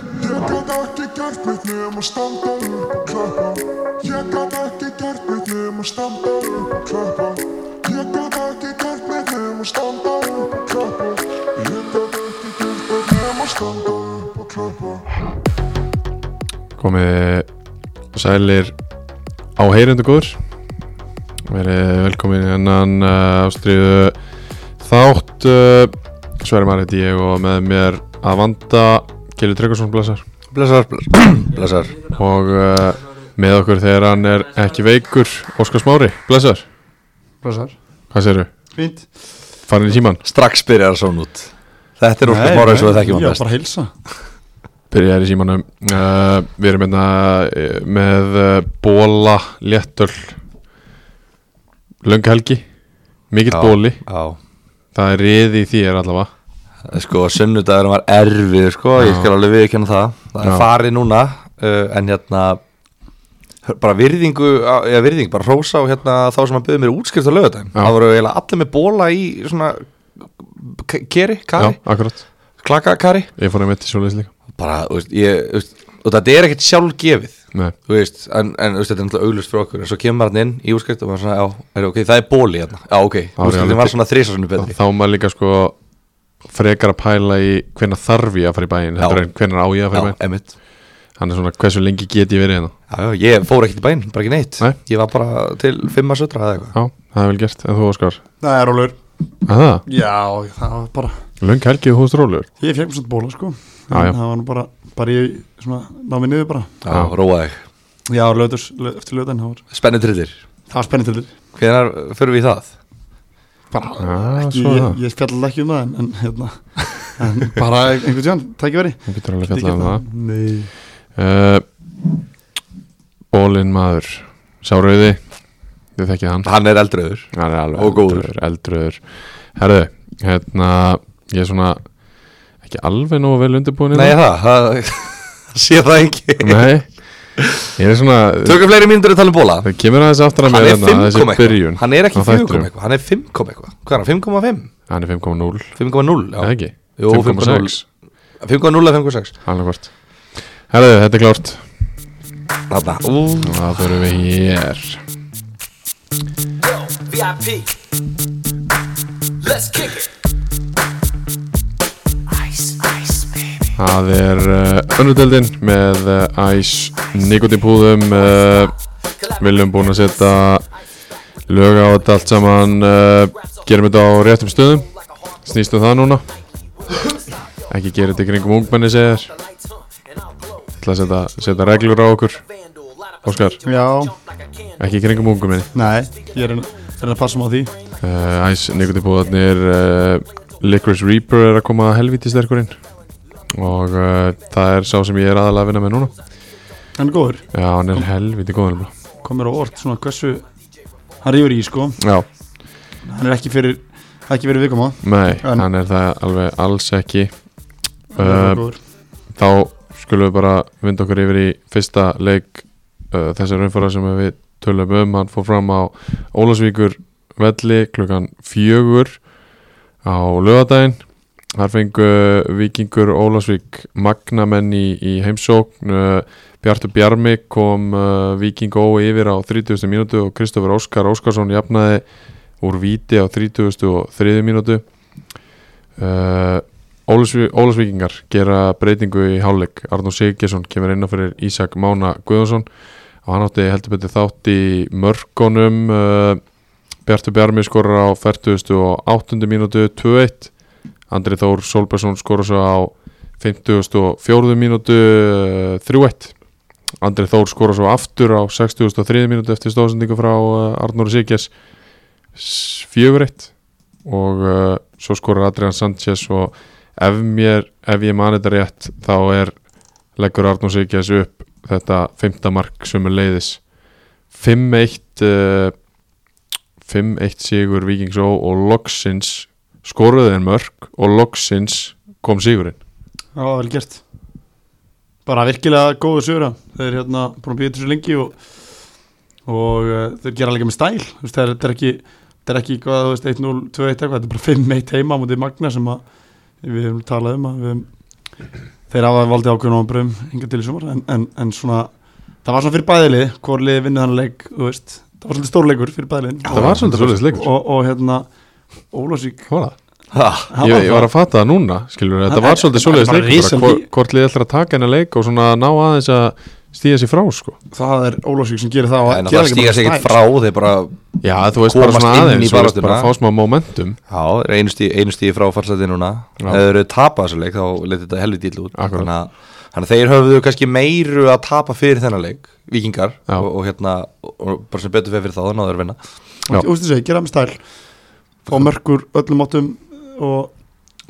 gat ekki gert mitt nema standa upp og klappa Ég gat ekki gert mitt nema standa upp og klappa Ég gat ekki gert mitt nema standa upp og klappa Ég gat ekki gert mitt nema standa upp og klappa komið sælir á heyrendu góður verið velkomin í hennan uh, ástriðu þátt uh, Sverri Marit ég og með mér að vanda Gilur Tryggvarsson blessar Blessar, blessar og uh, með okkur þegar hann er ekki veikur Óskar Smári, blessar Blessar hvað sérðu, Fínt farin í tíman Strax byrjar svona út Þetta er Óskar Mára eins og við þekkjum hann Já, best bara hilsa byrjaði í símanum uh, við erum hérna eh, með uh, bóla, léttöl lönghelgi mikill Já. bóli Já Það er riði í þér allavega Sko, sunnudagur var erfið sko Ég skal alveg viðkjanna það Það Já. er farið núna uh, En hérna Bara virðingu Já, virðingu Bara hrósa og hérna Þá sem hann byrði mér útskrift á lögadaginn Já. Það voru eiginlega allir með bóla í svona k- Keri, Já, kari akkurat Klakakari Ég fór að mitt í svoleiðis líka Bara, þú veist, ég þú veist, Og þetta er ekkert sjálfgefið Nei, þú veist, en, en þú veist, þetta er náttúrulega auglust frá okkur en svo kemur hann inn í úrskrift og maður svona, já, er, ok, það er bóli hérna, já, ok reality. úrskriftin var svona þrísasunni þá betri þá er maður líka sko frekar að pæla í hvenna þarf ég að fara í bæinn heldur en hvenna á ég að já, fara í bæinn emitt, Hann er svona hversu lengi get ég verið hérna já, já, ég fór ekkert í bæinn bara ekki neitt, Nei. ég var bara til fimm að sötra eða eitthvað, Já, það er vel gert, en þú Óskar Það er rólur Aha, Já, það var bara Löng helgið húst rólur Ég fekk mér svona bóla sko Já, já. En Það var nú bara Bara ég svona Náði mig niður bara já, róa þig Já, löðurs löð, Eftir löðan það var spennu trillir, Það var spennið til þér hvenar förum við í það Bara Já, ekki, svo er ég, það. ég spjallaði ekki um það en, en hérna En bara einhvern tíðan Tækifæri Þú getur alveg fjallað um það Nei uh, Bólin maður Sárauði Þið þekkið hann hann er eldröður, Hann er alveg Og góður. eldröður, eldröður Herðu, hérna Ég er svona ekki alveg nógu vel undirbúin nei það, það sé það ekki, Nei, ég er svona tökum fleiri mínútur að tala um bóla Það kemur aðeins aftur að hann mér er hérna, 5 þessi kom byrjun eitthvað hann er ekki á 4 þættinum. kom eitthvað, hann er 5 kom eitthvað hvað er hann, 5,5? Hann er 5,0 5,0, Eða já ekki? Jú, 5,6 5,0 eða 5,6 Alveg hvort Herðu, þetta er klárt Þarna, ú, Og það fyrir við hér VIP. Let's kick it. Ice, ice, baby. Það er uh, önnudeldin með uh, Ice Nikotipúðum uh, Viljum búin að setja lög á þetta allt saman uh, Gerum þetta á réttum stöðum Snýstum það núna Ekki gera þetta í kringum ungmenni segir Lights on and I'll glow. Það að setja, setja reglur á okkur Vandal, light up a Óskar, Já like a candle. ekki í kringum ungmenni Nei Ég er að, er að passa mig á því uh, Æs nikotipúðarnir uh, Licorice Reaper er að koma að helvíti sterkurinn og uh, það er sá sem ég er aðalega að vinna með núna En góður já, hann er helvíti góður nefnilega. Komir á orð Svona hversu Hann rífur í sko já, Hann er ekki fyrir Ekki verið viðkoma nei, En- hann er það alveg alls ekki uh, uh, þá skulum við bara vinda okkur yfir í fyrsta leik uh, þessar umfara sem við tölum um hann fór fram á Ólasvíkur velli klukkan fjögur á lögadaginn þar fengu vikingur Ólasvík magnamenn í, í heimsókn uh, Bjartur Bjarmi kom uh, Viking Ó yfir á 30. mínútu og Kristofur Óskar Óskarsson jafnaði úr víti á 33. mínútu uh, Ólasví- Ólasvíkingar gera breytingu í hálfleik Arnó Siggesson kemur inn á fyrir Ísak Mána Guðjónsson og hann átti heldur betur þátt í mörkonum uh, Bjartur Bjarmi skorar á 40. og 8. mínútu 2-1 Andri Þór Solbergsson skorar svo á 50. og 4. mínútu uh, 3-1 Andri Þór skorar svo aftur á 60. og 3. mínútu eftir stóðsendingu frá uh, Arnóri Sigges 4-1 og uh, svo skorur Adrian Sanchez og ef, mér, ef ég mani þetta rétt þá er leggur Arnur Sigges upp þetta fymta mark sem er leiðis 5-1 uh, 5-1 sigur Víkings Ó og loksins skoruðu þeir mörk og loksins kom sigurinn Já, vel gert Bara virkilega góðu sögura Þeir hérna búin að býja þessu lengi og, og uh, þeir gera líka með stæl Þú veist, þeir, þeir ekki Þetta er ekki hvað, þú veist, 1-0, 2-1 eitthvað, þetta er bara 5-1 heima á mútið Magna sem að við höfum talað um að við höfum þeir hafa valdið ákveðin ábrum hinga til í sumar en, en, en svona, það var svona fyrir bæðilið hvort liðið vinnið þannig leik þú veist, það var svolítið stórleikur fyrir bæðilið Það var svolítið svolítið leikur og, og hérna Ólásík Hvað var það? Ha, Ég, ég var að fatta það núna, skilur Þetta var svolítið svolítið Bara leikur risan bara lí- hvor- Hvort liðið ætlar að taka hennar leik og svona ná aðeins að stíða sér frá sko. það er Ólásík sem gerir það og en það gerir ekki stíga bara sig ekkert stæl. frá þeir bara, Já, þú veist bara Komast svona inn í aðeins þú veist, baráttuna. bara að fá smá momentum já, þeir eru einu stígi, einu stígi frá farsæti núna Já. ef þeir eru tapað þessu leik þá leti þetta helviti illa út Akkurat. þannig að, þannig að þeir höfðu kannski meiru að tapa fyrir þennan leik vikingar Já. og, og hérna og bara sem betur fyrir þá þá náður að vinna Já. og þú veist þessi, gera það með stæl fá mörkur öllum áttum og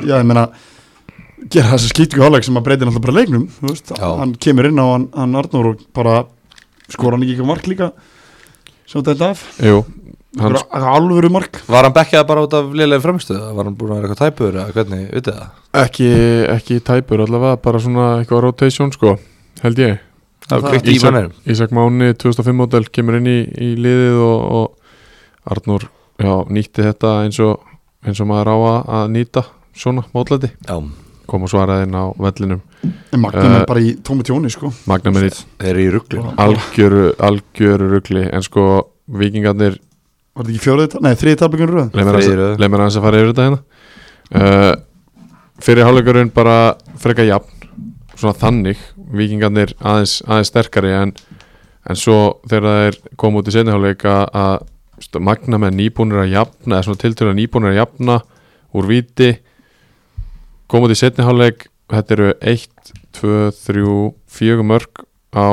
já, ég meina gera þessa skýtingu áleik sem að breytir alltaf bara leiknum þú veist, Já. hann kemur inn á hann, hann Arnór og bara skora hann ekki eitthvað mark líka sem þetta af Jú, hann, bara alvöru mark Var hann bekkjað bara út af liðlega fremstöðu? Var hann búin að vera eitthvað tæpur eða hvernig, vitið það? ekki, ekki tæpur allavega bara svona eitthvað rotation sko, held ég Það var kveikt í Ísak, manninum. Ísak Máni 2005 model kemur inn í, í liðið og, og Arnur já, nýtti þetta eins og, eins og maður á að- að nýta svona mótlæti Já, kom og svaraði inn á vellinum en Magnum Eh. er bara í tómi tjóni sko Magna með því þeir eru í rugglu algjöru, algjöru rugli en sko vikingarnir var þetta ekki fjórið þetta? Nei, þriði tapingur röð leið mér Þriðju röð. aðeins- leið mér aðeins að fara yfir þetta hérna uh, fyrir hálfleikurinn bara freka jafn svona þannig vikingarnir aðeins, aðeins sterkari en, en svo þegar þeir koma út í seinni hálfleik að- að st- magna með nýbúnir að jafna eða svona tiltölu nýbúnir að jafna úr viti koma út í seinni hálfleik þetta eru 1, 2, 3, 4 mörg á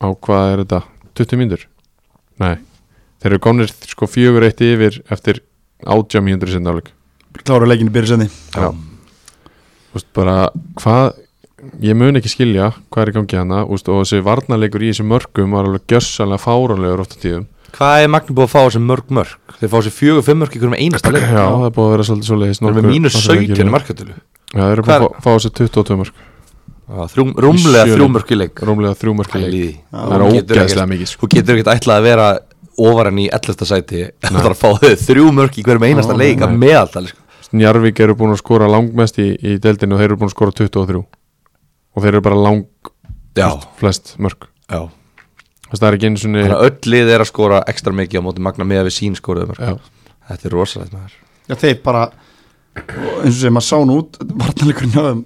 á hvað er þetta 20 mínútur? Nei Þeir eru komnir sko fjögur eitt yfir eftir átjá mínútur sinna áleik klára leikinu byrja senni Já. Þú veist bara hvað ég mun ekki skilja hvað er í gangi hana úst, og þessi varnarleikur í þessu mörgum var alveg gjössalega fáránlegur oft á tíðum Hvað er Magni búið að fá þessi mörg mörg? Þeir fá þessi fjögur, fimm mörg í hverjum einasta leik Já, það er búið að vera svolítið svolítið Þeir eru með mínus hérna. 17 í markatölu Já, þeir eru Hvar- búið að fá- fá þessi 22 mörg Já, þrjú- Rúmlega Sjö þrjú leik. mörg í leik Rúmlega þrjú mörg í leik Pæliði Það er ógeðslega mikið sko. Þú getur ekkert ætlað að vera ofar enn í 11. sæti Það þarf að fá þau þrjú mörg í hverjum einasta Já, leik að sko. meðaltal Njarvík eru búin að skora langmest í, í deildinu og þeir eru búin að skora 23 og þeir eru bara lang Já, flest mörg já Þess að það er ekki einu sinni Þannig að öll lið er að skora ekstra mikið á móti Magna með við sín skoruðum Já. Þetta er rosalegt maður já, þeir bara og eins og sem maður sá nú út varnarleikurinn hjá þeim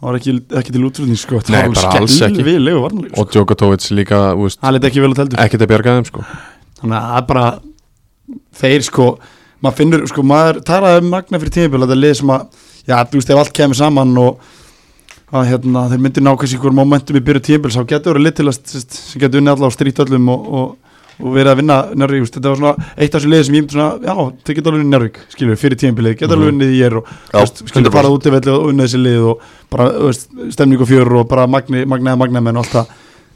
það var ekki, ekki til útrúðning sko það Nei, var bara alls ekki. við legu varnarleikur sko. og Djokotovic líka úst, það leti ekki vel að teldu ekkert að bjarga þeim sko þannig að það er bara þeir sko, maður finnur sko, maður talaði um magna fyrir tímabil þetta er lið sem að, já, þú veist, ef allt kemur saman og að hérna, þeir myndir nákvæmst ykkur momentum í byrju tímabil, þá getur verið lið til að sest, sem getur unnið alla á strýtt öllum og, og, og verið að vinna njárvík, þetta var svona eitt af þessu lið sem ég myndi svona, já, þeir geta alveg unnið njárvík skilur, við, fyrir tímabilið, geta alveg unnið í er og Já, þú veist, 100%. skilur bara út í velli og unnið þessi lið og bara, þú veist, stemning og fjör og bara magni, magnaði magnamenn og allt það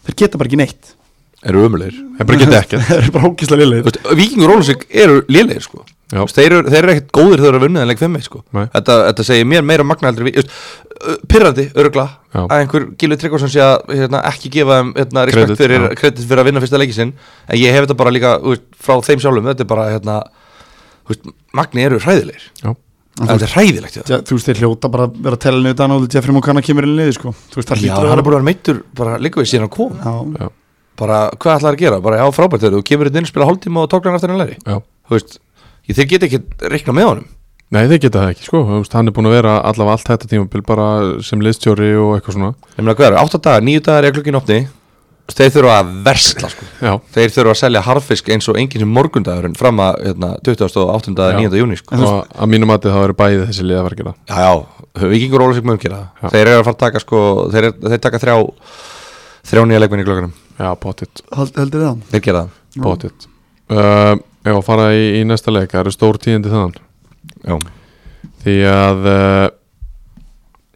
þeir geta bara ekki neitt Eru ömulegir en bara geta ekkert þeir eru bara hókislega liðleir Þú veist, Víkingur Ólusvík eru lélegir sko Já. Þú veist, þeir, eru- þeir eru ekkert góðir þegar þeir eru að vinna en leik 5 sko. Nei. þetta, þetta segir mér meira magna heldur en við- þú veist, ö, Pirrandi, örgla Já. að einhver Gilvi Tryggvason sé að hérna, ekki gefa þeim hérna, respekt Kredit, fyrir, já. kredit fyrir að vinna fyrsta leiki sinn en ég hef þetta bara líka þú veist, frá þeim sjálfum þetta er bara hérna, þú veist, Magni eru hræðilegir Já. þetta er hræðilegt já. Já, þú veist, þeir hljóta bara að vera að tella niður þannig að Jeffrey Mokana kemur inn í liði, sko Þú veist, það Já, hlýtur hann er að búin vera að vera meittur bara líka við síðan að koma Já, bara hvað ætlar að gera, bara já frábært þegar þú kemur hérna inn, spila hálftíma og tóklar hann aftur hann læri Já. þú veist, ég- þeir geta ekki reikna með honum nei þeir geta það ekki sko Þú veist, hann er búin að vera allavega allt þetta tímabil bara sem liðstjóri og eitthvað svona Ég meina hvað eru, 8 dagar, 9 dagar er klukkin opni Þeir þurfa að versla sko. já, Þeir þurfa að selja harfisk eins og enginn sem morgundagurinn fram að hérna, 28. Já. eða 9. júni sko. og að mínu mati þá eru bæði þessi lið að vera að gera það. Já, já, vikingur og Ólasík mögum gera Já. það Þeir eru að fara að taka sko, þeir, eru- þeir taka þrjá þrjá nýja leikmenn í klukkanum já, pottitt, held, heldur þið það Þeir gera það pottitt uh, já, fara í, í næsta leik það eru stór tíðindi þann Já, því að uh,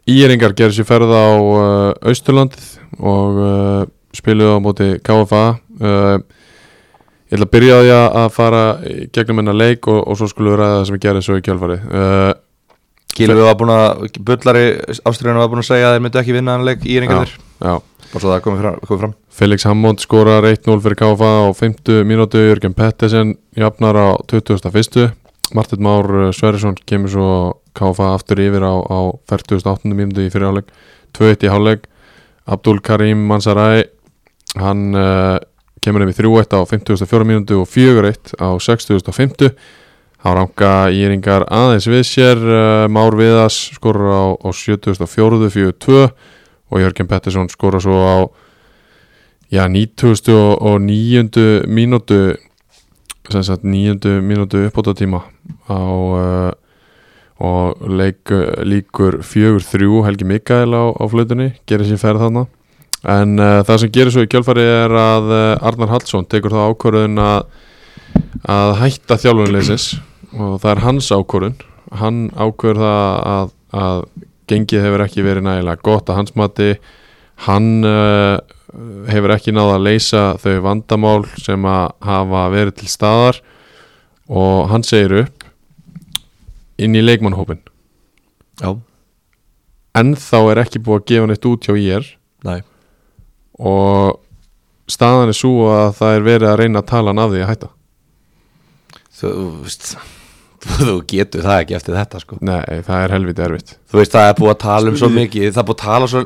Íringar gerir sér ferð á uh, Austurlandið og uh, spiluðu á móti KFA uh, ég ætla að byrja á því að að fara í gegnum hennar leik og, og svo skulum við ræða það sem ég gerði svo í kjálfari uh, Gilvi var búin að Bullari ástriðinu var búin að segja að þeir myndu ekki vinna hann leik í reyngjarnir já, Bara svo það komið fram, komið fram. Felix Hammond skorar 1-0 fyrir KFA á 50 mínútu, Jörgen Pettersen jafnar á 21. Martin Már Sverrisson kemur svo KFA aftur yfir á, á 48. mínútu í fyriráleik 2-1 í hálfleik Abdul Karim Mansaray hann uh, kemur upp í 3-1 á 54 mínútu og 4-1 á 6050 þá ranka íringar aðeins við sér uh, Már Viðas skorur á, á 74 4-2 og Jörgen Pettersson skora svo á já, 99 mínútu sem sagt 9. mínútu uppbótatíma á uh, og leik, líkur 4-3 Helgi Mikael á, á flötunni gerir sér ferð þarna en uh, það sem gerir svo í kjálfari er að uh, Arnar Hallsson tekur þá ákvörðun að, að hætta þjálfunleysins og það er hans ákvörðun hann ákvörð það að, að gengið hefur ekki verið nægilega gott að hans mati hann uh, hefur ekki náða að leysa þau vandamál sem að hafa verið til staðar og hann segir upp inn í leikmannhópin Já, en þá er ekki búið að gefa neitt út hjá ég næ og staðan er svo að það er verið að reyna að tala hann af því að hætta Þú veist Þú getur það ekki eftir þetta sko Nei, það er helviti erfitt Þú veist það er búið að tala um svo mikið Það er búið að tala svo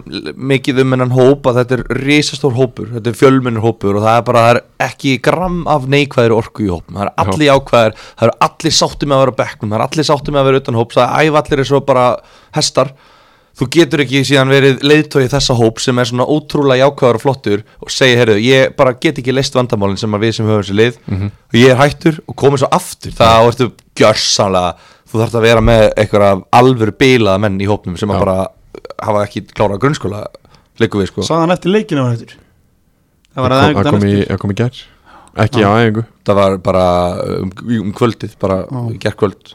mikið um hennan hópa Þetta er risastór hópur, þetta er fjölmennur hópur Og það er bara, það er ekki gram af neikvæðir orku í hópum Það er allir jákvæðir, það eru allir sáttum með að vera á bekknum Það eru allir sáttum með að vera utan hóps Það er ævallir eins og bara hestar Þú getur ekki síðan verið leiðtói þessa hóp sem er svona ótrúlega jákvæður og flottur og segja, heyrðu, ég bara get ekki leist vandamálinn sem að við sem höfum sér lið og ég er hættur og komið svo aftur það ertu gjörsanlega þú þarft að vera með einhverja alvöru bilaða menn í hópnum sem Já. að bara hafa ekki klárað grunnskóla leikum við sko Sagan eftir leikinu var hættur Það var Það kom, í- það kom í gær Ekki á æfingu það var bara um, um kvöldið bara Já. gerkvöld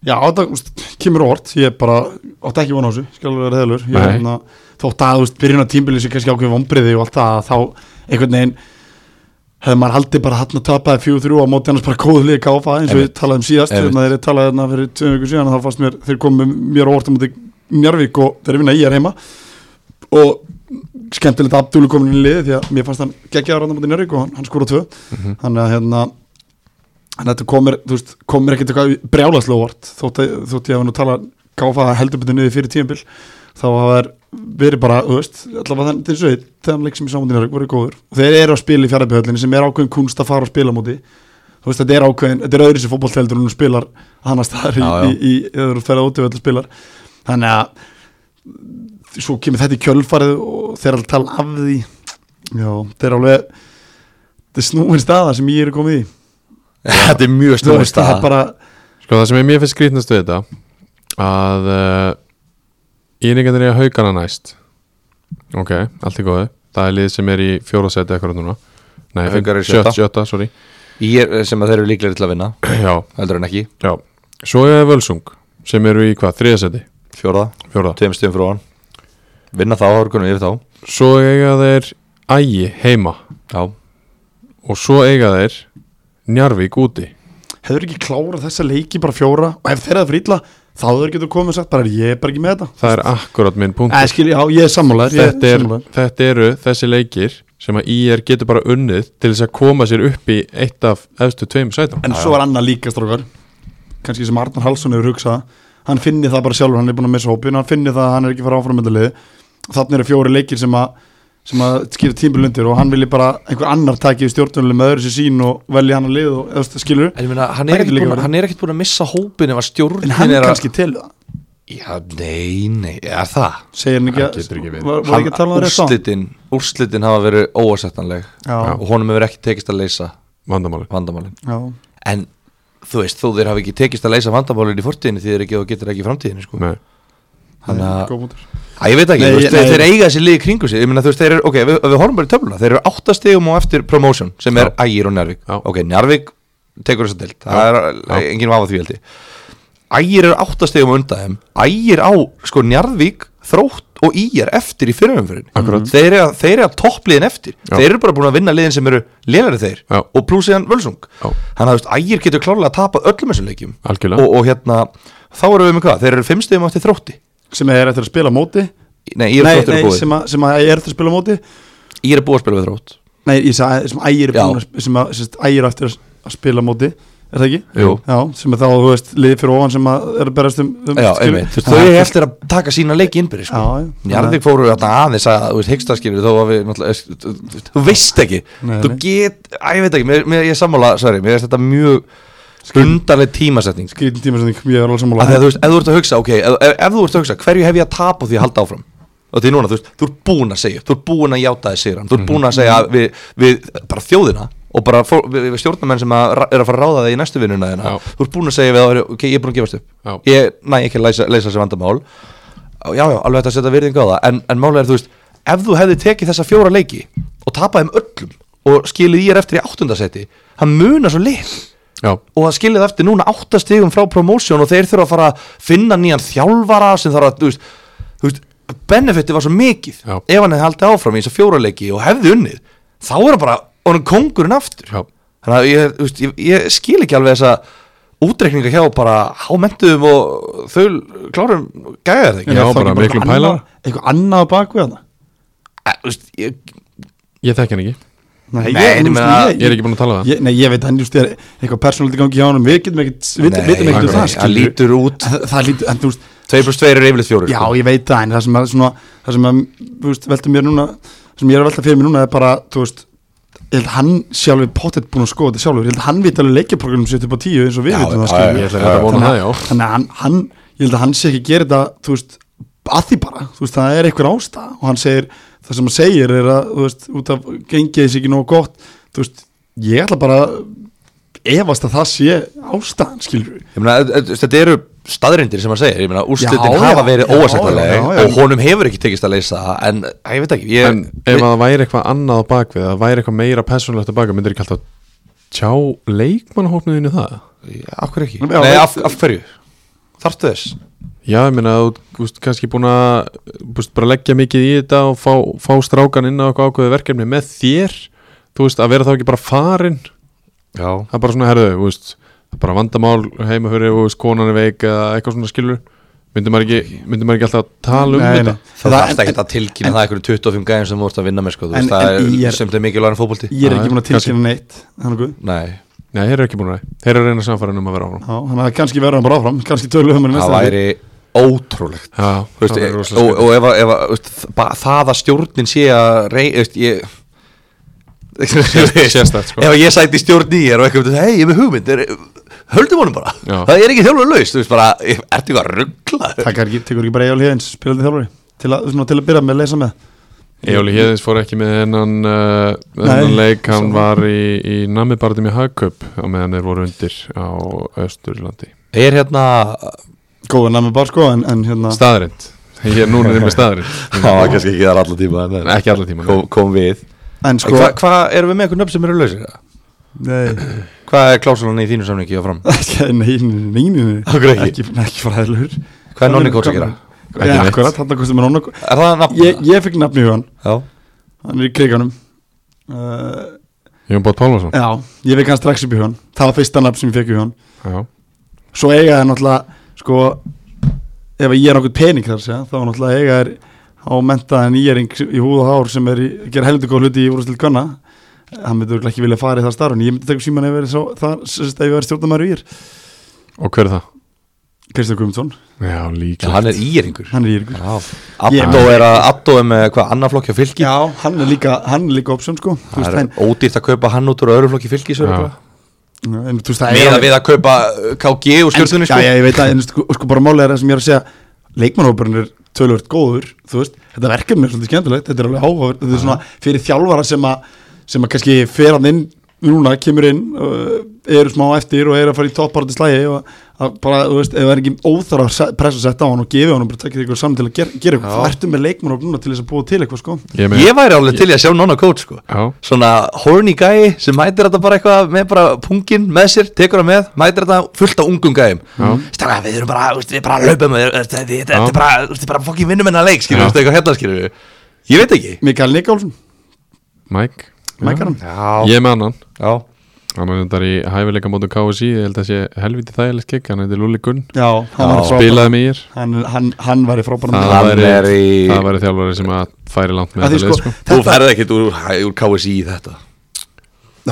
Já, það úst, kemur óvart, ég bara átti ekki vona á þessu, skal alveg vera heðalur ég, Nei. hérna, þótt að úst, byrjun á tímbili sem kannski ákveðum vombriði og allt það þá einhvern veginn hefði maður haldið bara hann að tapaði fjú þrjú á móti annars bara góðu líka káfa eins og við Einmitt. talaðum síðast Einmitt. þegar þeir talaði hérna fyrir tveim vikur síðan þá fannst mér, þeir komum mér á óvart á móti Njárvík og þeir vinna í er heima og skemmtilegt að Abdúli komin inn í liði því að mér fannst hann geggjaður hann á móti Njárvík og hann, hann skóra tvö Mhm. þannig að hérna þannig að þetta komir, þú veist, komir ekkert eitthvað brjálaslóvart þótt, að- þótt ég hef nú talað gáfa heldur betur niður fyrir tíumbil þá hafa þær verið bara, þú veist allavega þannig til þessu, þeim leik sem í samundinu voru góður og þeir eru að spila í fjaraðbjöldinni sem er ákveðin kunst að fara að spila á móti þú veist, þetta er ákveðin, þetta er öðru sem fótballtældur hún spilar hann að staðar í, Já, já. í, í, í eða þú ferða út og spilar þannig að svo kemur þetta í kjölfarið og þeir alveg tala af því já, þeir eru alveg þetta er snúin staða sem ég er komið í þetta er mjög Þú snúið veist, það er stað bara Sko það sem er mér finnst skrýtnast við þetta að uh, íringarnir er að haugana næst ok, allt í góði það er lið sem er í fjóra seti eitthvað núna nei, Haukar eru í sjött- sjötta. sjötta, sorry ég, sem að þeir eru líklega til að vinna já, heldur en ekki, já, svo er Völsung sem eru í hvað, þriða seti, fjórða, fjóra tveim stöðum frá hann vinna þá, þá er konum yfir þá svo eiga þeir ægi heima já, og svo eiga þeir Njarvík úti hefur ekki klárað þessa leiki bara fjóra og ef þeirra það fyrir illa þá hefur getur komið og sagt bara ég er bara ekki með þetta það er akkurat minn punkt Æ, skil, já, ég er sammálaður ég þetta, er, sammálaður. þetta eru þessi leikir sem að IR getur bara unnið til þess að koma sér upp í eitt af efstu tveim sætum en svo er annað líka strókar kannski sem Arnar Halsson hefur hugsað hann finnir það bara sjálfur, hann er búin að missa hópin hann finnir það að hann er ekki að fara áfram með liði þannig eru fjóri leikir sem að sem að skýra tímbilundir og hann vilji bara einhver annar takið stjórnuleg með öðru sér sín og velja hann að lið og eða þú veist, skilur En ég meina, hann Það er, getur ekkert líka búinn verið. hann er ekkert búin að missa hópin ef að stjórnin en hann er að... kannski til það Já, nei, nei, er það? segir hann ekki Það getur ekki verið. var, var ekki að tala um rétt á úrslitin, úrslitin hafa verið óasettanleg Já. og honum hefur ekki tekist að leysa vandamáli vandamálin. Já. En þú veist, þú þeir hafa ekki tekist að leysa vandamálin í fortíðinni því þeir ekki og getur ekki í framtíðinni, sko. Nei. Það Þannig er að- góð punktur. Að ég veit ekki, Nei, þú veist, nei. þeir eiga sér liði kringu sér, ég meina þú veist, þeir eru, ok, við, við horfum bara í töfluna, þeir eru áttastegum og eftir promotion sem er Ægir og Njárvík, Já. ok, Njárvík tekur þess að delt, það er Já. enginn vafa því heldig Ægir eru áttastegum undan þeim, Ægir á, sko, Njárvík, Þrótt og Ígir eftir í fyrirumfyrin, Akkurat. þeir eru, þeir eru að toppliðin eftir, Já. þeir eru bara búin að vinna liðin sem eru lélari þeir Já. og plúsiðan Völsung, Já. þannig að þú veist, Ægir getur klárlega að tapa öllum þessum leikjum Algjörlega. og, og hérna, þá eru við með hvað, þeir eru fimmstegum eftir Þrótti sem er eftir að spila á móti Nei, ég er nei, þróttur nei, búið sem, að, sem að ég er eftir að spila á móti Ég er búið að spila við þrótt nei, ég sagði sem ægir er Já. búin að sp- sem að sem ægir eftir að spila á móti er það ekki? Jú. Já, sem er þá, þú veist, liðið fyrir ofan sem að er að berast um, um Já, skilur. einmitt, þú veist, Já, þau þetta- eftir að taka sína leiki innbyrðis Já, sko. já. Njarðvík fóru þarna aðeins að, þú veist, hyggstaskýrur þó að við, náttúrulega, þú- þú- þú veist ekki Nei, Þú nei. get, að ég veit ekki, mér, mér, ég er sammála, sorry, mér er þetta mjög skundarleg tímasetning Skrýtin tímasetning, ég er alveg sammála Af því að þú veist, ef þú ert að hugsa, ok, ef, ef, ef þú ert að hugsa, hverju hef ég að tapa á því að halda áfram? Og því núna, þú veist, þú ert búin að segja, upp, þú ert búin að játa þig sigran, þú ert búin að Mhm. segja að við, við bara þjóðina og bara fó, við, við stjórnarmenn sem að, ra- eru að fara að ráða þig í næstu vinnuna þina, Já. þú ert búin að segja við að, ok, ég er búin að gefast upp, Já. ég næ ekki að leysa, leysa þessi vandamál, Á, já, já, alveg þetta að setja virðingu á það, en, en málega er, þú veist, ef þú hefði tekið þessa fjóra leiki og tapað þeim öllum og skilið ég eftir í áttundasæti, það munar svo lill já, og það skilir það eftir núna áttastigum frá promósjón og þeir þurfa að fara að finna nýjan þjálfara sem þarf að, þú veist, þú veist benefiti var svo mikið Já. ef hann hefði haldið áfram í þess að fjóraleiki og hefði unnið þá er það bara honum kongurinn aftur Já. þannig að ég, þú veist, ég, ég skil ekki alveg þessa útreikninga hjá bara hámenduðum og þau klárum gæjar það ekki Já, Er það bara ekki miklum eitthvað pælar. annað- Eitthvað annað á bakvið hana Eh, þú veist, ég, ég þekki hann ekki Nei, Nei, ég þú veist, meina, Ég er ekki búin að tala um það ég, Nei, ég veit, hann just er eitthvað persónaldi gangi hjá honum Við getum ekkert, við Nei, vitum ekkert um nei, það hann skilur. lítur út En það- Það lítur, en þú veist 2 plus 2 er yfirleitt fjórir Já, sko. ég veit það, en það sem er svona það sem að, þú veist, velta mér núna það sem ég er að velta fyrir mér núna er bara, þú veist ég held hann sjálfur pottet búin að skoða þetta sjálfur, ég held hann veit alveg leikjaprogrammum sitt upp á tíu eins og við Já, vitum já, það já, skilur Ég við. ætla að vona það, já þannig að hann, hann, ég held að hann sé ekki að gera þetta, þú veist, að því bara þú veist, það er einhver ásta og hann segir það sem hann segir er að, þú veist, út af gengið þessi ekki nógu gott, þú veist ég ætla bara að efast að það sé ástaðan, skilur við Ég meina, e- e- þetta eru staðrindir sem hann segir Ég meina, úrslitin Já, hafa já, verið já, óasættalega já, já. Og honum hefur ekki tekist að leysa það En, að, ég veit ekki ég, En ef að það væri eitthvað annað á bakvið Það væri eitthvað meira persónlegt á bakvið Myndir ekki alltaf tjá leikmannahópnuðinu það? Af hverju ekki? Já, Nei, veit- af, af hverju? Þarftu þess? Já, ég meina að þú veist, kannski búin að þú veist, bara leggja mikið í þetta og fá, fá strákan inn á eitthvað ákveðu verkefni með þér, þú veist, að vera þá ekki bara farin, Já það er bara svona herðu, þú veist, það er bara vandamál heima fyrir, þú veist, konan er veik eða eitthvað svona skilur, myndum maður ekki myndum maður ekki alltaf að tala um þetta Það Það- þarfst en- ekki að tilkynna það einhverjum 25 gæðum sem þú ert að vinna með sko, þú En- veist, Það en ég er- er sem þau mikilvægur en fótbolti ég er ekki búin að Kannski- tilkynna neitt, hann og guð Nei, Nei, þeir eru ekki búin að það, þeir eru að reyna samfærin um að vera áfram Já, þannig að kannski verður hann bara áfram, kannski tölum við hann í það næsta leik. væri ótrúlegt Já, Þú veist, það er rosalega og, og, skemmt. og ef, að- ef, að, þú veist, ba- það að stjórnin sé að rey, þú veist, ég sérstakt, sko. ef að ég sæti í stjórn í er og eitthvað, hei, ég er með hugmynd er, höldum honum bara, Já. það er ekki þjálfur laus þú veist bara, ég- ertu eitthvað ruggla Takkar ekki, tekur ekki bara Egil Hjöns, spilandi þjálfari til að, svona, til að byrja með að leysa með Ejóli Hjeðins fór ekki með hennan, uh, hennan leik, hann var í, í namibartum í Hagköp á meðan þeir voru undir á Östurlandi er hérna góðan að með bara sko en, en hérna Staðrind, ég er núna er ég með staðrind það var kannski ekki þar alla tíma en, Ekki alla tíma kom, kom við en sko, sko hvað hva, erum við með eitthvað nöfn sem eru lausir nei, hvað er klásulan í þínu samningi á fram ekki, nei, nei, nei, nei. Af hverju ekki? ekki, ekki fræðilur hvað er nonni kóts að gera ja, neitt. akkurat, þarna kostum við nonni er það nafn ég, ég fikk nafni í hugan, já hann er í kriganum uh, Jón Bótt Pálmarsson já, ég fikk hann strax upp í hugan það var fyrsta nafn sem ég fikk í hugan Já, svo eiga það náttúrulega sko, ef ég er nokkuð pening þar að segja, þá náttúrulega eiga það á mentaðan íjering í húð og hár sem er í, ger heldur góð hluti í úrústild kvanna hann myndi örugglega ekki vilja fara í það starf en ég myndi taka síman ef ég verið sá- þar sem sagt, ef ég verið stjórnumæri ír og hver er það? Kristján Guðmundsson, Já, líka Já, hann er íringur hann er íjeringur Addo er, að, Addo er með hvað, annar flokk hjá fylki já, hann er líka, hann er líka option sko þú Það veist, er en, ódýrt að kaupa hann út úr öðru flokki fylgis Já. en þú veist, það Meða alveg- við að kaupa uh, KG og en, stjórnunni sko. sko. já, já, ég veit að, en sko, sko bara málega er það sem ég er að segja leikmannhópurinn er tölvöld góður þú veist, þetta verkefni er svolítið skemmtilegt þetta er alveg áhugavert, þetta er svona fyrir þjálfara sem að sem að kannski fer hann inn núna, kemur inn, uh, eru smá eftir og eru að fara í topparandi slægi og að bara, þú veist, ef það er ekki óþar að pressa að setja á hann og gefi hann og bara tekja eitthvað saman til að gera, gera eitthvað, hvað ertu með leikmannhóp núna til þess að búa til eitthvað, sko Ég meina Ég væri alveg til í að sjá nonna coach sko. Já. Svona horny gæi sem mætir þetta bara eitthvað með bara pungin með sér, tekur það með mætir þetta fullt af ungum gæim Staka, við erum bara, úst, við bara löpum við- þetta- þetta þetta Já. er bara, úst, bara fokkin vinnum hennar leik skilur, Já. úst, eitthvað hérna skilur við Ég veit ekki Mikael Nikálsson, Mike mækaran Já, Ég er með annan já. Hann er þetta í hæfileika mótu KSI Ég held að sé helviti þægilegt kikk Hann heitir Lúli Gunn Já, hann var frábær Bilaði mér hann, hann, hann var í frábærum Það Hann væri- er í- Það væri þjálfari sem að færi langt með Að því þetta lið sko, sko Þú þetta, ferð ekkert úr, úr KSI í þetta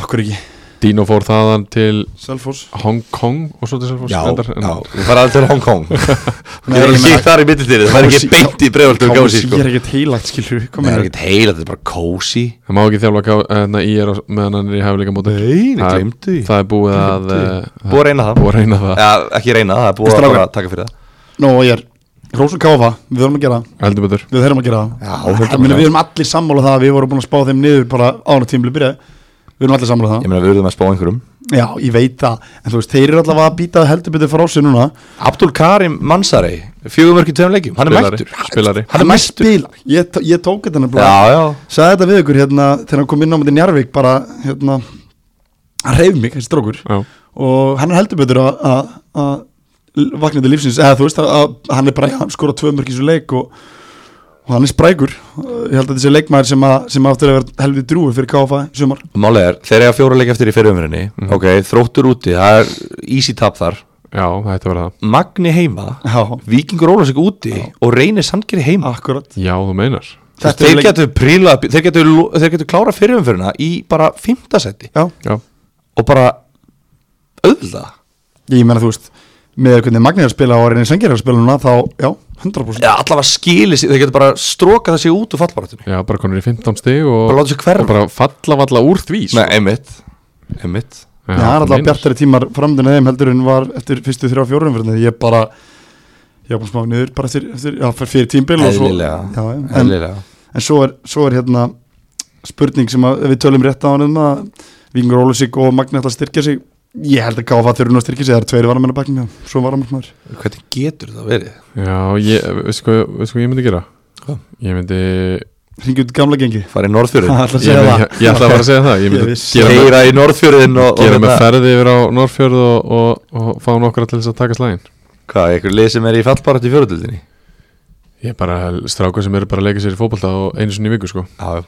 okkur ekki Dino fór þaðan til Selfoss Hong Kong og svo til Selfoss Já, reyndar, en- já, þú fara aldrei til Hong Kong Ég var Nei, ég að meina- kíkt þar í mittistýrið, það er Kósí- ekki beint í breyfaldum kási Ég sko er ekkert heilagt skilur við, Nei, hvað það er meinar ekkert heila, þetta er bara kósi Það má ekki þjálfa ká- hérna, IR á- meðan hann er í hæfileika móti Nei, Það- glemdu því Það er búið að eh, það Búið að reyna það Búið að reyna það Já, ekki reyna það, það er búið að Strákar. bara taka fyrir það Nó, ég er Rósum Káfa, við vorum að gera það Heldur betur Við þurfum að gera Já, það heldur Ég meina, betur. Við erum allir sammála um það að Við vorum búin að spá þeim niður bara ána tímli byrjaði Við erum allir sammála um það Ég meina, við verðum að spá einhverjum Já, ég veit það En þú veist, þeir eru allavega að býta heldur betur frá sér núna Abdul Karim Mansari, fjögumörki tveim leikjum, hann er Spilari, mættur spilari. Hann er mest mættur spila Ég, tó- ég tók þetta nefnilega Já, já, Sæði þetta við ykkur hérna Þegar hann kom inn á myndi Njarvík bara hérna Hann reyf mig, þessi strókur Já. Og hann er heldur betur að- að að vakna til lífsins Eða þú veist að, að hann er bara Hann skora tvö mörk í svo leik og, og hann er sprækur Ég held að þetta sé leikmaður sem, að, sem aftur að vera heldur drúi fyrir KFA í sumar Málega er, þeir eiga fjóra leik eftir í fyrirumrinni Ok, þróttur úti, það er easy tap þar Já, það ætti að vera það Magni heima, Já, Víkingur Ólafsvík úti og reynir Sandgeri heima akkurat Já, þú meinar Þú veist, Þetta er Þeir leik- getur príla, þeir getur, þeir getur klára fyrirumfyrirna í bara fymtasetti Já, Já, og bara auðvitað ég meina þú veist með hvernig Magni er að spila og reynir sengir að spila núna þá, já, 100% Já, allavega skilið sér, þeir getur bara strókað það sér út úr fallbarátunni já bara konur í 15 stig og, Bara láta sér hverfa. og bara falla valla úr því sko. Nei, einmitt, einmitt Já, Já, það er þú alltaf meinar. bjartari tímar framdun eða heldur en var eftir fyrstu þrjá fjórum fyrir því ég bara ég var búin smá niður bara eftir, eftir já, fyrir- fyrir tímbil og svo Eðlilega, já, já, en, eðlilega en svo er, svo er hérna spurning sem að ef við tölum rétt á hann um að Vingur Ólusík og Magni ætla að styrkja sig ég held að káfa þurfinn að styrkja sig það eru tveiri varamenn að bakna með svo varamennar Hvernig getur það verið? Já, ég, veistu hvað, veistu hvað ég myndi gera? Hvað? Ég myndi hringi út í gamla gengi Farið í Norðfjörðin ætla að Ég, segja myndi, það ég, ég ætla bara að segja það Ég Ég myndi vissi. gera með, Heyra í Norðfjörðin og, gera og með hérna- ferði yfir á Norrfjörð og, og, og fá nokkra til þess að taka slægin Hvað, einhver lið sem er í fallbaráttu í fjóruðildinni? Ég er bara stráka sem eru bara að leika sér í fótbolta og einu sinni í viku sko Já,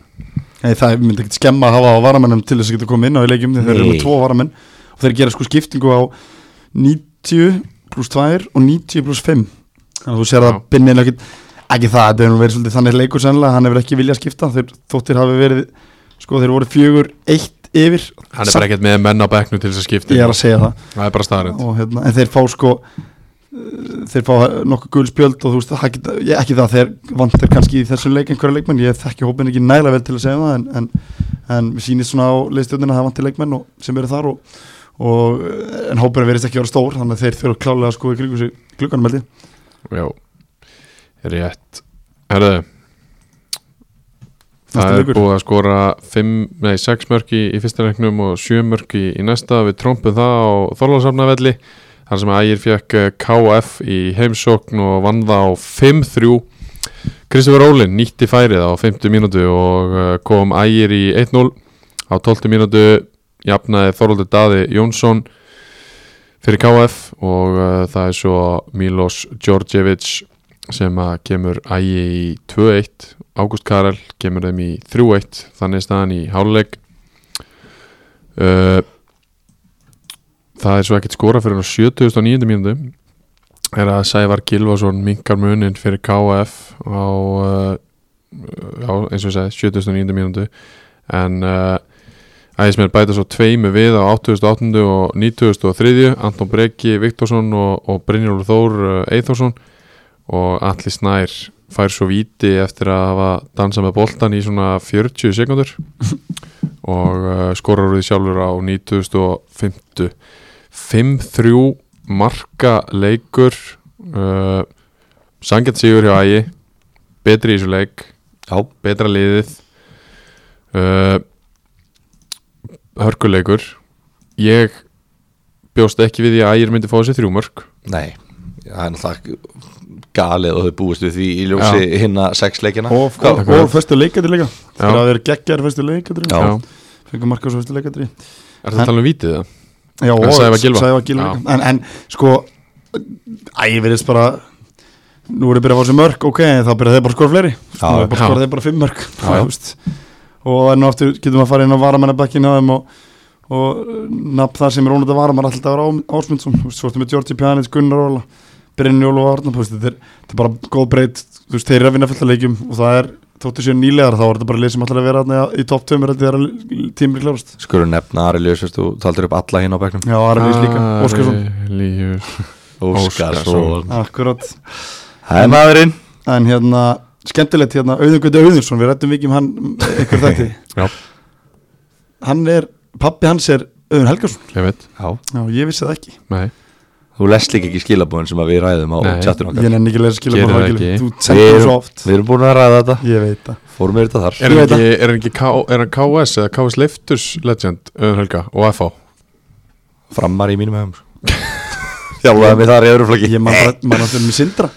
Nei, það myndi ekkert skemma að hafa á varamennum til þess að geta komið inn á í leikjum þegar þeir eru Nei. með tvo varamenn og þeir gera sko skiptingu á 90 pluss 2 og 90 pluss 5 þannig að þú sér Já. að Binni er ekkert ekki það, þetta hefur verið svolítið þannig leikur sennilega hann hefur ekki viljað skipta, þeir þóttir hafi verið sko þeir voru fjögur eitt yfir Hann er bara ekkert með menn á bekknu til þess að skipta um. ég er að segja það Það er bara staðarind og, hérna, en þeir fá sko eh, þeir fá nokkuð gul spjöld og þú veist, það geta, ég, ekki það þeir vantar kannski í þessum leik einhverja leikmenn ég þekki hópin ekki nægilega vel til að segja það en, en, en mér sýnist svona á leistjóðinu að það vantar leikmenn og, sem eru þar og, og eh, en hópurinn verðist ekki að vera stór þannig að þeir þurfa klálega að sko í kringu sig glugganum held ég Já, rétt Herðu Næsti Það er leikur. búið að skora 5, nei 6 mörki í fyrsta reiknum og 7 mörki í næsta við trompum það á Þorláðsafnavelli þar sem Ægir fekk eh, KF í heimsókn og vann það á 5-3 Kristofur Rólin nýtti færið á 50 mínútu og eh, kom Ægir í 1-0 á 12 mínútu jafnaði Þorlóður Daði Jónsson fyrir KF og uh, það er svo Milos Djordjevic sem að kemur ægi í 2-1 Ágúst Karel kemur þeim í 3-1 þannig er staðan í háluleik uh, Það er svo ekkert skora fyrir á 70.9. mínútu er að Sævar Gilvason minkar munin fyrir KF á, uh, á eins og ég segi 70.9. mínútu en uh, Ægismenn bæta svo tveimu við á 88. og 93. Anton Breki Viktorsson og, og Brynjólfur Þór eh, Eyþórsson og Atli Snær fær svo víti eftir að hafa dansað með boltan í svona 40 sekundur og uh, skorar úr því sjálfur á 95. 5-3 marka leikur uh, Sangjart Sigur hjá Ægi betri í þessu leik já betra liðið uh, hörkuleikur ég bjóst ekki við því að ægir myndi fá þessi þrjú mörg Nei, það er náttúrulega galið og þau búist við því í ljósi hinna sex leikina og, og, Akkurat. og fyrstu leikadri leika Já. þegar þeir eru geggjar fyrstu leikadri Já. fengur marka á svo fyrstu leikadri er það að tala um vítið það? Já, og Sævar Gylfa. Sævar Gylfa Já. líka. en, en sko Æ, við erum bara Nú erum við byrjað að fá sér mörg, ok en Þá byrjað þeir bara að skora fleiri Nú já. bara skora þeir bara fimm mörg Já, já. þú veist. Og enn og aftur getum við að fara inn á varamannabekkin á þeim og, og uh, nafn það sem er ónætt að varamann Alltaf er Ám- Ásmundsson þú veist, Svo ertu með Georgi Pjanic, Gunnar Óla Brynjólu og Arna þú veist, þetta, er, þetta er bara góð breyt þú veist, Þeir eru að vinna fullt að leikjum og það er þóttu séu nýlegar þá var þetta bara lið sem ætlar að vera þarna í topp 2 þegar tímur klárast Skurðu nefna Ari Ljósvist, þú taldir upp alla hinn á bekknum Já, Arlís líka, Óskarsson Lífus Óskarsson Akkurat Það er maðurinn En hérna, skemmtilegt hérna, Auðun Guði Auðunsson, við rættum vikið um hann ykkur þetta Já. Hann er, pappi hans er Auðun Helgarsson Ég veit, Já, Já, ég vissi það ekki nei þú lest líka ekki skilabúin sem að við ræðum á Nei. chatinu Ég okkar nenni ekki að lesa skilja Gerir það ekki. Þú Við sendur það svo erum- oft Við erum búin að ræða þetta, Ég veit það fórum við þetta þar Er Ég hann veit ekki, er hann ekki K, er hann KS eða KS Leifturs legend Öðun Helga og FH Frammar í mínum sko. hefum Þjálfaði mig þar í öðru flokki Ég man bara- man alltaf með Sindra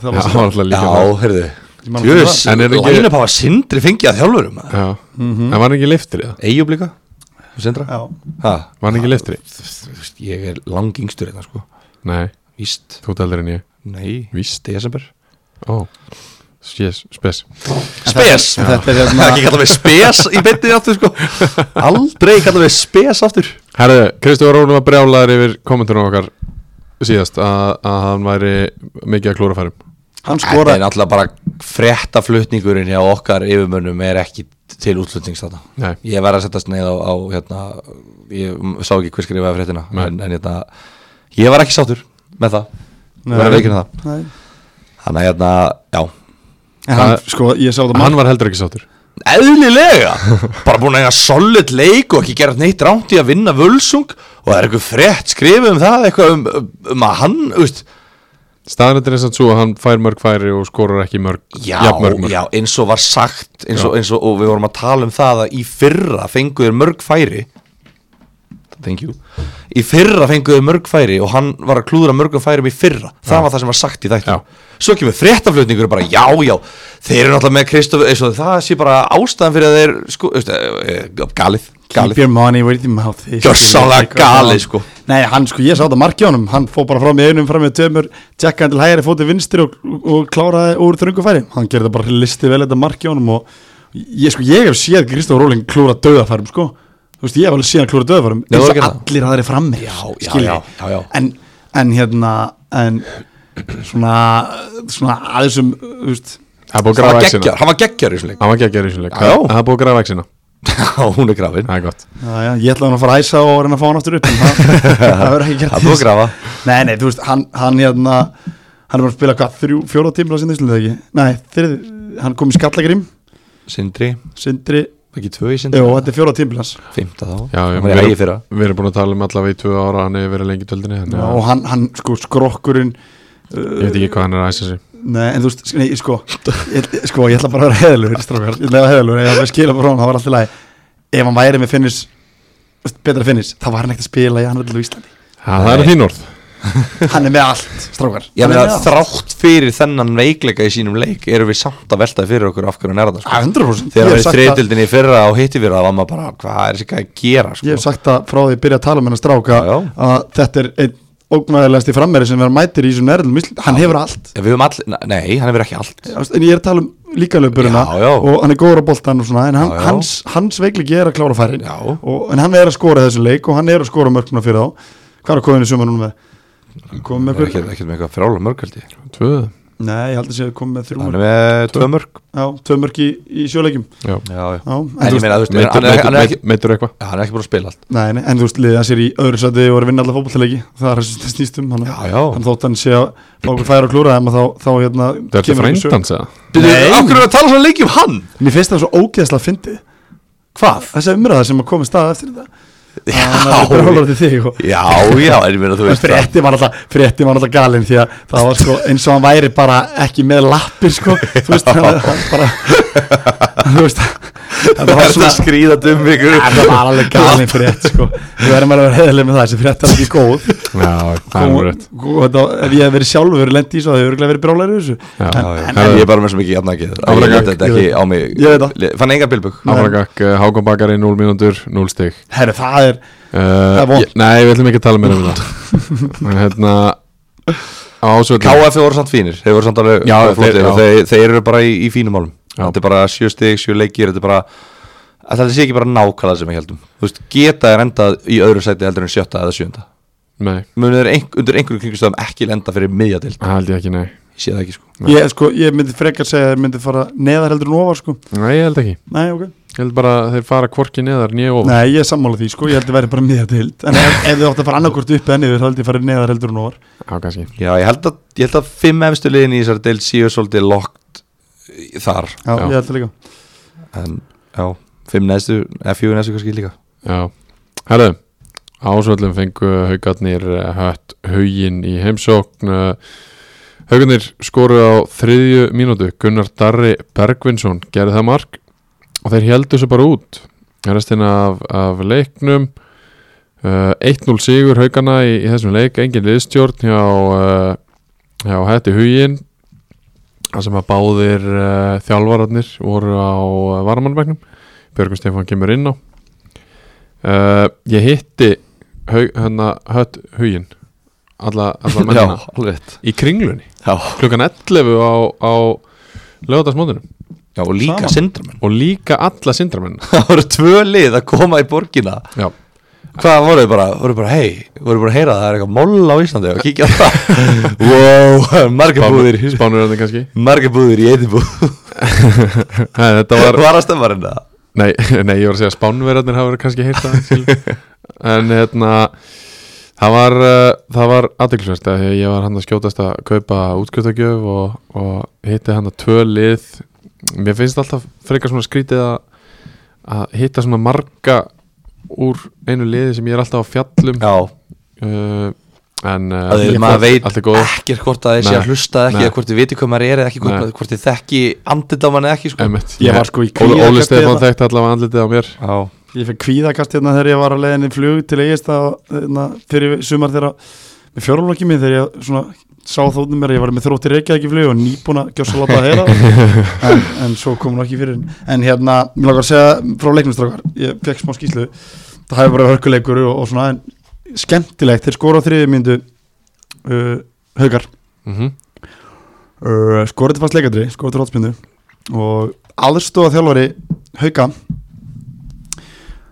Það Já, hann var alltaf líka Já, heyrðu Ég man alltaf með Jöss, það. En er ekki- lænum hafa sindri fengið að þjálfurum Já, Mhm. en var hann ekki leiftur eða? Eyjum líka, sindra Já, Ha, Var hann ekki leiftur? þú veist, ég er lang yngstur þetta sko Nei, Víst, þú taldur en ég nei, Víst. desember Ó, yes, spes Spes, En þetta er Það er hérna ekki kallað við spes í beinni aftur sko Aldrei kallað við spes aftur Herðu, Kristofur Rónum var brjálaður yfir kommentunum okkar síðast að, að hann væri mikið að klúra færum Hann Þetta er skoraði náttúrulega bara frettaflutningurinn hjá okkar yfirmönnum er ekki til útlutnings þarna Nei. Ég verð að setja sneið á, á hérna, ég sá ekki hver skrifaði fréttina Nei. en, en hérna, ég var ekki sáttur með það Ég var að veikina það Nei. Þannig að hérna, já En hann, Það- sko, ég sá það Hann var heldur ekki sáttur Eðlilega, bara búin að eiga solid leik og ekki gera neitt rámt í að vinna völsung og það er eitthvað frett skrifið um það eitthvað um, um, um að hann, þú veist Staðanettin er samt svo að hann fær mörg færi og skorar ekki mörg Já, jafnmörg mörg já, eins og var sagt eins og, Já. eins og, og við vorum að tala um það að í fyrra fenguður mörg færi Thank you Í fyrra fenguður mörg færi og hann var að klúðra mörgum færum í fyrra Það var það sem var sagt í þættu Já. Svo kemur fréttaflutningur og bara já, já Þeir eru náttúrulega með Kristof eins og það sé bara ástæðan fyrir að þeir sko, veist, eh, eh, galið, Keep galið your money where your mouth is Gjörsamlega Ég veit ekki hvað galið, það- sko. Nei, hann sko, ég sá þetta marki á honum Hann fór bara fram í einum, fram í tveimur Tjekka hann til hægri, fótið vinstri og, og kláraði úr þröngu færi Hann gerði það bara listi vel þetta marki á honum Og ég sko, ég hef séð Kristof Róling klúra döðafærum, sko Þú veist, ég hef alveg séð hann klúra döðafærum Já, Eins þú og gerði það. allir aðri frammi Já, já, já, já, já. En, en hérna, en Svona, svona aðeins um, þú veist Hann búið að Hann grafa var eksina geggjar, hann var geggjar í svona Hann var geggjar í svona leik Já. Hann hann búið að grafa eksina leik Hún er grafin Það er gott Já, já, ég ætlaði hann að fara að æsa og reyna að fá hann aftur upp en það, það verður ekki gert Það búið að grafa Nei, nei, þú veist, hann, hann hérna hann er bara að spila hvað, þrjú, fjóra tímla sinni Íslandi ekki? Nei, þrið, hann kom í Skallagrím Sindri, Sindri, ekki tvö í jú, Sindri þetta er fjóra tímlas Fymta þá, Já, hann við var í ægi fyrra erum, við erum búin að tala um allavega í tvö ára að Hann hefur verið lengi í töldinni þannig að og hann, hann, sko, skrokkurinn Ég veit ekki hvað hann er að æsa sig Nei, en þú veist, sk- nei, sko ég, sko, ég ætla bara að vera heðalur strákar, ég ætla að vera heðalur, ég ætla að skila bara frá hann það var alltaf lagi, ef hann væri með finnis betra finnis, þá var hann ekkert að spila í annaðlega Íslandi, Ha, Það eru Nei. þín orð hann er með allt strákar, Já, hann er meina, allt. þrátt fyrir þennan veikleika í sínum leik erum við samt að veltaði fyrir okkur af hverju hann er það sko. Ah, 100% Þegar Ég hef við sagt það- streytildin í fyrra og hitti fyrra það var maður bara, hvað er þessi gæði að gera sko? Ég hef sagt það frá því að byrja að tala um hennar stráka Já, já. að þetta er einn ógnæðilegasti frammeri sem verður mætir í þessum erðlum hann hefur allt, Við höfum all, nei, hann hefur ekki allt en ég er að tala um líkanlöfburina Já, já. og hann er góður á boltan og svona en hann, Já, já. hans, hans veikliki er að klára færin Já. og, en hann er að skora í þessu leik og hann er að skora mörguna fyrir þá hvað er að koma inn í sumar núna með? komið með Ekki, hérna. hver? ekki með eitthvað frálega mörgaldi Tvö Nei, ég held að sé að komið með þrjú Hann mörg er með tvö mörg Já, tvö mörg í, í sjöleikjum Já Já, já Já, en En þú ég meina, þú veist, Meitur- hann er- hann meitur- er ekki meit- Meitur eitthvað Já, Hann er ekki búin að spila allt Nei, nei, en þú veist, liðið hans er í öðru sæti og er að vinna alla fótballtaleiki það er þess að snýstum hann, Já, já. hann þótt hann sé að fá okkur færa og klúra þeim að þá, þá hérna Það er þetta ekki sög. frændans eða? Nei. Akkur er að tala svona leiki um hann Mér finnst það svo ógeðslega fyndið Hvað? þessi umræða sem að koma stað eftir þetta hann er bara Já, hálfur til þig og já, já, en ég meina, þú En veist það- frétti var alltaf, frétti var alltaf galinn því að það var sko eins og hann væri bara ekki með lappir sko, þú veist hann, hann bara, þú veist Það þetta er var svona svona, skrýða dum ykkur þetta var alveg galinn frétt sko, við verðum alveg að vera heiðileg með það, þessi frétt er ekki góð Já, það er og, nú rétt og, þetta, ef ég hef verið sjálfur lent í svo það hefur örugglega verið brjálæri þessu Já. en, Já, já. en, Herra, en, Ég er bara með svo mikið jafnakið að Áfram Ég gakk. leta þetta ekki á mig Ég veit það. Le- Fann engar bilbug Áfragak, uh, Hákon Bakari 0 mínútur, 0 stig herru það er uh, er vont. ég- Nei, við ætlum ekki að tala meira um það En hérna Ásvöldin KF voru samt fínir, þeir voru samt alveg Já, alveg flottir þeir- já. og þeir, þeir eru bara í, í fínum málum Já. Þetta er bara sjö stig, sjö leikir Þetta er bara, að þetta sé ekki bara nákvæmlega sem ég heldum Þú veist, geta er endað í öðru sæti heldur en sjötta eða sjönda Nei, Munu þeir ein, undir einhverjum kringustöðum ekki lenda fyrir miðjadild það held ég ekki, nei Ég sé það ekki sko Nei. ég, sko, ég myndi frekar segja að þeir myndi fara neðar heldur en ofar sko. Nei, ég held ekki Nei, okay. Ég held bara að þeir fara hvorki neðar nýja ofar Nei, ég er sammála því sko. ég held að vera bara miðar til en ef, ef þið átt að fara annarkort upp en yfir þá held ég að fara neðar heldur en ofar Já, kannski Já, ég held að, ég held að fimm efstu liðin í þessari del séu svolítið lokt þar Já, Já. ég held það líka en já, fimm næstu, eða fjögur næstu kannski líka Já, herðu Ásvöllum fengu haugarnir eh, hött haugin í heimsókn eh, Haugarnir skoruð á þriðju mínútu Gunnar Darri Bergvinsson gerði það mark og þeir heldu þessu bara út restina af, af leiknum uh, 1-0 sigur haugana í, í þessum leik, engin liðstjórn hjá, uh, hjá hætti hugin það sem að báðir uh, þjálfararnir voru á uh, varamannbegnum Björgum Stefán kemur inn á Uh, ég hitti haug, hana, hött huginn alla, alla Já, mennina alveg rétt. í kringlunni Já, klukkan 11 á, á lögadagsmóðunum já og líka Saman. sindramenn og líka alla sindramenn Það voru tvö lið að koma í borgina já, Hvað voru þau bara, voru bara, hei, voru bara að heyra að það er eitthvað moll á Íslandi og kíkja á það Wow, margar búðir, spánuröðin kannski margar búðir í einni búð Nei, þetta var, Var að stemma hérna nei, nei, ég var að segja spánverðarnir hafa verið kannski heyrt það skilur. en hérna það var, uh, það var aðeinsverst að ég var hann að skjótast að kaupa útskjöftagjöf og, og hitti hann að tvö lið mér finnst alltaf frekar svona skrítið að að hitta svona marga úr einu liði sem ég er alltaf á fjallum Já, uh, en uh, að ég- þeir- maður veit allt er góð ekkert hvort að þeir sé Nei. að hlusta eða ekki Nei. eða hvort þið viti hvað maður er eða ekki hvort, Nei. maður- hvort þið þekki andidáman eða ekki sko. Ég var sko í Óli, kvíðakasti Óli Stefán hérna. þekkti allavega andlitið á mér Já, Ég fekk kvíðakast hérna þegar ég var að leiðinni í flug til eigist hérna, fyrir sumar þegar með fjórlokki minn þegar ég svona sá þóttum mér að ég var með þrótti reykjað ekki flug og nýbúin að gjósa láta að heyra það. en, en svo kom hún ekki fyrir en hérna, mér lakar að segja frá leiknumstrákar ég fekk smá skýslu það hefur bara hörkuleikur og, og svona en skemmtilegt, þeir skora á þriði myndu uh, haugar mm -hmm. Mhm. uh, skorið til fast leikadri, skorið til rótspindu og aðstofa þjálfari Hauka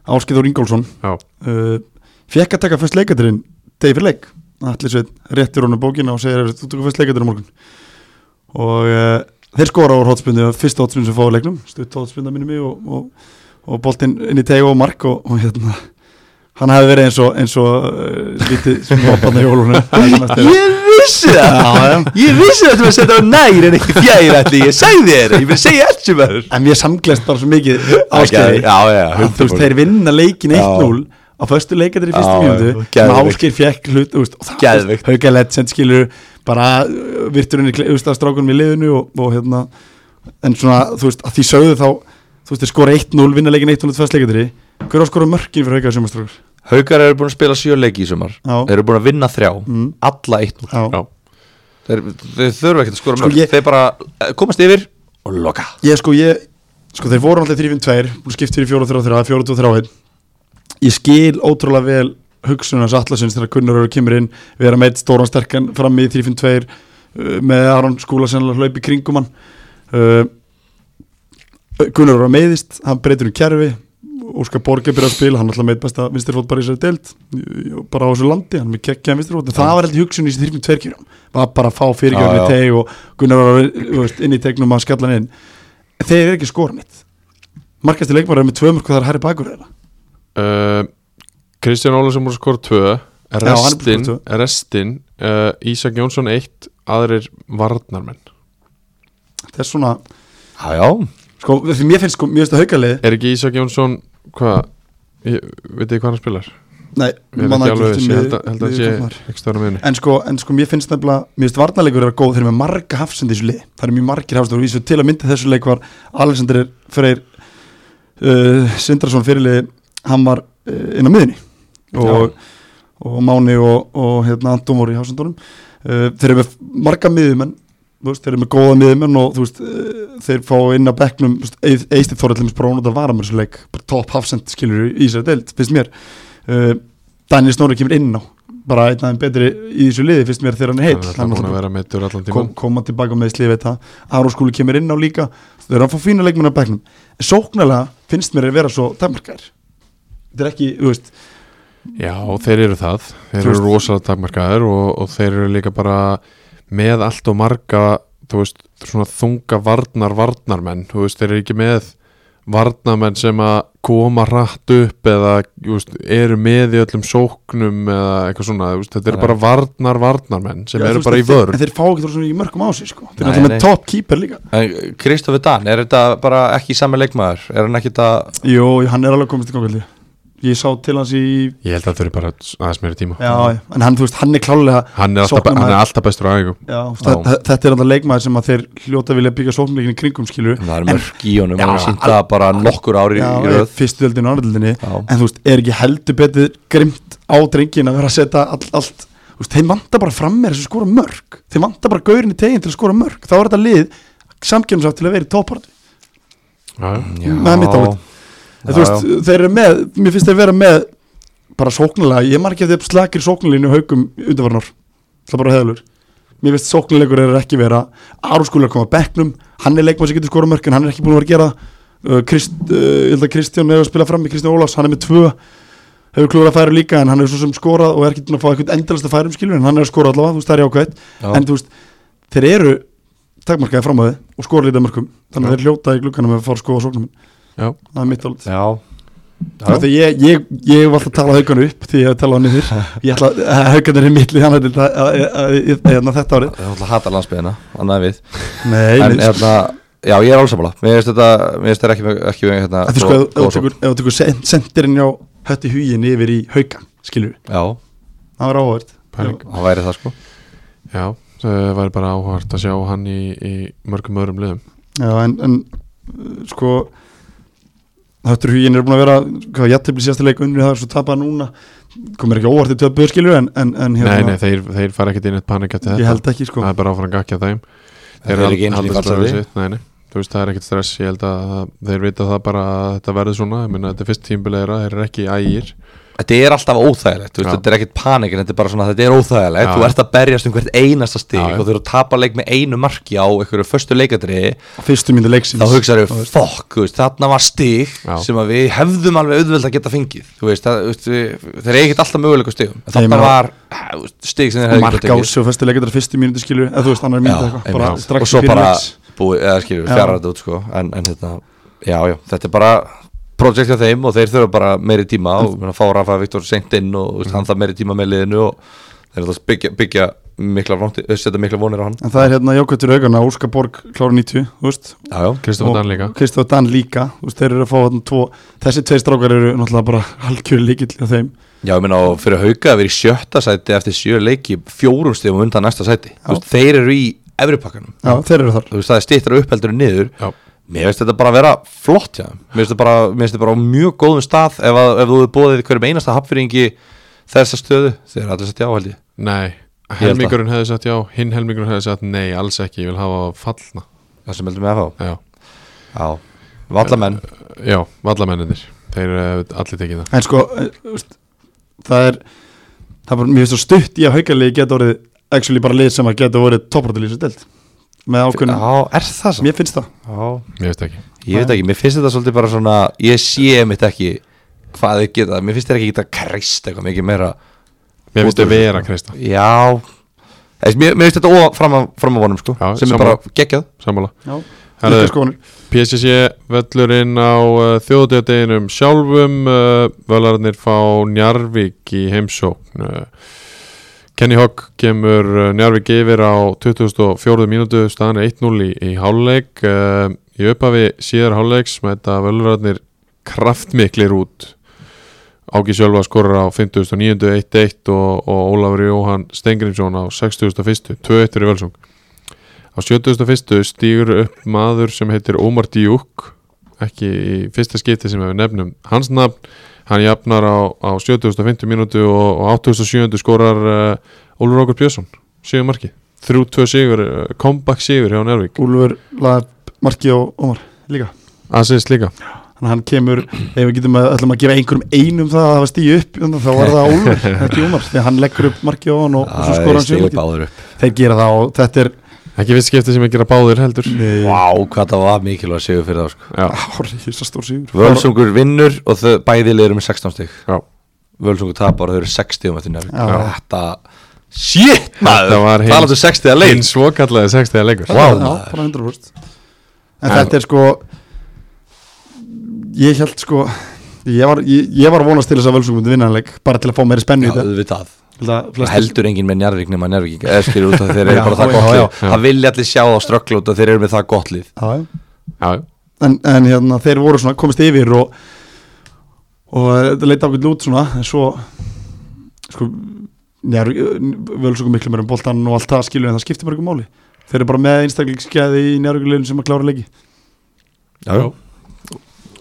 Áskiður Ingólfsson Já. uh, fekk að taka fyrst leikadrin degi fyrir leik allir sveit réttir honum bókina og segir þú tökur fyrst leikadrin á morgun og uh, þeir skora á rótspindu fyrst rótspindu sem fáið leiknum stutt rótspinda minni mig og, og, og boltinn inn í teg og mark og, og hérna hann hefði verið eins og, eins og uh, lítið smápanna jólunum Ég vissi það já. Ég vissi það að þú var að setja á nær en ekki fjær ætli Ég sagði þér, ég vil segja allt sem er en ég samglest bara svo mikið áskeri Áskeri Já, já, að, þú veist, þeir vinna leikin Já. 1-0 á föstu leikandri í Já, fyrstu já, mjöndu geðveikt. Málskir fekk hlut þú veist, og það Geðveikt. hauka legend skilur bara uh, virturinn í kle- þú veist, að strákunum í liðinu og, og hérna en svona þú veist að því sögðu þá þú veist þeir skora 1-0 vinna leikin 1-0 út föstu leikandri hver á að skora mörkin fyrir hauka sumastrúkur Haukar eru búin að spila sjö leiki í sumar Já. Þeir eru búin að vinna þrjá Mm. Alla eitt nú já. Já. Þeir, þeir þurfa ekkert að skora Sko, mörg ég- Þeir bara eh, komast yfir og loka ég sko ég sko þeir voru alltaf 3-5-2 búin skipt fyrir 4-3-3 4-2-3 ég skil ótrúlega vel hugsunars allasins þegar Gunnar eru kemur inn við erum eitt stóran sterkan fram í 3-5-2 uh, með Aron Skúla sennilega hlaupi kringum hann uh, Gunnar eru meðist hann breytir um kerfi Óskar Borga byrjar að spila, hann er alltaf meitt besta vinstirfót bara í sér deild, bara á þessu landi hann er með geggjaðan vinstirfót, en það var heldur hugsun í þessi 3-5-2 kjörum, var bara að fá fyrirgjöfni Já, já. teg og Gunnar var þú veist, inn í tegnum að skalla hann inn þeir eru ekki skoran eitt markastir leikmaður er með tvö mörg og það er Harry Bakur eða uh, Kristján Ólafsson múr skor 2 hann er búinn að skora restin, tvö. restin uh, Ísak Jónsson 1 aðrir varnarmenn það er svona, Já, já, sko, því mér finnst sko, mér finnst það haukalið er ekki Ísak Jónsson hvað, ég- veit þið hvað hann spilar nei, ég er ekki man það alveg hvort viss, um ég held mið- að- held að miðjur sé kantmaður. ekki stöðan miðunni en sko, en sko, mér finnst nefnilega mér finnst varnarleikur er góð, þeir eru með marga hafsend í þessu lið, það eru mjög margir hafsend og vísu til að mynda þessu leik var Alexander Freyr uh, Sindrason fyrirlið, hann var uh, inn á miðinni og, og Máni og, og hérna Anton voru í hafsendunum uh, þeir eru með marga miðumenn þú veist, þeir eru með góða miðumenn og þú veist, uh, þeir fá inn að bekknum þú veist, Eið- Eysteinn Þórið til þess bara ónútt að vara mér svo leik bara topp hafsend skilur í sér deild, finnst mér uh, Daniel Snorri kemur inn á bara einn aðeins betri í þessu liði finnst mér þegar hann er heill hann er búin að vera meittur allan kom, tíman koma tilbaka með slið veit það Aron Skúli kemur inn á líka þau eru að fá fína leikmenn á bekknum en sóknarlega finnst mér að vera svo takmarkar þetta er ekki, þú veist já, þeir eru það, þeir Þú eru rosalega takmarkaður og, og þeir eru líka bara með allt og marga þú veist, svona þunga varnar varnarmenn, þú veist, þeir eru ekki með varnarmenn sem að koma rætt upp eða þú veist, eru með í öllum sóknum eða eitthvað svona, þú veist, þetta eru Nei. bara varnar varnarmenn sem Já, þú eru veist, bara í en þeir- vörn En þeir fá ekki þú svona í mörgum á sig sko Þeir Nei, eru alltaf nei. með top keeper líka En Kristofi Dan, er þetta bara ekki sami leikmaður? Er hann ekki þetta Jú, jú, hann er alveg komist í gangaldi Ég sá til hans í ég held að það eru bara aðeins meiri tíma Já, já, en hann, þú veist, hann er klálega hann, er alltaf, sóknarmaður. hann er alltaf bestur á æfingum Já, þú veist, þetta- þetta er alltaf leikmaður sem að þeir hljóta vilja byggja sóknleikin í kringum skilur Það er mörg í honum, hann sínt það bara nokkur ári Já, í í röð fyrstu öldinu og annaðöldinni Já. En þú veist, er ekki heldur betur grimt á drengin að vera að setja allt, allt Þú veist, þeir vanta bara fram með þessu skora mörg Þeir vanta bara gaurin í tegin til að skora mörg Þá er þetta lið samkjörnsátt til að vera í toppartu já, Já. Með mitt álit. En þú Já, veist, þeir eru með, mér finnst þeir vera með bara sóknulega, ég margir þeir slakir sóknulínu haukum undanvarnar það er bara heðalur mér finnst sóknulegur er ekki vera Aron skúli að koma að bekknum, hann er leikmann sem getur skora mörk en hann er ekki búin að vera að gera það. uh, Krist, uh, ég held að Kristján er að spila fram með Kristján Ólafs, hann er með tvö hefur klúður að færa líka en hann er svo sem skorað og er ekki búin að fá eitthvað endalasta færum skilur en hann er að skora allavega, þú veist, það er jákvæmt Já. en þú veist, þeir eru takmarkaði framöði og skora lítið af mörkum þannig að þeir hljóta í glukkanum að fara að skoða sóknum já, það er mitt álit Já, Af Því ég, ég, ég var alltaf að tala haugan upp því ég hef talað á niður Ég ætla að haugan er í milli þannig hérna til það- að- að- að- að- hérna þetta árið það er alltaf að hata landsbyðina, annað en við Nei, En en, en, hérna, já ég er alveg sammála Mér finnst þetta, mér finnst þetta ekki, ekki hérna, því sko ef- ef þú góð sókn. tekur- ef þú tekur sen- sendirinn á hötti hugin yfir í haugan skilur við, Já, það var áhverð Pæling. það væri það sko já það væri bara áhvert að sjá hann í, í mörgum öðrum liðum Já, en, en uh, sko höttur hugin er búin að vera hvað, jættibli síðasta leik unni það er svo tapað núna komir ekki óvart í töpuðu skilur við, en, en, en nei, nei, þeir, þeir fara ekkert inn eitt panik eftir Hérna- ég þetta held ekki sko það er bara áfram gakja þeim Þeir eru ekki einu sinni í haldast fallsæti. við sitt, nei, nei. Þú veist, það er ekkert stress, ég held að það- þeir vita það bara að þetta verður svona, ég meina þetta er fyrst tímbilegra, þeir eru ekki ægir Þetta er alltaf óþægilegt, þú veist, Já. þetta er ekkit panik en þetta er bara svona, þetta er óþægilegt, Já. þú ert að berjast um hvert einasta stig Já, já. og þú eru að tapa leik með einu marki á einhverju föstu leikadriði fyrstu myndu leiksins þá hugsaðu, fokk, þú veist, þarna var stig Já. sem að við hefðum alveg auðveld að geta fengið þú veist, það, þú veist við- þeir eru ekkert alltaf möguleika á stigum en Nei, ég þarna meina- var hæ, þú veist, stig sem þeir hefðu mark getað á tekið. sig og fyrstu leikandar fyrstu mínúti skilur eða þú veist annar mínúti já, eitthvað bara einmitt. strax og svo fyrir bara leiks. búið, eða skilur, Já. fjara þetta út sko. en, en þetta, já, já, þetta er bara projektið á þeim og þeir þurfa bara meiri tíma og menna, fá Rafa Viktor seint inn og þú veist, hann það meiri tíma með liðinu og þeir eru alltaf að byggja, byggja mikla, vonti, setja mikla vonir á hann en það er hérna jákvættur augana Óskar Borg klára 90 þú veist já, já, Kristofan Dan líka og Kristof Dan líka þú veist þeir eru að fá hérna tvo þessi tvei strákar eru náttúrulega bara halkjöri líkill á þeim Já, ég meina og fyrir hauka að vera í sjötta sæti eftir sjö leiki fjórum stegum undan næsta sæti Já. Þú veist, þeir eru í efripakkanum já þeir eru þar þú veist það er stýttra uppheldur en niður Já. mér veist þetta bara vera flott já. mér veist þetta bara, mér finnst þetta bara á mjög góðum stað ef, að, ef þú hefur bóðið hverjum einasta hapfyringi þessa stöðu, þeir eru allir satt já held ég Nei, held það. helmingurinn hefði sagt já hinn helmingurinn hefði sagt nei, alls ekki, ég vil hafa það fallna það sem heldur með að Já, fá já, vallamenn já vallamennir þeir hefði allir tekið það en sko eh, þú veist, það er það er bara mér finnst það stutt í að haukarlegi geta orðið actually bara lið sem að geta orðið toppartalið sem delt með ákveðin já, er það svo? mér finnst það já, Mér veist ekki ég veit ekki, mér finnst þetta svolítið bara svona ég sé mitt ekki hvað þau geta mér finnst þeir ekki geta kreist eitthvað mikið meira Mér finnst þið vera, Krista, já Eðs, mér, mér finnst þetta óa fram að, fram að vonum sko, Já, sem er bara sammála. geggjað sammála já Herðu, Líka skoðanir. PCC völlurinn á uh, þjóðdöðdeginum sjálfum uh, völarnir fá Njarvík í heimsókn uh, Kenny Hogg kemur uh, Njarvík yfir á 24. mínútu staðan er 1-0 í, í hálfleik uh, í upphafi síðar hálfleiks með þetta völarnir kraftmiklir út Áki Sjölva skorur á 59. 1-1 og, og Ólafur Jóhann Stengrimsson á 61. 2-1 fyrir Völsung Á 71. stýgur upp maður sem heitir Ómar Díuk ekki í fyrsta skipti sem við nefnum hans nafn, hann jafnar á, á 7050 mínútu og, og 87. skorar uh, Ólfur Rókur Björnsson sigur marki, 3-2 sigur uh, comeback sigur hjá Nervík Úlfur laði marki á Ómar líka aðsins líka, þannig að hann kemur, ef við getum að, ætlum að gefa einhverjum einum það að hafa stíu upp þannig að þá var það Ólfur, þetta er Jónar því að hann leggur upp markið á hann og, og svo skora hann sér stíðu markið báður upp þeir gera það og þetta er ekki fyrsta skipti sem ekki er að báðir heldur wow. Vá, hvað það var mikilvæg sigur fyrir þá sko. já, hórið, stór eh, sigur Völsungur vinnur og þau bæði liður með 16 stík já, Völsungur tapar og þau eru 60 um eftir nærvík Já. Þetta, Shit Þetta var maður, um hinn- talaðu 60 að Hinn leins svo kallaði 60 leikur Vá, já, maður. bara 100% en, þetta er sko ég held sko ég var, ég, ég var að vonast til þess að völsungum myndi vinna vinnaðanleik bara til að fá meiri spennu Já, í þetta auðvitað Held að Það flestir- heldur enginn með njárvík nema njárvík eða skilur út að þeir eru Já, bara það já, gott já, lið það vilja allir sjá þá ströggla út að þeir eru með það gott lið Já, já. Já, en, en hérna, þeir voru svona komist yfir og og þetta leita ákveð lút svona en svo sko, njár, völsungum miklu mér um boltan og allt það skilur en það skiptir bara ekki máli þeir eru bara með einstaklingsgæði í njárvíkulegin sem að klára leiki Já, já.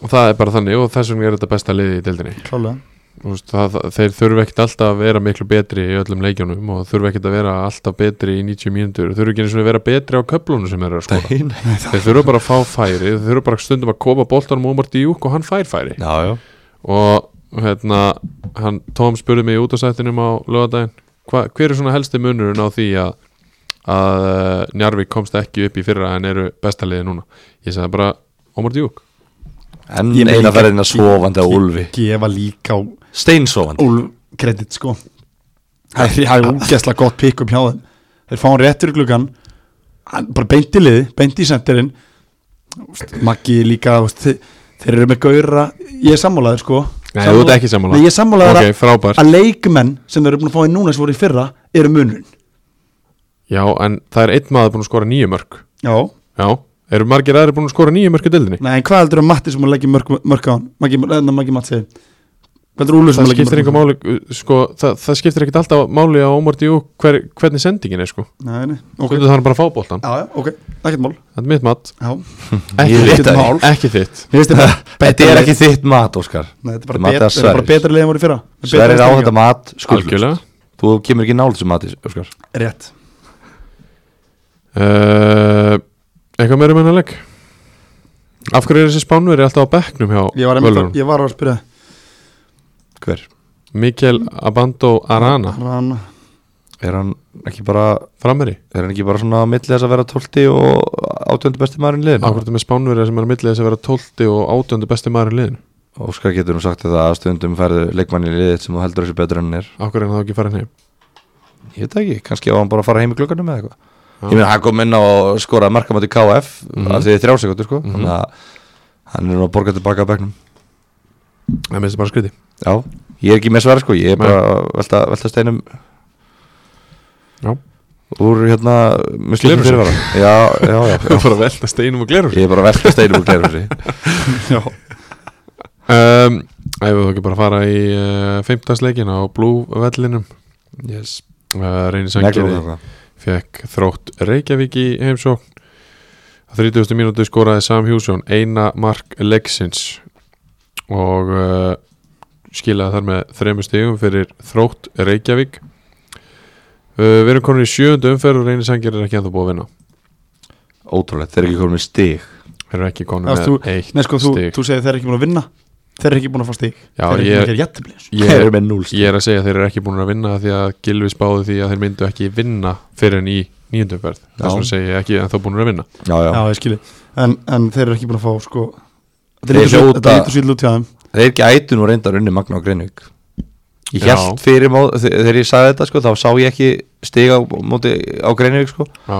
og það er bara þannig og þessum er þetta besta liði í deildinni klálega Þú veist, það, það- þeir þurfa ekkert alltaf að vera miklu betri í öllum leikjónum og þurfa ekkert að vera alltaf betri í 90 mínútur þurfa ekki eins og að vera betri á köflunum sem þeir eru að skora Nei, nei. þeir þurfa bara að fá færi þeir þurfa bara stundum að koma boltanum um á Díuk og hann fær færi já, já. og hérna hann, Tom spurði mig út á sættinum á lögadaginn hva, hver er svona helsti munurinn á því að að uh, Njarvík komst ekki upp í fyrra en eru bestaliði núna ég sagði bara Omar Díuk En Ég meina eina líka- ferðina sofandi á Ulfi gefa líka á Steinsofandi Úlf kredit sko það er- það er úgesla gott pick up hjá þeim þeir fá hann réttur í gluggan hann bara beint í liði, beint í sendirinn Maggi líka þú veist, þe- þeir eru með gaura ég er sammálaður sko Nei, þú ert ekki sammála. Nei, ég er sammálaður Ok, að, frábært. að leikmenn sem þeir eru búin að fá í núna sem voru í fyrra eru munun já en það er einn maður búin að skora nýju mörg já, já, eru margir aðri búin að skora nýju mörg í dildinni nei, en hvað heldur að Matti sem hún leggja mörg, mörg á hann Maggi, eða Maggi Matti hvað heldur Úlfur sem það hún leggja skiptir mörg eitthvað máli uh, sko, það, það skiptir ekkert alltaf máli á Omar Díuk hver, hvernig sendingin er sko nei, nei, ok, okay. það er bara að fá boltan, já, já, ok, ekkert mál þetta er mitt mat já, Ég veit þitt það mál. ekki þitt mér finnst þetta Þetta er ekki þitt mat, Óskar Nei, Þetta þetta er er bara, bet, mat að þetta er bara Sverrir. betra leiðin voru í fyrra Með betri Sverrir á einstaklinga. þetta mat algjörlega skuldlust Þú kemur ekki nála þessu mati, Óskar Rétt Uh, eitthvað meira meina leik Af hverju er þessi spánveri alltaf á bekknum Ég var, hjá einmitt, Völurinn? ég var að spyrja Hver? Mikkel Abando Arana Hann Er hann ekki bara, Frameri er hann ekki bara svona á milli þess að vera 12 og 18 besti maður í liðinu? Akkur þetta með spánveri sem er að millið þess að vera 12 og 18 besti maður í liðin Óskar getur nú sagt þetta að stundum færðu leikmann í liðið sem þú heldur þessi betur en hann er Akkur er hann þá ekki farin heim Ég veit það ekki, kannski var hann bara að fara heim í glöggarnum eða eitthvað Já. Ég meina, hann kom inn og skoraði markamæti KF mm Mhm. -hmm. að því þrjá sekundur sko Mhm. Þannig að hann er nú að borga tilbaka að bekknum Það minnst bara skriti Já, ég er ekki með svara sko, ég er Nei. bara að velta, velta steinum Já. Úr hérna, muslimum Glerhúsi. fyrirvara Já, já, já, já Bara velta steinum og glerur Ég er bara að velta steinum úr glerhúsi Já um, Æfum við þá ekki bara að fara í uh, 15. leikin á Blue vellinum Yes uh, Reyni Neglum Sangeri það fekk þrótt Reykjavík í heimsókn á 30. mínútu skoraði Sam Hjússon eina mark leiksins og uh, skilaði þar með þremur stigum fyrir þrótt Reykjavík uh, við erum konur í sjöundu umferð og reynir sangir er ekki ennþá búið að vinna Ótrúlegt, þeir eru ekki komin með stig við erum ekki konur Þú- með eitt Nei sko, þú, stig. þú segir þeir eru ekki búin að vinna Þeir eru ekki búin að fá stík Já, Þeir ég- eru ekki búin að gera jættiblins Þeir ég, eru með núl stig ég er að segja að þeir eru ekki búin að vinna því að Gilvi spáði því að þeir myndu ekki vinna fyrir en í nýjundu umferð Já. þess vegna segi ég ekki ennþá búin að vinna Já, já, Já, ég skilji en, en þeir eru ekki búin að fá sko Þeir Þetta lítur svo- hljóta- þetta lítur sýll út hjá þeim Þeir gætu nú reyndar unni Magna og Greinvík Ég Já. held fyrir mót, þe- þegar ég sagði þetta sko, þá sá ég ekki stig á móti á Greinvík sko já,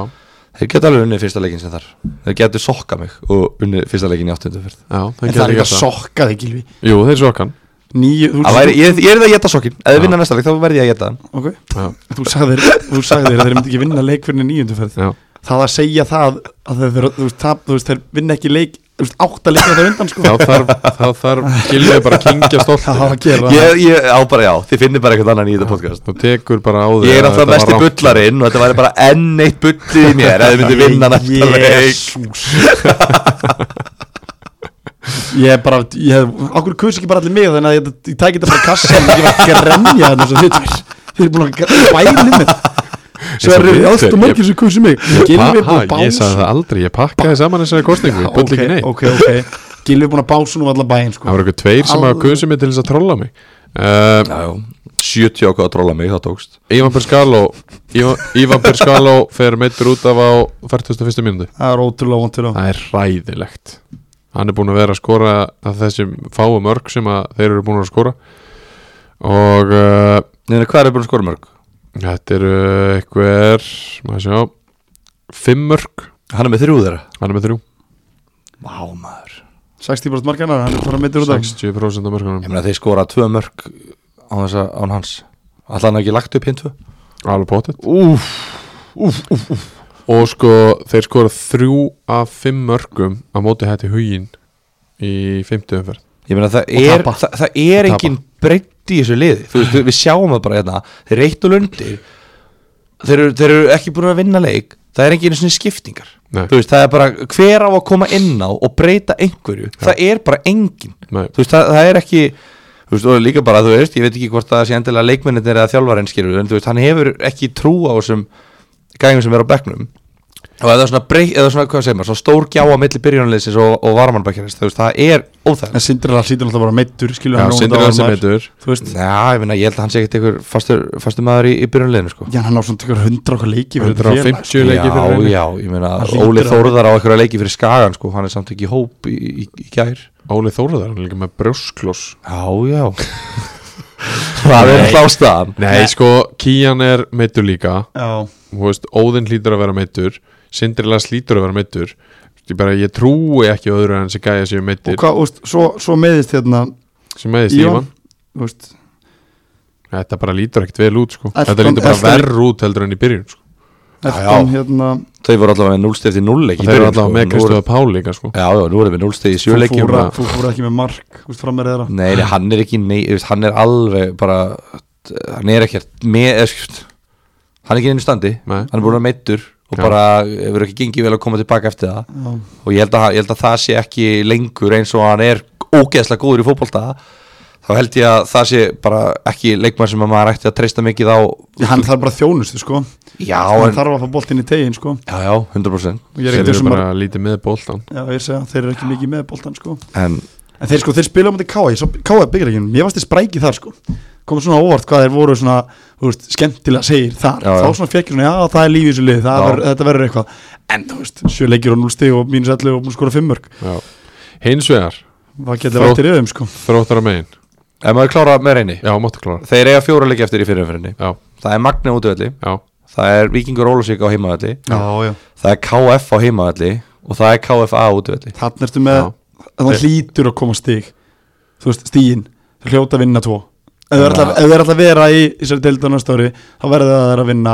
Þeir geta alveg unnið fyrsta leikin sem þar Þeir getur sokka mig og unnið fyrsta leikin í áttunduferð já, En það er ekki að sokka þeir gilvi jú, þeir svo kann Níu, þú, væri, ég, ég er það að geta sokkin Ef Já. þið vinna næsta leik þá verð ég að geta hann Ok, já, þú sagðir, þú sagðir að þeir myndi ekki vinna leik fyrir nýjöndu ferð já Það að segja það að þeir, þeir, þú, veist, tap, þú veist, þeir vinna ekki leik Þú veist, átta leikir þeir undan sko þá þarf, þá þarf Gilvi bara að kingja stolt Það hafa að gera ég, ég á bara já, þið finnir bara eitthvað annan í þetta podcast þú tekur bara á því Ég er að náttúrulega þetta mesti var rangt. bullarinn og þetta væri bara enn eitt bullið í mér ef þið myndi vinna næsta leik Jesús Ég er bara, ég hef, okkur kusi ekki bara allir mig þannig að ég, ég tæki þetta bara í kassan og ég var ekki að renja þannig sem þið tveir Þið eru búin að bæla um þetta Svo Eins og eru við allt tveir, og margir sem kusi mig Gilvi Ha, er ha, búin að ég sagði bása það aldrei, ég pakkaði saman þessari kostningu, ég bull ekki Ok, neitt ok, ok Gilvi er búin að bása nú allan bæinn það sko voru eitthvað tveir sem hafa kusið mig til þess að trolla mig uh, Já, já, 70 ákvað að tróla mig, það tókst Ívan Perskaló Ívan Perskaló fer meittur út af á 41. mínútu, Það er ótrúlega ótrúlega það er ræðilegt hann er búin að vera að skora að þessum fáu mörg sem að þeir eru búin að skora og uh, Nei, nei, hvað er búin að skora mörg? Þetta eru eitthver maður sjá, fimm mörg Hann er með þrjú þeirra hann er með þrjú, Vá maður 60% markanar, hann er bara meittur út af 60% af Ég mörgunum meina þeir skora tvö mörg á þess að án hans Alltaf hann hafi ekki lagt upp hinn tvö alveg potið Úf og sko þeir skora þrjú af fimm mörgum að móti hætti hugin í 50 umferð Ég meina það er, tapa. það, það er Og tapa. engin breytt í þessu liði Þú veist, við- við sjáum það bara hérna Þeir eru eitt og lundir Þeir eru, þeir eru ekki búin að vinna leik Það er engin svona skiptingar Nei. Þú veist, það er bara hver á að koma inn á og breyta einhverju Það er bara engin Nei. Þú veist, það, það er ekki Þú veist, og líka bara, þú veist, ég veit ekki hvort það sé endilega leikmennir eða þjálfarinn skilur En þú veist, hann hefur ekki trú á þessum gæðingum sem er á bekknum Og eða svona, breyk, eða svona, hvað segir maður, svona stór gjá á milli byrjunarliðsins og, og varmannbækjarins Þú veist, það er En óþægilegt Sindrela hlýtur alltaf bara meittur Skilur Já, hann Sindri óvæntan Hansen maður. meitur. Þú veist, Já, ég finna, ég held að hann sé ekkert einhver fastur, fastur maður í, í byrjunarliðinu, sko já, hann á svona tökur 100 okkar leiki fyrir þetta félag. 150 leiki fyrir Já, henni já, ég meina, Hann hlýtur Óli að- Þórðar á einhverja leiki fyrir Skagan, sko, hann er samt ekki í hóp í, í, í gær Óli Þóraðar, hann er líka með brjóskloss Já, já Það er hlástaðan Nei, sko, Kían er meittur líka Já, Þú veist, Óðinn hlýtur að vera meittur Sindrilas hlýtur að vera meittur ég, bara, ég trúi ekki öðru en þessi gæja séu og meittir hvað, þú veist, svo, svo meðist hérna sem meðist Ívan Ívan Þú veist, Þetta bara lítur ekkert vel út sko. Elton- Þetta lítur bara Elton- verr út heldur en í byrjun sko. Elton hérna Þau voru allavega með 0 stið til 0 leik Þeir eru allavega með Kristofa Pál líka sko. Já, já, nú erum við 0 stið í 7 leikjum Fúfúra, og- Fúfúra ekki með mark, þú veist, fram með þeirra Nei, nei, hann er ekki, nei, þú veist, hann er alveg bara Hann er ekkert með, eða, skjúst, Hann er ekki einu standi Nei. Hann er búin að vera meittur Og Já. bara hefur ekki gengið vel að koma tilbaka eftir það Já, Og ég held, að, hann- ég held að það sé ekki lengur eins og hann er ógeðslega góður í fótbolta Þá held ég að það sé bara ekki leikmann sem að maður ætti að treysta mikið á Já, hann þarf bara þjónustu, sko Já, Hann en, þarf að fá boltinn í tegin, sko já, já, 100% Og ég Þeir er ekkert eru þessum bara að lítið með bóltan Já, ég segja, þeir eru ekki mikið með boltan, sko En En þeir sko, þeir spila á móti K.A. Ég sá K.A. byggir ekki Mér varst þið sprækið þar sko Komið svona á óvart hvað þeir voru svona Þú veist, skemmtilega segir þar Já, já. Þá svona fekk ég svona, já það er lífið í þessu liði það Já. ver, Þetta verður eitthvað En þú veist, sjö leikir og núl stig og mínus 11 og búin að skora fimmörk Hins vegar, Það getur Þró- vært í röðum sko þróttar að megin Ef maður klára með reyni Já, máttu klára Þeir eiga fjóra leiki eftir í fyrirumfyrinni Já, Það er Magna útöðli já, Það er Víkingur Ólusík á heimaðalli Já, já Það er KF á heimaðalli Og það er KFA útöðli Þannig ertu með, Já. Eh. þannig hlýtur að koma stig Þú veist, stíin Þeir hljóta að vinna tvo Ef þeir ætla- ef þeir ætla að vera í þessari deildar næsta ári, þá verða þeir að vinna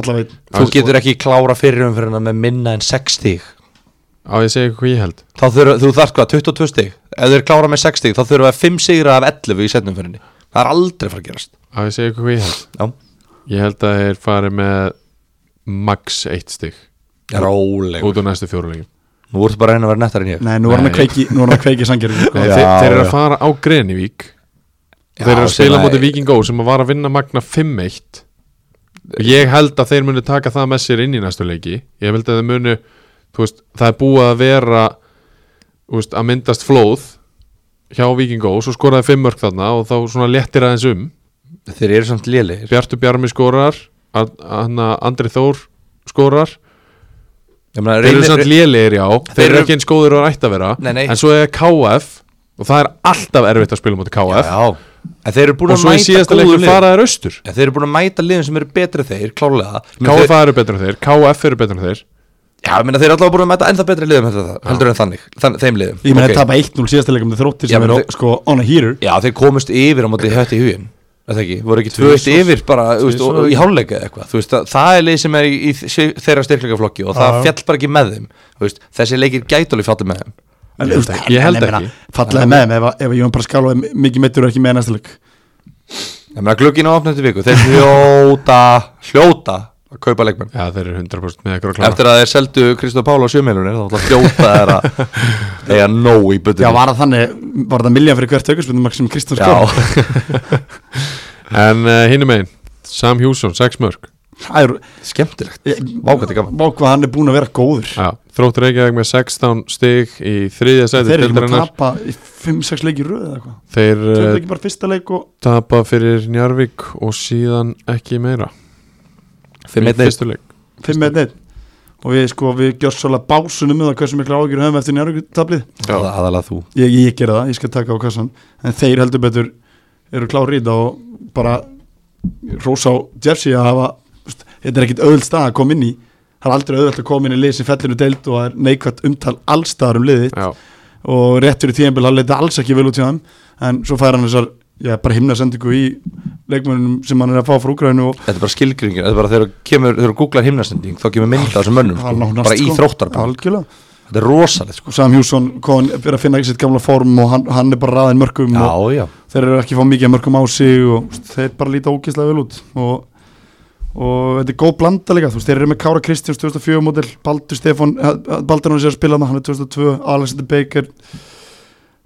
allavega einn. Þú getur ekki klára fyrirumfyrinna með minna en 6 stíg á ég segi hvað ég held Þá þurfa, þú þarft hvað, 22 stíg Ef þeir klára með 6 stíg þá þurfa 5 sigra af 11 í setnumfyrinni Það er aldrei fara að gerast Á ég segi hvað ég held Já, Ég held að þeir fari með max eitt stig róleg út á næstu fjóruleikin Nú ertu bara að reyna að vera nettar en ég Nei, nú er hann að Nei. kveiki, nú er hann að kveiki sangjörðin sko. Nei, Já, þeir, þeir eru já. að fara á Grenivík Já, Þeir eru að sem spila að- móti Víkingó sem að var að vinna Magna 5-1 og ég held að þeir munu taka það með sér inn í næstu leiki ég held að þeir munu þú veist, það er búið að vera þú veist, að myndast flóð hjá Víkingó, svo skoraði fimm mörg þarna og þá svona léttir aðeins um Þeir eru samt lélegir Bjartur Bjarmi skorar Ar- Anna- Andri Þór skorar Ég meina, Þeir eru reynir- samt lélegir já, þeir eru eru- ekki eins góður og ætti að vera Nei, nei. en svo er KF og það er alltaf erfitt að spila móti KF Já, en þeir eru búin og að svo í mæta síðasta góðu leikur lið fara þeir austur En þeir eru búin að mæta liðum sem eru betri en þeir, klálega Þeir- KF eru betur en þeir, KF eru betur en þeir Já, ég meina þeir eru allavega búin að mæta ennþá betri liðum heldur, en það- heldur en þannig, þann, þeim liðum Ég Ok. meina þeir tapa 1-0 síðasta leikum með þróttir Já, sem menn er þeir- sko on a heater Já, þeir komust yfir á móti hætti í hugin Það ekki, voru ekki tvö eitt Tvisvar. yfir bara þú veist, og, og í hálfleika eða eitthvað Þú veist, það, það er lið sem er í, í þe- þeirra styrkleikaflokki og það Já. fjall bara ekki með þeim Þú veist, Þessi leikir gætuleg fjallir með þeim En, Ég held þú veist, ekki- ég held en meina, ekki. Fallaði með þeim ef, að- ef Jón Pascal og mikið meittur er ekki með næsta leik Ég meina glugginn á opnandi viku, þeir hljóta, hljóta að kaupa leikmenn Já, þeir eru 100% með ykkur að klára Eftir að þeir seldu Kristof Pála á sjömeilunir þá ætla hljóta þeir að eiga nóg í Já um, sko. butunni var það þannig, var það miljón fyrir hvert aukarspunum sem Kristján skor Já, En uh, hinn megin, Sam Hjússon, 6 mörg Það er- skemmtilegt ég- Vá, hvað þetta er gaman. Vá hvað hann er búin að vera góður Já, Þróttur Reykjavík með 16 stig í þriðja seti Þeir eru ekki búin að deildarinnar tapa í 5-6 leik í röð eða eitthvað Þeir Þeir Eh, uh, eru ekki bara fyrsta leik og tapa fyrir Njarvík og síðan ekki meira Fimm Í einn einn. fyrstu leik 5-1 Og við sko, við gjörs svolítið básunum eða hversu mikla ágjur höfum eftir njárvíkutablið Já. aðalega þú ég, ég, ég gera það, ég skal taka á kassan en þeir heldur betur eru klári í þetta og bara rós á Jersey að hafa þú veist, þetta er ekkit auðvöld stað að koma inn í það er aldrei auðvöld að koma inn í lið sem fellinu deild og það er neikvægt umtal allstaðar um liðið já, og rétt fyrir tíðanbíl hann leita alls ekki vel út hjá þeim en svo fær hann þessar já, bara himna sendingu í leikmönnum sem hann er að fá frá Úgrænu og Þetta er bara skilgringin, þetta er bara þegar þú kemur, þegar þú googlar himnastending þá kemur mynda þessum mönnum Það er sko, nánast, bara í sko. þróttarbann, algjörlega þetta er rosalegt sko. og Sam Hjússon kon er að finna ekki sitt gamla form og hann, hann er bara raðin mörgum Já, og já, þeir eru ekki að fá mikið af mörgum á sig og þú veist, þeir bara líta ógeðslega vel út og, og þetta er góð blanda líka þú veist, þeir eru með Kára Kristjáns 2004 mótil Baldur Stefán, Baldur hann sé að spila þarna, hann er 2002, Alexander Baker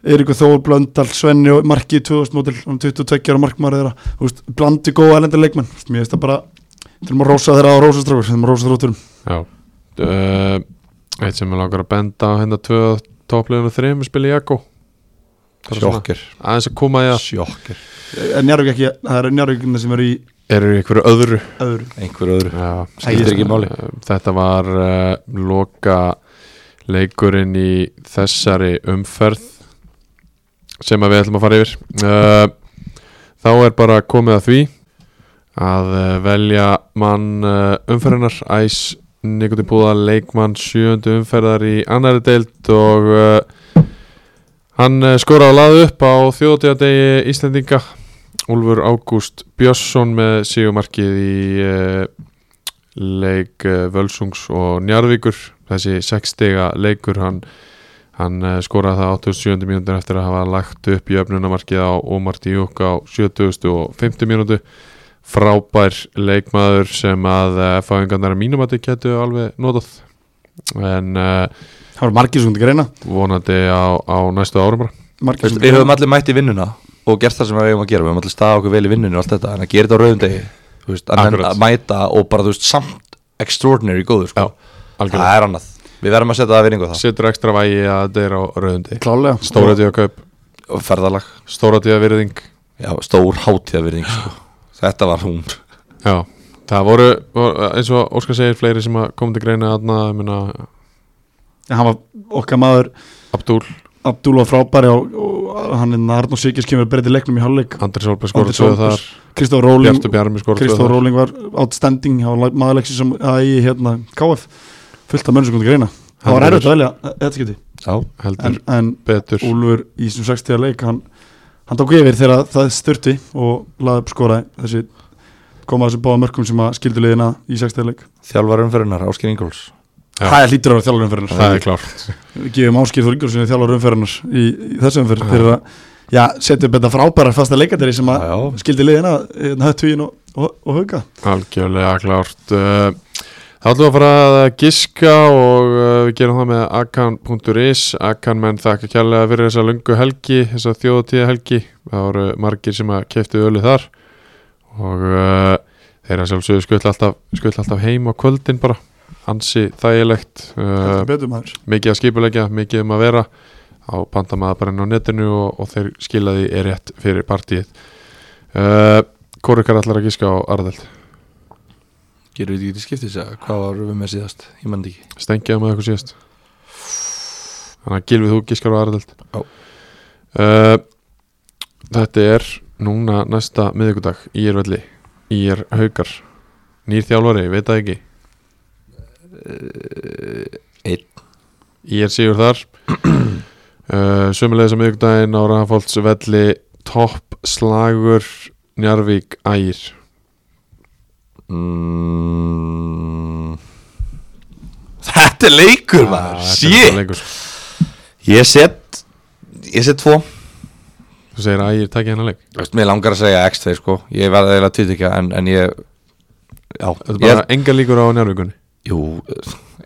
Eiríkur Þór Blöndal Svenni og Marki 2000 mótil hann er 22 ára markmaður þeirra þú veist, blandi góð elendir leikmenn þú veist, mér finnst það bara þeir eru að rósa þeirra á rósastrákur þeir eru að rósa þrótturum já. Uh, eitt sem er langar að benda á hérna tvö toppliðinu þreim spila Jakko Bara svona sjokkir aðeins að koma í að sjokkir, er Njarvík ekki, það eru Njarvíkina sem eru í eru í einhverju öðru öðru einhver öðru Já, Skiptir ekki máli. Þetta var uh, loka leikurinn í þessari umferð sem að við ætlum að fara yfir uh, Þá er bara komið að því að uh, velja mann uh, umferðinar Æs Nikotin Búða leikmann sjöundu umferðar í annari deild og uh, hann uh, skora á laðu upp á þjóðtíðadegi Íslendinga Úlfur Ágúst Björnsson með sígumarkið í uh, leik eh, Völsungs og Njarvíkur þessi sexstega leikur hann, hann eh, skoraði það á 87. mínútur eftir að hafa lagt upp í öfnunamarkið á Omar Díuk á 70. og 50. mínútu frábær leikmaður sem að fáingarnar að mínum að þið getu alveg notað en uh, það voru margir sem þetta greina vonandi á, á næstu árum bara margir Veist, sem Við höfum allir mætt í vinnuna og gert það sem við höfum að gera, við höfum allir staða okkur vel í vinnunni og allt þetta, en að gera þetta á rauðum degi þú veist, að, menn, Akkurat. að mæta og bara þú veist, samt extraordinary góður sko. algjörlega. það er annað, við verðum að setja það að vinningu það setur ekstra vægi að þetta er á rauðundi klálega stóra tíða kaup, og ferðalag, stóra tíða virðing já, stór hátíðavirðing sko. þetta var hún Já, það voru, voru eins og Óskar segir fleiri sem að kom til greina aðna, ég meina En hann var okkar maður Abdúl, Abdul var frábæri og, og hann er Arnó Sikis kemur að breyta í leiknum í hálfleik Andri Solberg skoraði Andri tvö Solberg. þar, Kristóf Róling Bjartur Bjarmi skoraði tvö Kristóf þar Róling var outstanding á maðurleiksi sem að í hérna KF fullt af mönnsekundi greina það var Heldur erfitt að velja eh, þetta geti já, heldur en, en betur Úlfur í sem 60 leik hann, hann tók yfir þegar það störti og laði upp skoraði þessi koma þessum báða mörkum sem að skildu liðina í 60 leik þjálfar umferðunar, Áskir Ingóls Já. það er lítur að vera þjálfur umferðinar Það er klárt Við gefum áskýr Þór Ingolfssoni þjálfur umferðarnar í, í þessu umferð fyrir að já, setja upp þetta frábæra fasta leikadari sem að Já. skildi liðina höttugin og, og, og huga Algjörlega klárt Uh, Þá ætlum við að fara að giska og uh, við gerum það með akan.is Akan menn þakka kjærlega fyrir þessa lungu helgi, þessa þjóðatíða helgi Það voru margir sem að keftu ölu þar og uh, þeirra sjálfsögðu skull alltaf, skull alltaf heim á kvöldin bara ansi þægilegt uh, Heldur betur maður mikið að skipulegja, mikið um að vera á pandamaðabarinn á netinu og, og þeir skilaði er rétt fyrir partíið uh, Hvor ykkar allar að gíska á Arðeld? gerum við ekki til skiptis að hvað var við með síðast, ég menn ekki Stengið með eitthvað síðast Þannig að gilvið þú gískar á Arðeld Já. uh, Þetta er núna næsta miðvikudag í er velli, í er haukar nýr þjálfari, veit það ekki Eh, einn. Ég er sigur þar uh, Sömulegis á miðvikudaginn á Rafafolds velli topp slagur Njarvík ægir mm, þetta er leikur Ah, þetta maður, er bara shit leikur. ég set ég set tvo Þú segir að ægir takk í hennar leik Þú veist, mér langar að segja X2 sko Ég verði eiginlega týtikja en, en ég Já, Þetta er ég bara enga líkur á Njarvíkunni Jú,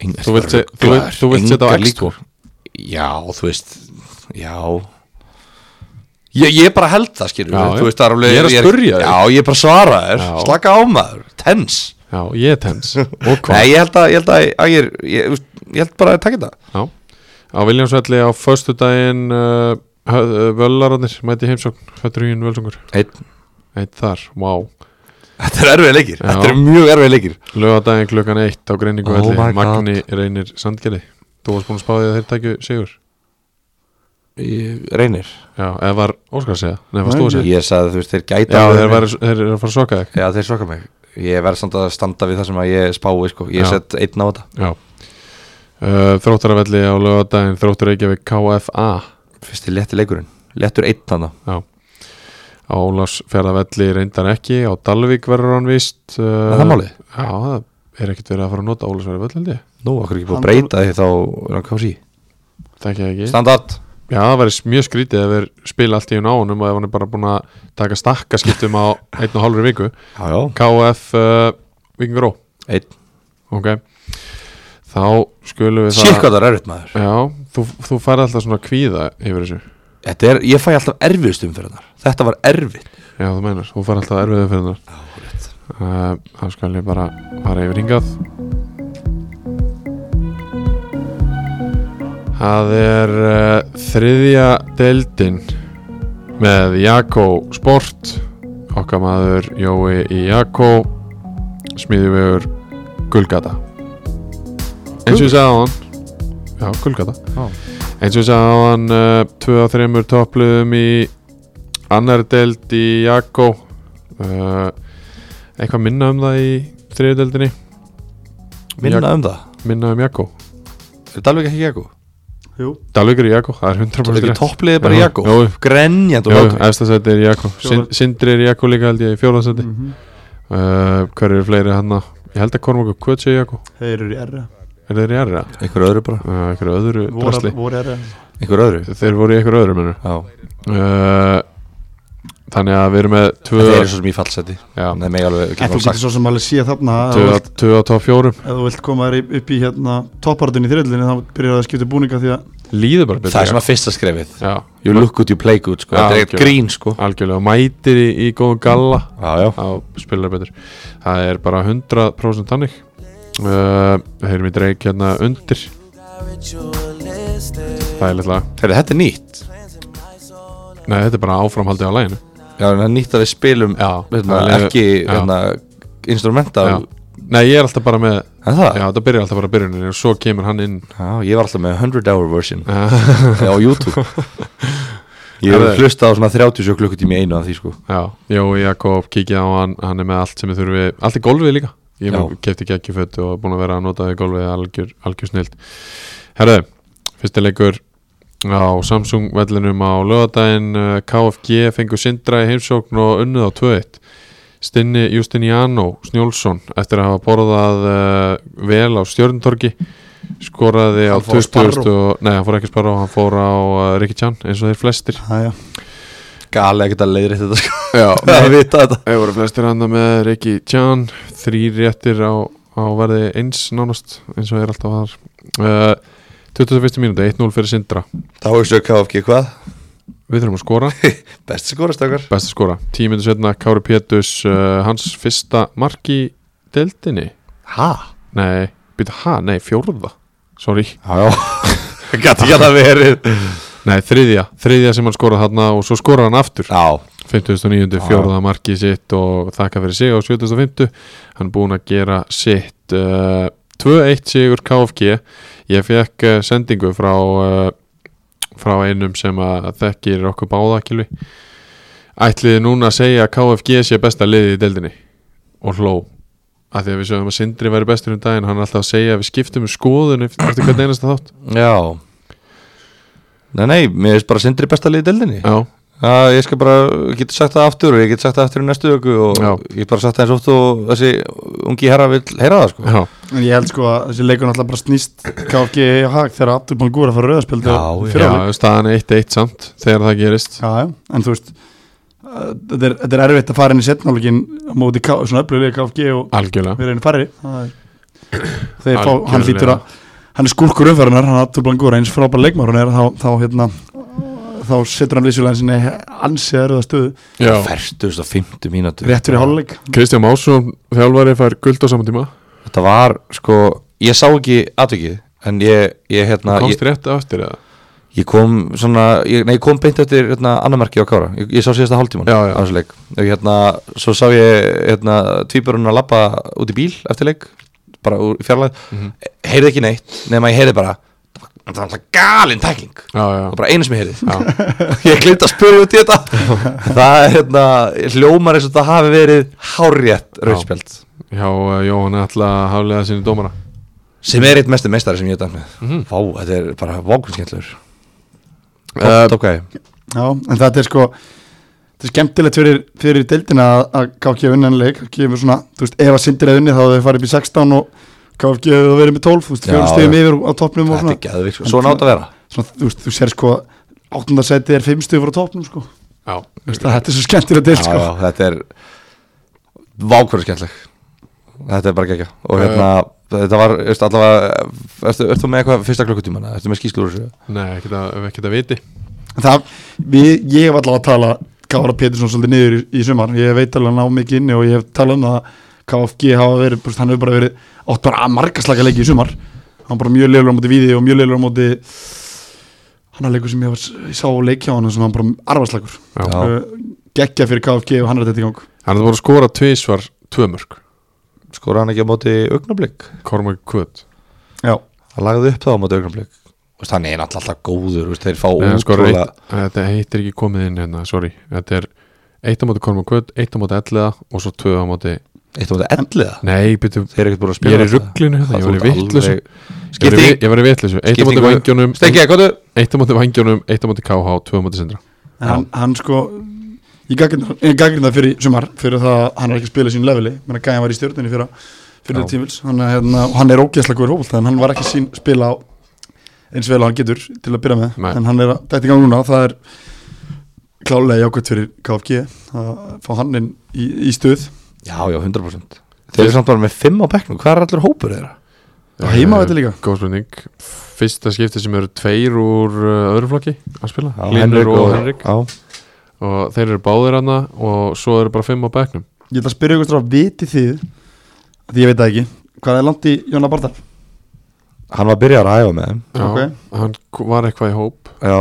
ein, Þú vilt se- þú vilt- þú vilt setja á X2? Já, þú veist Já Ég, ég bara held það skilur Já, við, já. þú veist, það alveg, Ég er að spyrja þig. Já, ég er bara að svara þér Já. Slaka á maður, tens Já, ég er tens Og hvað? Nei, ég held að, ég held að, að ég, er- ég, þú veist, ég held bara að taka þetta Já. Á Viljámsvelli á föstudaginn uh, hö- uh, Völararnir mæti í heimsókn Hötturhugin Völsungur Einn. Eitt þar, vá wow. Þetta er erfið leikir, Já. þetta er mjög erfið leikir Lögadaginn klukkan eitt á greiningu Oh my God. Magni reynir Sandgerði Þú varst búin að spáði að þeir takju sigur í- reynir Já, eða var Óskar að segja? Nei, varst þú að segja? Ég sagði þú veist, þeir gæta Já, alveg þeir, verið- væru, þeir eru að fara að soka þig Já, þeir svaka mig Ég verð samt að standa við það sem að ég spái sko. Ég Já. sett einn á þetta Já uh, Þróttaravelli á lögadaginn Þróttur Reykjavík KFA Fyrsti létti leikurinn Léttur einn þannig Já Á Ólafsferðavelli reyndar ekki Á Dalvík verður hann víst uh, Er það málið? Já, það er ekkert verið að fara að nota Ólafsferðavell held ég Nú, okkur ekki búið að Hann- breyta því þá er hann kási Þekki það ekki Standard Já, það væri mjög skrítið ef þeir spila allt í hún á honum og ef hann er bara búin að taka stakkaskiptum á einn og hálfri viku Já, já KF uh, Vikingur Ó Einn Ok Þá skulum við Sér hvað það er erfitt maður Já, þú, þú færði alltaf svona kvíða yfir þessu Þetta er, ég fæ alltaf erfiðust umferðar Þetta var erfitt Já, þú meinar, þú fær alltaf erfiðið fyrir hennar uh, Það skal ég bara fara yfir hingað Það er uh, þriðja deildin með Jakko Sport okkar maður Jói í Jakko smiðjuvegur Gullgata eins og ég sagði á hann Já, Gullgata Já. eins og ég sagði á hann uh, tvö af þreymur toppluðum í annar deild í Jakko uh, eitthvað minna um það í þriðju deildinni Minna Jak- um það minna um Jakko Er Dalvik ekki Jakko? Jú, Dalvíkur í Jakko, það er 100% Er ekki rétt. toppliðið bara Já, Jakko? jú. Grenjand og Jú, hlátur efstasæti er Jakko Sin- Fjóla- Sindri er Jakko líka held ég í fjóðarsæti mm Mhm. uh, Hver eru fleiri hann Ég held að Kormáku Kvöts er Jakko þeir eru í erra Er þeir í erra? Einhver öðru bara Uh, einhverju öðru drasli Voru, voru erra Einhver öðru Þeir voru í einhverju öðru mennur Já uh, Þannig að við erum með tvö Þeir eru svo sem í fallseti Já. Nei, mig alveg En ekki þú fara getur sagt svo sem alveg síða þarna að þú tvö- vilt- Tvö á top fjórum Ef þú vilt koma þér upp í hérna toppartin í þriðlinni þá byrjar það að skipta búninga því að Líður bara betur Það er Jakko. svona fyrsta skrefið Já, You look good, you play good sko. Já, Þetta er eitt algjörlega. grín sko algjörlega Og Mætir í, í góðum galla Já, já þá spilar betur það er bara 100% tannig uh, heyrum í dreik hérna undir það er litla Heyrðu, Þetta er nýtt nei þetta er bara áframhaldi á læginu Já, en það er nýtt að við spilum já, hérna, það er- Ekki já, hérna, instrumenta já. Er nei ég er alltaf bara með það? já þetta byrjar alltaf bara byrjunin og svo kemur hann inn Já, ég var alltaf með 100 hour version á YouTube Ég Herðu. hef hlustað á svona 37 klukkutími í einu af því sko já Jói Jakob kikið á hann hann er með allt sem við þurfi allt í golfið líka ég Já. kefti geggjufött og er búin að vera að nota í golfið algjör, algjör snild herðu fyrsti leikur á Samsung vellinum á lögadaginn eh, KFG fengur Sindra í heimsókn og unnið á 2-1 Stinni Justiniano Snjólfsson eftir að hafa borðað uh, vel á stjörntorki skoraði á Hann fór að 20 sparra. og, nei, hann fór ekki að sparra hann fór á uh, Rikki Chan eins og þeir flestir Æja, Gali ekkert að leiðri þetta sko Já, Það að vita þetta Þeir voru flestir handa með Rikki Tjan Þrýr réttir á, á verði eins nánast eins og er alltaf þar uh, 21. mínúti, 1-0 fyrir Sindra Þá er svo KFG hvað? Við þurfum að skora, Best skorast okkar best að skora 10 mínúti setna, Kári Pétus uh, hans fyrsta mark í deildinni Ha? Nei, býta, ha, nei, fjórða Sorry, Já, já Gat ekki að það verið nei, þriðja þriðja sem hann skoraði þarna og svo skoraði hann aftur Já, 59. fjórða markið sitt og þakka fyrir sig á 75. hann er búinn að gera sitt uh, 2-1 sigur KFG ég fekk uh, sendingu frá uh, frá einum sem að þekkir okkur báðakilvi ætliði núna að segja að KFG sé besta liðið í deildinni og hló að því að við sögum að Sindri væri bestur um daginn hann er alltaf að segja að við skiptum um skoðun eftir eftir hvern einasta þátt já Nei, nei, mér finnst bara sindri besta liðið deldinni já, Já, ég skal bara, ég get sagt það aftur og ég get sagt það aftur í næstu öku og Já. ég get bara sagt það eins oft og þessi ungi herra vil heyra það sko já, en ég held sko að þessi leikur náttúrulega bara snýst KFG í hag þegar Abdur Bangúra fara rauðarspildi Já, já já. staðan er 1-1 samt þegar það gerist já, já, en þú veist uh, þetta er, þetta er erfitt að fara inn í setnálegin á móti K, svona öfluglið KFG og algjörlega við reynir farri Það er- þeir fá, hann Algjörlega. lítur að hann er skúrkur umferðunar, hann Abdur Bangúra eins frábær leikmar hún er þá, þá hérna þá setur hann vissulega sinni ansið erfiða stöðu Já. Fertust á fymtu mínútu rétt fyrir háluleik Kristján Másson, þjálfari, fær guld á saman tíma Þetta var sko, ég sá ekki atvikið En ég, ég hérna komst ég, rétt á eftir eða? ég kom svona, ég, nei ég kom beint eftir hérna, annamarki á Kára Ég, ég sá síðasta hálftíman Já, já. á þessu leik Og hérna, svo sá ég hérna Tvíburinn að labba Mhm. út í bíl eftir leik Bara úr fjarlæð mm Heyrði ekki neitt, nema ég heyrði bara en það er alltaf galin tækling já, já, það er bara einu sem ég heyrði já, ég glimt að spyrja út í þetta það er hérna hljómar eins og það hafi verið hárjætt rauðspjald já, uh, Jóhann er alltaf að haflega sinni dómara sem er eitt mestu meistari sem ég hef dæmt með Mhm. vá, þetta er bara vákunskjallur Eh, uh, okay. Já, en þetta er sko Þetta er skemmtilegt fyrir, fyrir deildina að- að KFG hafi unnið hann leik KFG hefur svona, þú veist, ef að sindir eða unnið þá hefur þið farið upp í 16 og KFG hefur verið með 12, þú veist, Já, fjórum stegum já. yfir á toppnum og þetta svona, er geðvik sko. svona átt að vera svona þú veist, þú sér sko 8. seti er 5 stegum frá toppnum sko. já, Þú veist, að þetta er svo skemmtilega deild já, sko. já, þetta er vákunskjalleg þetta er bara gegja og hérna Þetta var, veist, allavega, ertu, ertu með eitthvað fyrsta klukkutíman, ertu með skýsklúður þessu? nei, ekkert að, ekkert að viti En það, við, ég hef allavega að tala Kára Pétursson svolítið niður í, í sumar ég veit alveg að ná mikið inni og ég hef talað um það að KFG hafa verið, bara, hann hefur bara verið átt bara að margaslaka leiki í sumar hann var bara mjög leilur á móti víði og mjög leilur á móti hann er leikur sem ég, var, ég sá á leik hjá hann sem hann bara arfaslakur Já. uh, geggja fyrir KFG og hann er þetta í gang hann er búin að skora tvísvar tvö mörg Skora hann ekki á móti augnablík? Kormak Kvöt já, hann lagði upp þá á móti augnablik Vist, hann er náttúrulega alltaf góður veist, þeir fá Nei, hann skorar útrúlega eitt, þetta heitt er ekki komið inn hérna, sorry þetta er eitt á móti Kormak Kvöt, eitt á móti Elliða og svo tvö á móti eitt á móti elliða nei, byrju, þeir eru ekkert búin að ég spila er í rugglinu hérna, ég var í vitlösu skipting ég var í vitlösu, eitt á móti Skiptingu. Vangjónum Stengi, hvað er eitt á móti Vangjónum, eitt á móti KH, tvö á móti Sindra En hann, hann sko ég gaggrinda það fyrir sumar fyrir það að hann er ekki að spila sín leveli menn að gæja var í stjórninni fyrir, fyrir tímils hann, hérna, og hann er ógeðslega góður hófult en hann var ekki sín spila á eins vel og hann getur til að byrja með Nei. en hann er að dætt í gang núna það er klálega jákvæmt fyrir KFG að fá hann inn í, í stuð já, já, 100% þeir eru samt bara með 5 á bekknum hvað er allur hópur þeirra? og heima þetta líka Eh, Góð spurning Fyrsta skipti sem eru tveir úr uh, öðru flokki að spila Já, Linur og Henrik já, og þeir eru báðir hana og svo eru bara fimm á bekknum ég ætla að spyrja ykkur stráð viti þið því ég veit það ekki hvað er langt í Jóna Bardar hann var að byrja að ræða með þeim Já, Ok. Hann k- var eitthvað í hóp já,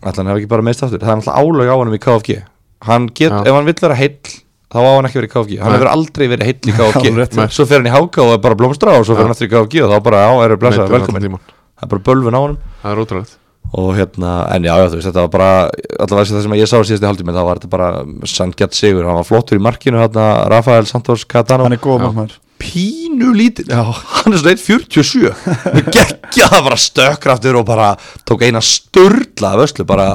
alltaf hann hef ekki bara meist aftur það er alltaf álag á hann í KFG hann get, Já. ef hann vill vera heill þá á hann ekki verið í KFG, hann Nei. hefur aldrei verið heill í Alveg rétt, KFG, já. svo fer hann í HK og er bara að blómstra og svo fer Já. hann aftur í KFG og þá bara á, eru blessaður, Meiddur allan velkomin tímann. það er bara bölvun á hann Það er ótrúlegt og hérna, en já, já, þú veist, þetta var bara allavega þessi- það sem ég sá síðast í haldum það var þetta bara sangjart sigur, hann var flottur í markinu hérna, Rafael Santos Catano hann er góð markmaður pínu lítill, hann er svona 1.47 geggja það bara stökkraftur og bara tók eina störla vöslu, bara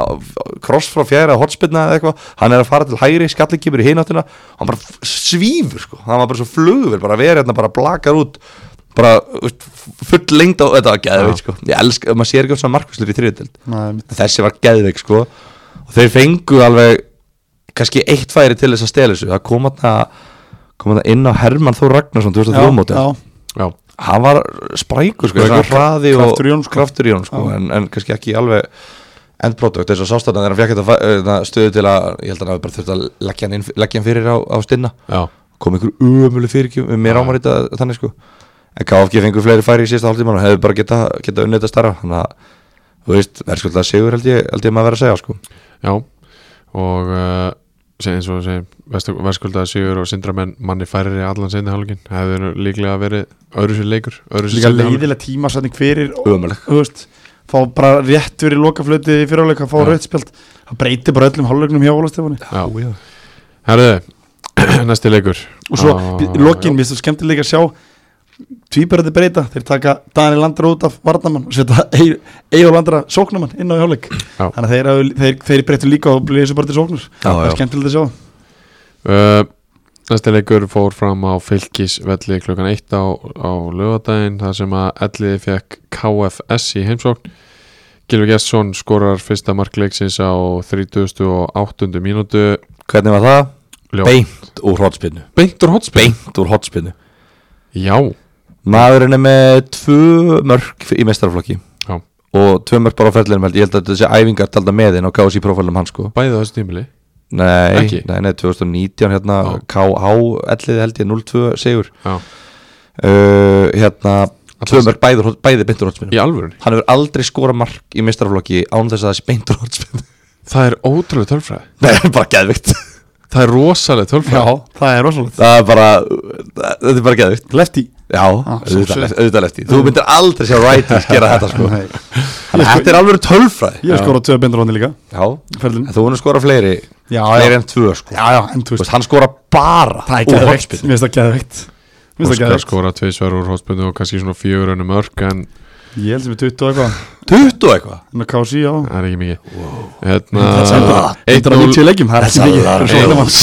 kross frá fjæra hotspinna eða eitthvað, hann er að fara til hægri skallingkipur í hináttina, hann bara f- svífur sko, hann var bara svo flugur, bara verið hérna bara blakar út bara þú veist, full lengd á, þetta var geðveikt sko ég elska, maður sér ekki á svona markvæslur í þriðutild Nei, mitt. En þessi var geðveik sko og þeir fengu alveg kannski eitt færi til þess að stela þessu það kom að kom að inn á Hermann Þór Ragnarsson Já, 2003 móti já. Já, hann var sprækur sko Sprækur. hann hraði og Kraftur í honum, sko. kraftur í honum sko en, en kannski ekki alveg endprodukt þess að sástæðan þegar hann fekk þetta fæ- eh, þetta stöðu til að ég held að hann hafi bara þurft að leggja hann, inn, leggja hann fyrir á, á stinna já, kom ykkur umölu fyrirkjum mér ámar þetta þannig sko en KFG fengur fleiri færi í síðasta hálftíman og hefur bara geta, geta unnið þetta starra þannig að þú veist, verðskulda sigur held ég, held ég maður verið að segja sko já Og uh, seg- eins og segjum Verskuldaði Sigur og Sindramenn manni færri allan seinni hálfleikin hefur líklega verið öðru sér leikur öðru sér líka seinni hálfleikur leiðilega tímasetning fyrir Ömurleg. þú veist, fá bara rétt fyrir lokaflöti í fyrirháleika, fá Já. rauðspjald það breytir bara öllum hálfleiknum hjá Ólafstefáni Já. Herðu, næsti leikur og svo Ah, í lokin, mér finnst það skemmtilega að sjá tvíberði breyta, þeir taka Daniel Landra út af varnamann og setja Eyjól Landra sóknamann inn á hjáleik Já. þannig að þeir, hafi- þeir, þeir breytu líka og bliði þessu bara til sóknar það er skemmtilega að sjá Uh, Næsti leikur fór fram á fylgisvelli klukkan 1 á, á lögadaginn þar sem að elliði fekk KFS í heimsókn Gilvi Gesson skorar fyrsta markleiksins á 38. mínútu Hvernig var það? Ljó- Beint úr hotspinnu beint úr hotspinn Beint úr hotspinnu Já, Maðurinn er með tvö mörg í mestaraflokki Já. Og tvö mörg bara á ferlinum held Ég held að þessi æfingar talda með inn á KSI profilum hans sko bæði á þessu tímili Nei, Ekki? nei, nei, 2019 hérna Já. KH elliði held ég 0-2 sigur Já. uh, Hérna Tvö mörg bæði, bæði beint úr hotspinnu Í alvörun Hann hefur aldrei skorað mark í mestaraflokki án þess að það sé beint úr hotspinnu Það er ótrúlega tölfræði Nei, bara geðvikt Það er rosalega tölfræði það er rosalegt Það er bara, það- þetta er bara geðvikt Lefty, Já, auðvitað sjálfsögðu. auðvitað lefti Þú myndir aldrei sjá Riders gera þetta sko Nei. Þannig að þetta er alveg tölfræði Ég hef skorað tvö beindur áni líka Já, ferlinu. en þú hann skora fleiri Já, Fleiri já. en tvö sko Já, já, en Þú þú veist, veist Hann skora bara Það úr er geðveikt, hornspyrnu. mér finnst það geðveikt Mér finnst það Óskar geðveikt skora tveisverð úr hótspöndu og kannski svona fjögur önum örk en Ég held sem er 20 og eitthvað 20 og eitthvað En að kási, já það er ekki mikið Það er sem bara- Hérna 1-0 190 leikjum, það er Þessar ekki mikið Það er svo eru- heilamanns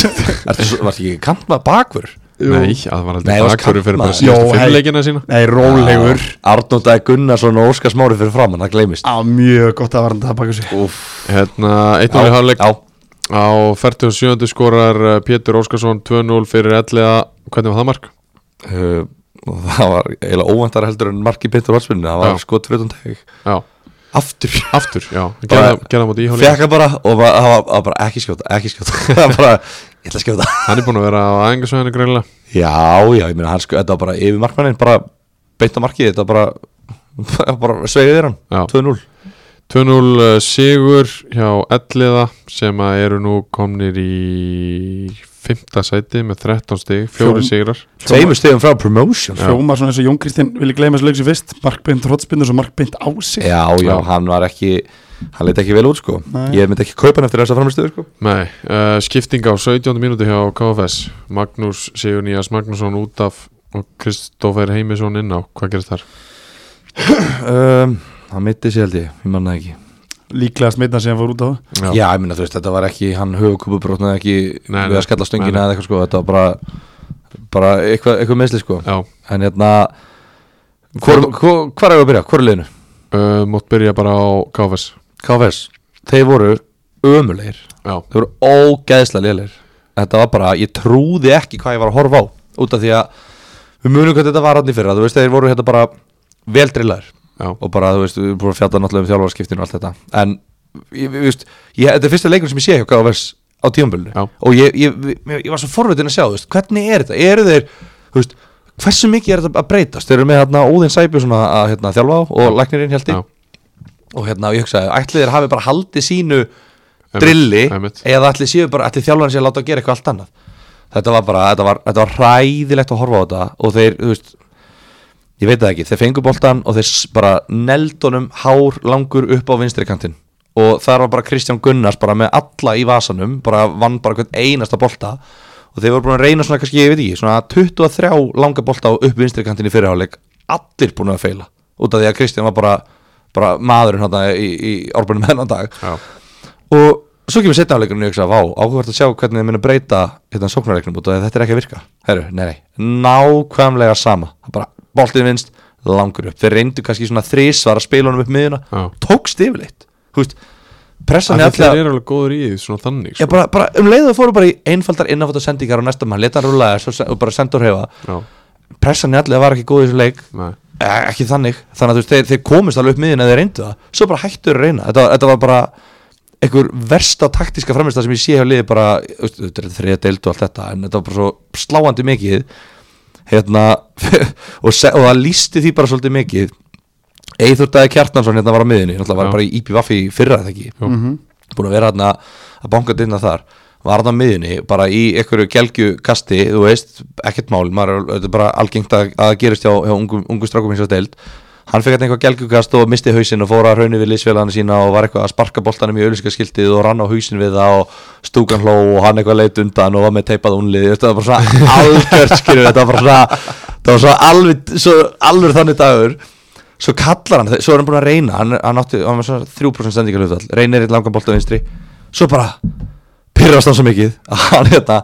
Ertu svo- Varstu ekki kantmað bakvör? Nei, það var Nei, það aldrei var bakverður fyrir bara kantmaður. Jó, síðustu hei. fimm leikina sína Nei, rólegur Arnótaði Gunnarsson og Óskar Smári fyrir framann Það gleymist Á, Ah, mjög gott að varna það baka sig Hérna, 1-0 í hálfleik já, Á 47. skorar uh, Pétur Óskarsson 2-0 fyrir ellega Hvernig var það mark? uh, það var eiginlega óvæntar heldur en marki betur vatnsminni, það var Já. skot fyrir utan teg Já, aftur, aftur, já Bara- Gerða gerða móti íháli fekka bara og bara, það var, það var bara ekki skjóta, ekki skjóta það var bara, ég ætla að skjóta Hann er búin að vera á æfingasvæðinu greinlega já, já, ég meina hann sko, þetta var bara yfir markmannin, bara beint á markið, þetta var bara bara sveigðið hann, Já. 2-0 2-0 uh, sigur hjá ellega sem að eru nú komnir í 5. sæti með 13 stig, fjóri Fjórn- sigrar tveimur stegum frá promotion já, Hljóma svona eins og Jón Kristinn vilja gleyma þessu leik sem fyrst Markbeint hrótspinn og svo markbeint á sig já, Já. hann var ekki hann leit ekki vel út sko Nei. ég myndi ekki kaupa hann eftir þessa framistuðu sko Nei, uh, skipting á 17. mínúti hjá KFS Magnús Sigur Nías Magnússon út af og Kristófer Heimisson inn á Hvað gerist þar? um, hann mitti sér held ég, ég manna ekki Líklega smitna sem fór út á það Já. Já, ég meina þú veist, þetta var ekki hann höfukúpubrotnaði ekki Nei, við nei. að skalla stöngina Nei, nei. eða eitthvað sko, þetta var bara bara eitthvað, eitthvað meðsli sko Já, en hérna hvor, hvor, hvar er við að byrja, hvor er liðinu? uh, mátt byrja bara á KFS KFS, þeir voru ömulegir, Já, þeir voru ógeðslega lélegir þetta var bara, ég trúði ekki hvað ég var að horfa á, út af því að við munum hvað þetta var hann í fyrra, þú veist, þeir voru hérna bara veldrillaðir já, og bara, þú veist, við erum búin að fjalla náttúrulega um þjálfarskiptinu og allt þetta en, ég, ég, veist, ég, þetta er fyrsta leikur sem ég sé hjá KFS á tíumbölinu Já. og ég, ég, ég, ég var svo forvitin að sjá, þú veist, hvernig er þetta eru þeir, þú veist, hversu mikið er þetta að breytast, þeir eru með hérna Óðinn Sæbjur svona að hérna, þjálfa á og læknirinn held já, ég og hérna, ég hugsaði, ætli þeir hafi bara haldið sínu drilli einmitt. eða ætli séu bara, ætli þjálfarinn sé að láta að gera eitthvað allt annað þetta var bara, þetta var, þetta var hræðilegt að horfa á þetta og þeir, þú veist ég veit það ekki, þeir fengu boltan og þeir s- bara neldunum hár langur upp á vinstri kantinn og þar var bara Kristján Gunnars bara með alla í vasanum, bara vann bara hvern einasta bolta og þeir voru búin að reyna svona kannski, ég veit ekki, svona 23 langa bolta á upp vinstri kantinn í fyrirháleik allir búin að feila, út af því að Kristján var bara, bara maðurinn hann í, í árbunum hennan dag já, og svo kemur setna áleikurinn og ég hugsa, vá, áhugavert að sjá hvernig þið minna breyta hérna sóknarleiknum út af því að þetta er ekki að virka herru, nei, nei, nákvæmlega sama Það bara boltið vinst, langur upp þeir reyndu kannski svona þrísvar að spila honum upp miðuna Já. tókst yfirleitt, hú veist pressan er Þannig alltaf þeir eru alveg góður í því, svona þannig Já, sko. bara, bara um leiðu fóru bara í einfaldar innáfótt og sendingar og næsta mann, leta hann rúlega svo, se- og bara senda og hefa Já, pressan er alltaf var ekki góð í þessu leik nei, Eh, ekki þannig, þannig að þú veist, þeir, þeir komist alveg upp miðin eða þeir reyndu það, svo bara hættu þeir að reyna þetta, þetta var bara einhver versta taktíska framist sem ég sé hjá liði bara þú veist, þetta er þriða deild og allt þetta en þetta var bara svo sláandi mikið hérna og, se, og það lísti því bara svolítið mikið Eithur Dæði Kjartnarsson hérna var á miðinni náttúrulega var Já. bara í IPVF í fyrra eða ekki búin að vera hérna að banka dynna þar var hann á miðjunni, bara í einhverju gelgjukasti, þú veist, ekkert mál maður, er- þetta er bara algengt að, að gerist hjá, hjá ungu, ungu strákum hins og deild hann fekk hérna eitthvað gelgjukast og misti hausinn og fór að raunni við liðsfélagana sína og var eitthvað að sparka boltanum í auðlýskaskiltið og rann á hausinn við það og stúkan hló og hann eitthvað leit undan og var með teipað unlið, þetta var bara svona algjört skilur, þetta var bara svona þetta var svona alveg, svo alveg þannig dagur svo kallar hann, svo er hann búin að reyna hann, hann átti, hann var svona 3% sendingarlöftal reynir eitt langan bolta vinstri svo bara pyrrast hann svo mikið að hann hérna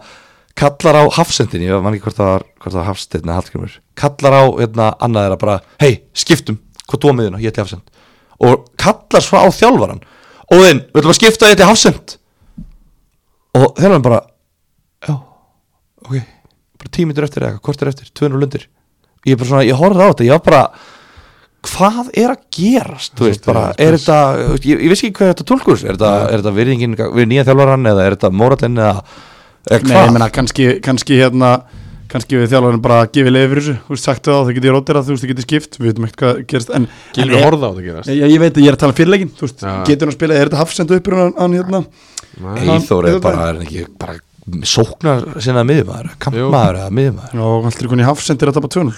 kallar á hafsendinni, ég man ekki hvort það var hvort það var hafsendinni eða hallgrimur kallar á hérna annað þeirra bara, hei, skiptum hvað tómiðina, ég ætli hafsend og kallar svo á þjálfaran Óðinn, við ætlum að skipta ég ætli hafsend og þjálfaran bara já, ok bara tímitur eftir eða eitthvað, hvort er eftir, 200 lundir ég er bara svona, ég horfði á þetta, ég var bara hvað er að gerast þú veist, bara, er þetta, þú veist, ég, ég veist ekki hvað þetta tólkur, er þetta, er þetta virðingin við nýja þjálfarann eða er þetta mórallinn eða, eða Nei, hvað, ég meina, kannski, kannski hérna Kannski við þjálfarinn bara gefið leið fyrir þessu Þú veist, sagt það, þau getið rótir að þú veist, þau getið skipt Við veitum ekkert hvað gerist En, en Gilvi er- horða á það gerast Ég, ég veit að ég er að tala um fyrirleikin Þú veist, Já. getur hann að spila, er þetta hafsendu uppur hann, hann hérna Nei, Eithor er Hann- bara, er hann ekki bara sóknar sinna miðjumæður, kampmaður eða miðjumæður Já, hann hlur konni hafsendir að tapa tönul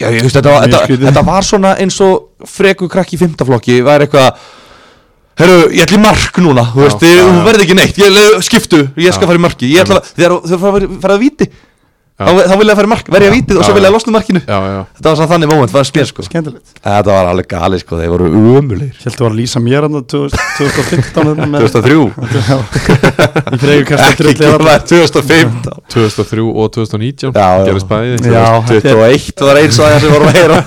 Já, ég veist, þetta, var, Mjög þetta, skrítið. þetta var svona eins og freku krakki í fymtaflokki, var eitthvað Herru, ég ætla í mark núna, þú veist, já, þú já. verði ekki neitt, ég le- skiptu, ég skal Já. fara í marki Ég ætla, þegar þau fara fara að víti, þá, þá vilja að fara í mark, verði að Já, víti og já, svo já. vilja að losna úr markinu já, já, Þetta var svona þannig moment, það var spér sko skemmtilegt Þetta var alveg gali sko, þeir voru umulir Hjæltu var að lýsa mér hérna hann 2015 hérna með- 2003, Já. Í fregurkasta ekki drulli ekki þarna. var 2015 2003 og 2019 Já, já. gerist bæði Já, þetta er- 21 var eins og það sem vorum að heyra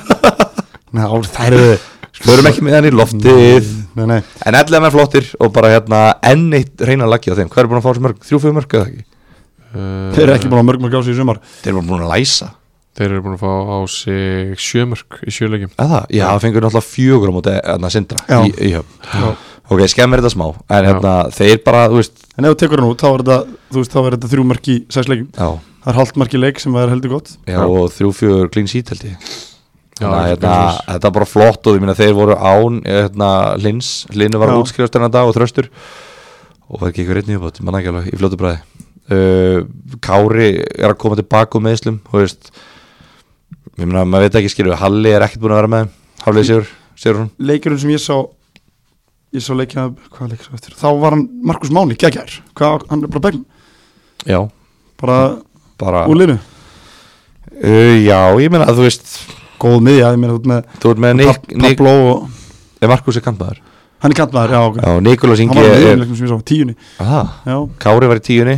Ná, þær eru Förum ekki með hann í loftið Nei, nei, En allir menn flottir og bara hérna enn eitt reyna laggi á þeim Hvað er búin að fá þessu mörg? Þrjú, fjögur mörg eða ekki? Uh, þeir eru ekki búin að mörg mörg á sig í sumar Þeir eru búin að læsa þeir eru búin að fá á sig sjömörk í sjöleikjum Eða það? Já, það fengur náttúrulega fjögur á móti hérna sindra Já. í, í höfn Ok, skemmir þetta smá En Já. hérna, þeir bara, þú veist En ef þú tekur hann út, þá er þetta, þú veist, þá er þetta þrjú mörg í sex leikum Já, Það er hálft mörg í leik sem er heldur gott já og þrjú, fjögur clean sheet held ég Já, Þannig ekki að hérna, svoleiðis. þetta er bara flott og ég minna þeir voru án hérna, Lins, Linu var Já. útskrifast þennan dag og þröstur og það gekk við reyndin uppátt, manna ekki alveg í fljótu bræði uh, Kári er að koma tilbaka úr meðslum, þú veist ég minna, maður veit ekki skilur Halli er ekkert búin að vera með þeim, Hallið Sigur Sigur hún, Leikurinn sem ég sá Ég sá leikja, hvað leik sá eftir Þá var hann Markus Máni, geggjær Hvað, hann er bara begn, já, bara bara úr liðinu uh, já, ég minna, þú veist Góð miðja, ég meina þú ert með þú ert með Nik, Pab- Nik, Pablo og er Markus er kantmaður Hann er kantmaður, já, ok já, Nikolas Hann Ingi var í er, liðinu leikum sem ég sá, tíunni að, Já, Kári var í tíunni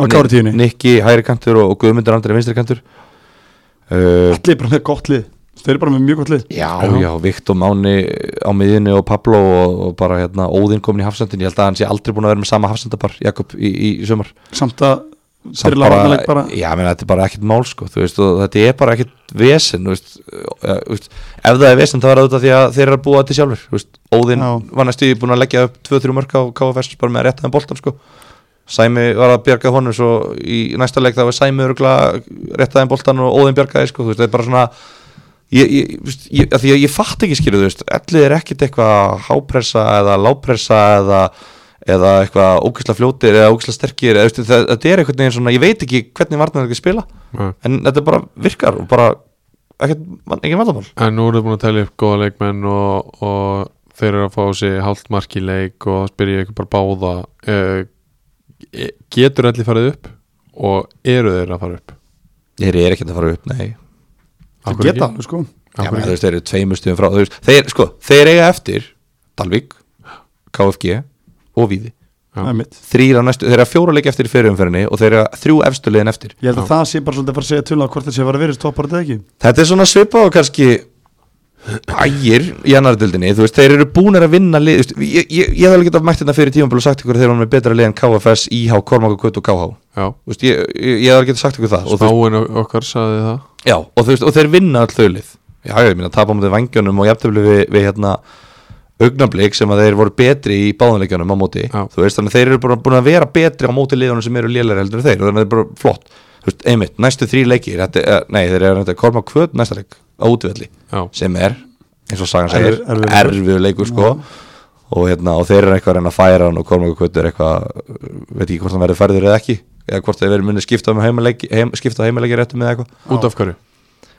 og Kári tíunni Nikki hægri kantur og Guðmundur Andri vinstri kantur uh, Allir bara með gott lið Þeir eru bara með mjög gott lið Já, Já. já, Viktor Máni á miðinni og Pablo og, og bara hérna Óðinn komin í hafsendin, ég held að hann sé aldrei búin að vera með sama hafsendapar, Jakob, í, í, í sömur Samt að Drilla varnarleik bara Já, menn, þetta er bara ekkert mál, sko, þú veist og þetta er bara ekkert vesen, þú veist, ja, þú veist ef það er vesen, það er auðvitað því að þeir eru að búa þetta sjálfur, þú veist, Óðinn Já. var næstu búin að leggja upp 2-3 mörg á KFS bara með að rétta þeim boltan, sko Sæmi var að bjarga honum svo í næsta leik þá var Sæmi örgla réttaði en boltan og Óðinn bjargaði sko, þú veist, það er bara svona ég, ég, þú veist, ég, að því að ég fatt ekki skilju, þú veist, ellið er ekkert eitthvað hápressa eða lápressa eða eða eitthvað ógæsla fljótir eða ógæsla sterkir eða, þú veist, það- þetta er einhvern veginn svona, ég veit ekki hvernig varnar ekki spila, Nei. en þetta bara virkar og bara, ekkert, ekki vandamál En nú eruðu búin að telja upp góða leikmenn og, og þeir eru að fá sig hálft mark í leik og það spyr ég ykkur bara báða uh, getur allir farið upp og eru þeir að fara upp? Ég er ekki að fara upp, nei Af Þeir hverju geta ekki? alveg sko Af Já, hverju menn, þú ekki? veist, þeir eru tveimur stuðum frá þú veist, þeir, sko, þeir eiga eftir Dalvík, KFG og Víði, Já. Það er mitt þrýra næstu þeir eru fjóra leik eftir í fyrirumferðinni og þeir eru þrjú efstu liðin eftir Ég held að það sé bara svolítið að fara að segja til á hvort það sé að vera verið toppar eða ekki þetta er svona svipað og kannski ægir í annar dildinni þú veist, þeir eru búnir að vinna lið þú veist, ég, ég, ég hef alveg getað mætt þetta fyrir tímanbúl og sagt ykkur að þeir eru með betra lið en KFS, IH, Kormakakut og KH Já, Þú veist, ég, ég, ég hef alveg getað sagt ykkur það og þú spáin okkar sagði það Já, og, þú veist, og þeir vinna all þaulið Já, ég minna, tapa mútið vangjónum og jafntöflu við, við hérna augnablík sem að þeir voru betri í báðanleikjónum á móti, Já. þú veist, þannig að þeir eru bara búin að vera betri á móti liðunum sem eru lélæri heldur en þeir, og þannig að þeir eru bara flott þú veist, einmitt, næstu þrý leikir þetta, eh, nei, þeir eru að korma kvöt næsta leik á útvelli, Já, sem er eins og sagan segir, Erfið- erfiður leikur. erfiðu leikur sko, og hérna, og þeir eru eitthvað að reyna að færa hann og korma kvöt er eitthvað veit ekki hvort hann verður færður eða ekki eða hvort þeir verður munið skipta um heimaleiki, heim, skipta heimaleiki réttum eða eitthvað út af hverju?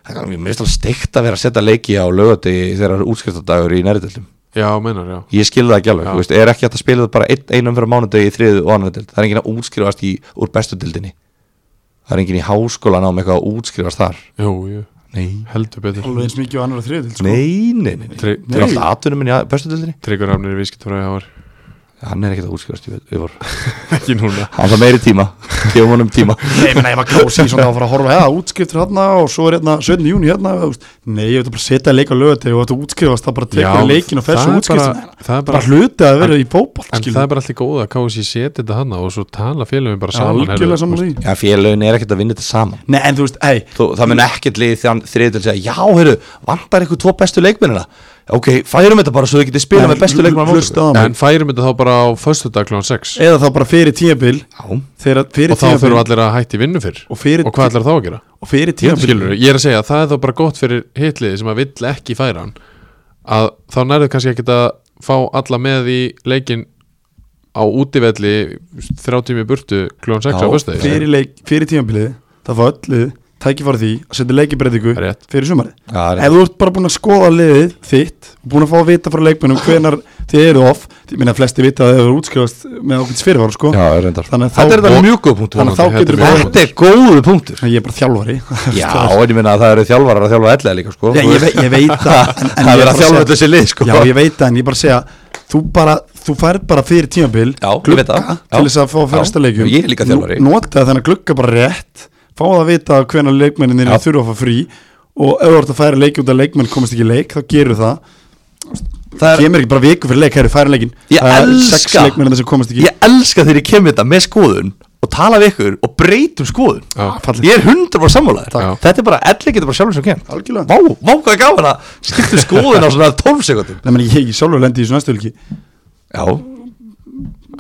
Það er mér finnst alveg steikt að vera að setja leiki á lögati þegar það eru útskriftadagur í næriðildum Já, meinar, já Ég skil það ekki alveg, Já. þú veist, er ekki hægt að spila það bara ein, einum fyrir mánudegi í þriðu og annar dild Það er enginn að útskrifast í, úr bestu dildinni Það er enginn í háskólan á með eitthvað að útskrifast þar Jú, jú, Nei, heldur betur Alveg eins mikið og annar að þriðið til sko nei, nei, nei, nei. Tri- Það er alltaf atvinnum minn í að- bestu dildinni Tryggur rafnir í viskitfræði háar Hann er ekkert að útskrifast í yfir Ekki núna Hann það meiri tíma, gefum honum tíma Nei, menn, ég var kási svona að fara að horfa hefða útskriftir hérna og svo er hérna 17. júni hérna þú veist. Nei, ég veit að bara setja leik á lögati og þetta útskrifast það bara tekur leikin og fer svo það er útskriftir bara- það er bara Bara hluti að vera í bóbal En það er bara alltaf góð að KFC seti þetta hana og svo tala félagum bara saman Algjörlega heyrðu, saman því Já, félögin er ekkert að vinna þetta saman Nei, en þú veist, ei, Þú, það mun ekkert lið þann þriðið til að segja Já, heyrðu, vantar ykkur tvo bestu leikmennina Ok, færum þetta bara svo þið getið spilað með bestu leikmenn á móti." hlusta á En mig færum þetta þá bara á föstudag kl. 6 Eða þá bara fyrir tímabil Já, þegar- fyrir og þá þurfum tímabil- allir að hætti vinnu fyrr Og fyrir- og hvað ætlar þá að gera? og fyrir Ég, skilur, tímabil ég er að segja að það er þá bara gott fyrir hitliði sem að vill ekki færa hann að þá nærðu kannski ekki að fá alla með í leikin á útivelli þrjá tími burtu klón 6 á Já, föstudegi Fyrir, leik, fyrir tímabilið það fá öllu tækifæri því að setja leikibreitingu Rétt. fyrir sumari Já, ef þú ert bara búin að skoða liðið þitt og búin að fá að vita frá leikmennum hvenar þið eru off, ég minna að flesti vita að þið eru útskrifast með ákveðs fyrirvara sko já, reyndar þannig Þetta er að þetta þá, mjög góð punktur þannig að þá Þetta getur er bara Þetta er góðu punktur ég er bara þjálfari Já, en ég minna að það eru þjálfarar að þjálfa ellega líka sko Já, ég, ve ég veit það en, en Það ég er bara að þjálfa segja- öll þessi lið sko Já, ég veit það, en ég bara segja Þú bara, þú færð bara fyrir tímabil Já, ég veit Glugga það. Já. til þess að fá Já, fyrsta leikjum og ég er líka þjálfari. Nú- Nota þennan glugga bara rétt Fá það að vita hvenær leikmennin er Já. þurfa að fá frí Og ef þú ert að færa leiki út að leikmenn komast ekki í leik Þá gerur það Það er- Kemur ekki bara viku fyrir leik, hæri færa leikin Ég Það er Sex elska. leikmennin sem komast ekki í- Ég elska þegar ég kemur þetta með skoðun og tala við ykkur og breytum skoðun Já. Ah, Fallegt. Ég er hundra bara sammálaður Takk. Þetta er bara ellega getur bara sjálfur sem kemur Algjörlega. Vá, vá hvað gaman að skipta um skoðun á svona 12 sekundum Nei, meni, ég, ég sjálfur lendi í þessu næstu helgi Já,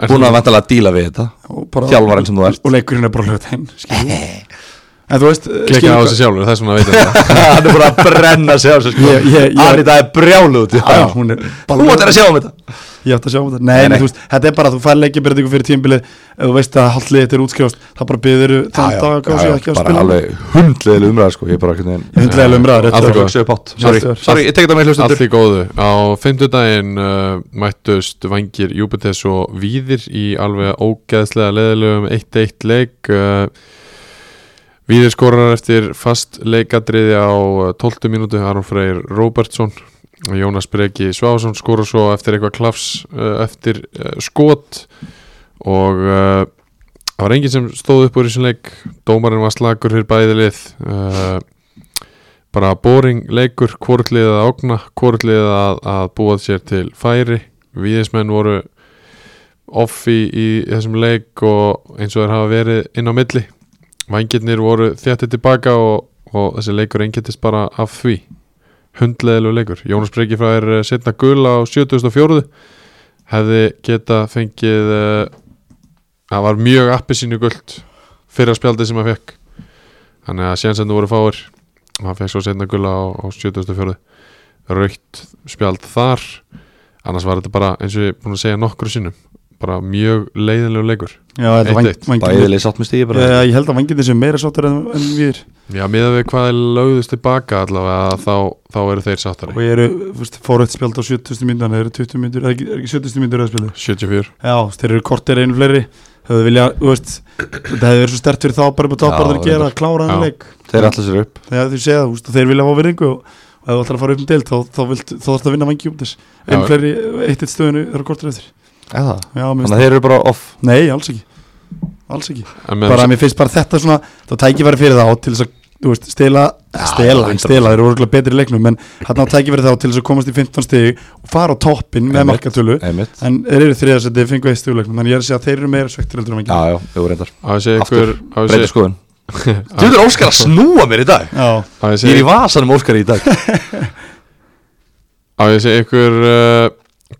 búin að vantala að díla við þetta Og bara- Þjálfarinn sem þú ert. Og leikurinn er bara lögðin En þú veist Klikka á þessi sjálfur, það er svona að veit þetta Hann er bara að brenna sig á þessu sko Ég- ég- ég- Anita er brjálu út í Já, það. hún er Þú ættir að sjá um þetta Ég átti að sjá um þetta Nei, nei, nei. þú veist, þetta er bara að þú fær leikjabyrðingu fyrir tímbilið Ef þú veist að hallið þetta er útskrifast Það bara byður þann dag að gási ekki að Bara spila alveg hundlega umræða sko Ég er bara hvernig en Hundlega umræður Allt þetta í er- góðu. Hugsa upp átt Sorry, Allt er- sorry, ég tek þetta með Allt hlustendur í góðu Á fimmtudaginn uh, mættust vangir Júpites og Víðir í alveg ógeðslega leðilegum 1-1 leik uh, Víðir skorar eftir fast leikadriði á eh, 12 mínútu Aron Freyr Róbertsson og Jónas Breki Svásson skorar svo eftir eitthvað klafs uh, eftir uh, skot og uh, það var enginn sem stóð upp úr þessum leik dómarinn var slagur fyrir bæði lið uh, bara boring leikur hvortlið að ágna, hvortlið að, að búa sér til færi viðismenn voru offi í þessum leik og eins og þeir hafa verið inn á milli vangirnir voru þjættið tilbaka og, og þessi leikur eingetist bara af því hundleðilegu leikur Jónas Breki fær eh, seinna gul á 74 hefði geta fengið eh, það var mjög appi sínu guld fyrir að spjaldi sem hann fekk þannig að séðan voru fáir og hann fekk svo setna gula á, á 74 raukt spjald þar annars var þetta bara eins og ég er búin að segja nokkru sinnum bara mjög leiðinlegu leikur Já, þetta Eitt, vang- eitt. vangirnir- Bæðileg sátt með stíði bara Eh, Ég held að vangirnir sem meira sáttur en, en við já, miðað við hvað er lögðust tilbaka allavega þá, þá eru þeir Og sáttari ég eru, þú veist, fóröld spjald á 70. mínútan Þeir eru 20 mínútur, er ekki er ekki 70 mínútur að spila 74 Já, þú veist, þeir eru kortir einu fleiri Hefðu vilja, þú veist Þetta hefði verið svo stert fyrir þá bara upp á topparður að Já, gera að klára þann Já. leik Þeir ætla sér upp Þegar þú segja, þú veist, þeir vilja fá virðingu og og ef þú ætlar að fara upp um deil þá, þá, vilt- þá þarfst að vinna vangi út þess einn Já. fleiri, eitt eitt stöðinu þar kortur eftir Eða Já, mér Þannig finnst að þeir eru bara off það Nei, alls ekki Alls ekki en með Bara mér finnst bara þetta svona þá tækifæri fyrir þá til þess að þú veist, stela, stela, hundra. stela þeir eru orðlega betri í leiknum en þarna á tækifæri þá til þess að komast í 15 stig og fara á toppin með Einmitt. markatölu Einmitt en þeir eru þriðarsætti, fengu eitt stig úr leiknum en ég er að segja að þeir eru meira svektir heldur en vangi Já, já, jú, reyndar á að segja Aftur, ykkur á að Breytir sko. segja- skoðun Þú er Óskar að snúa mér í dag Já, á að Ég er í segja vasanum Óskar í dag á að segja ykkur uh,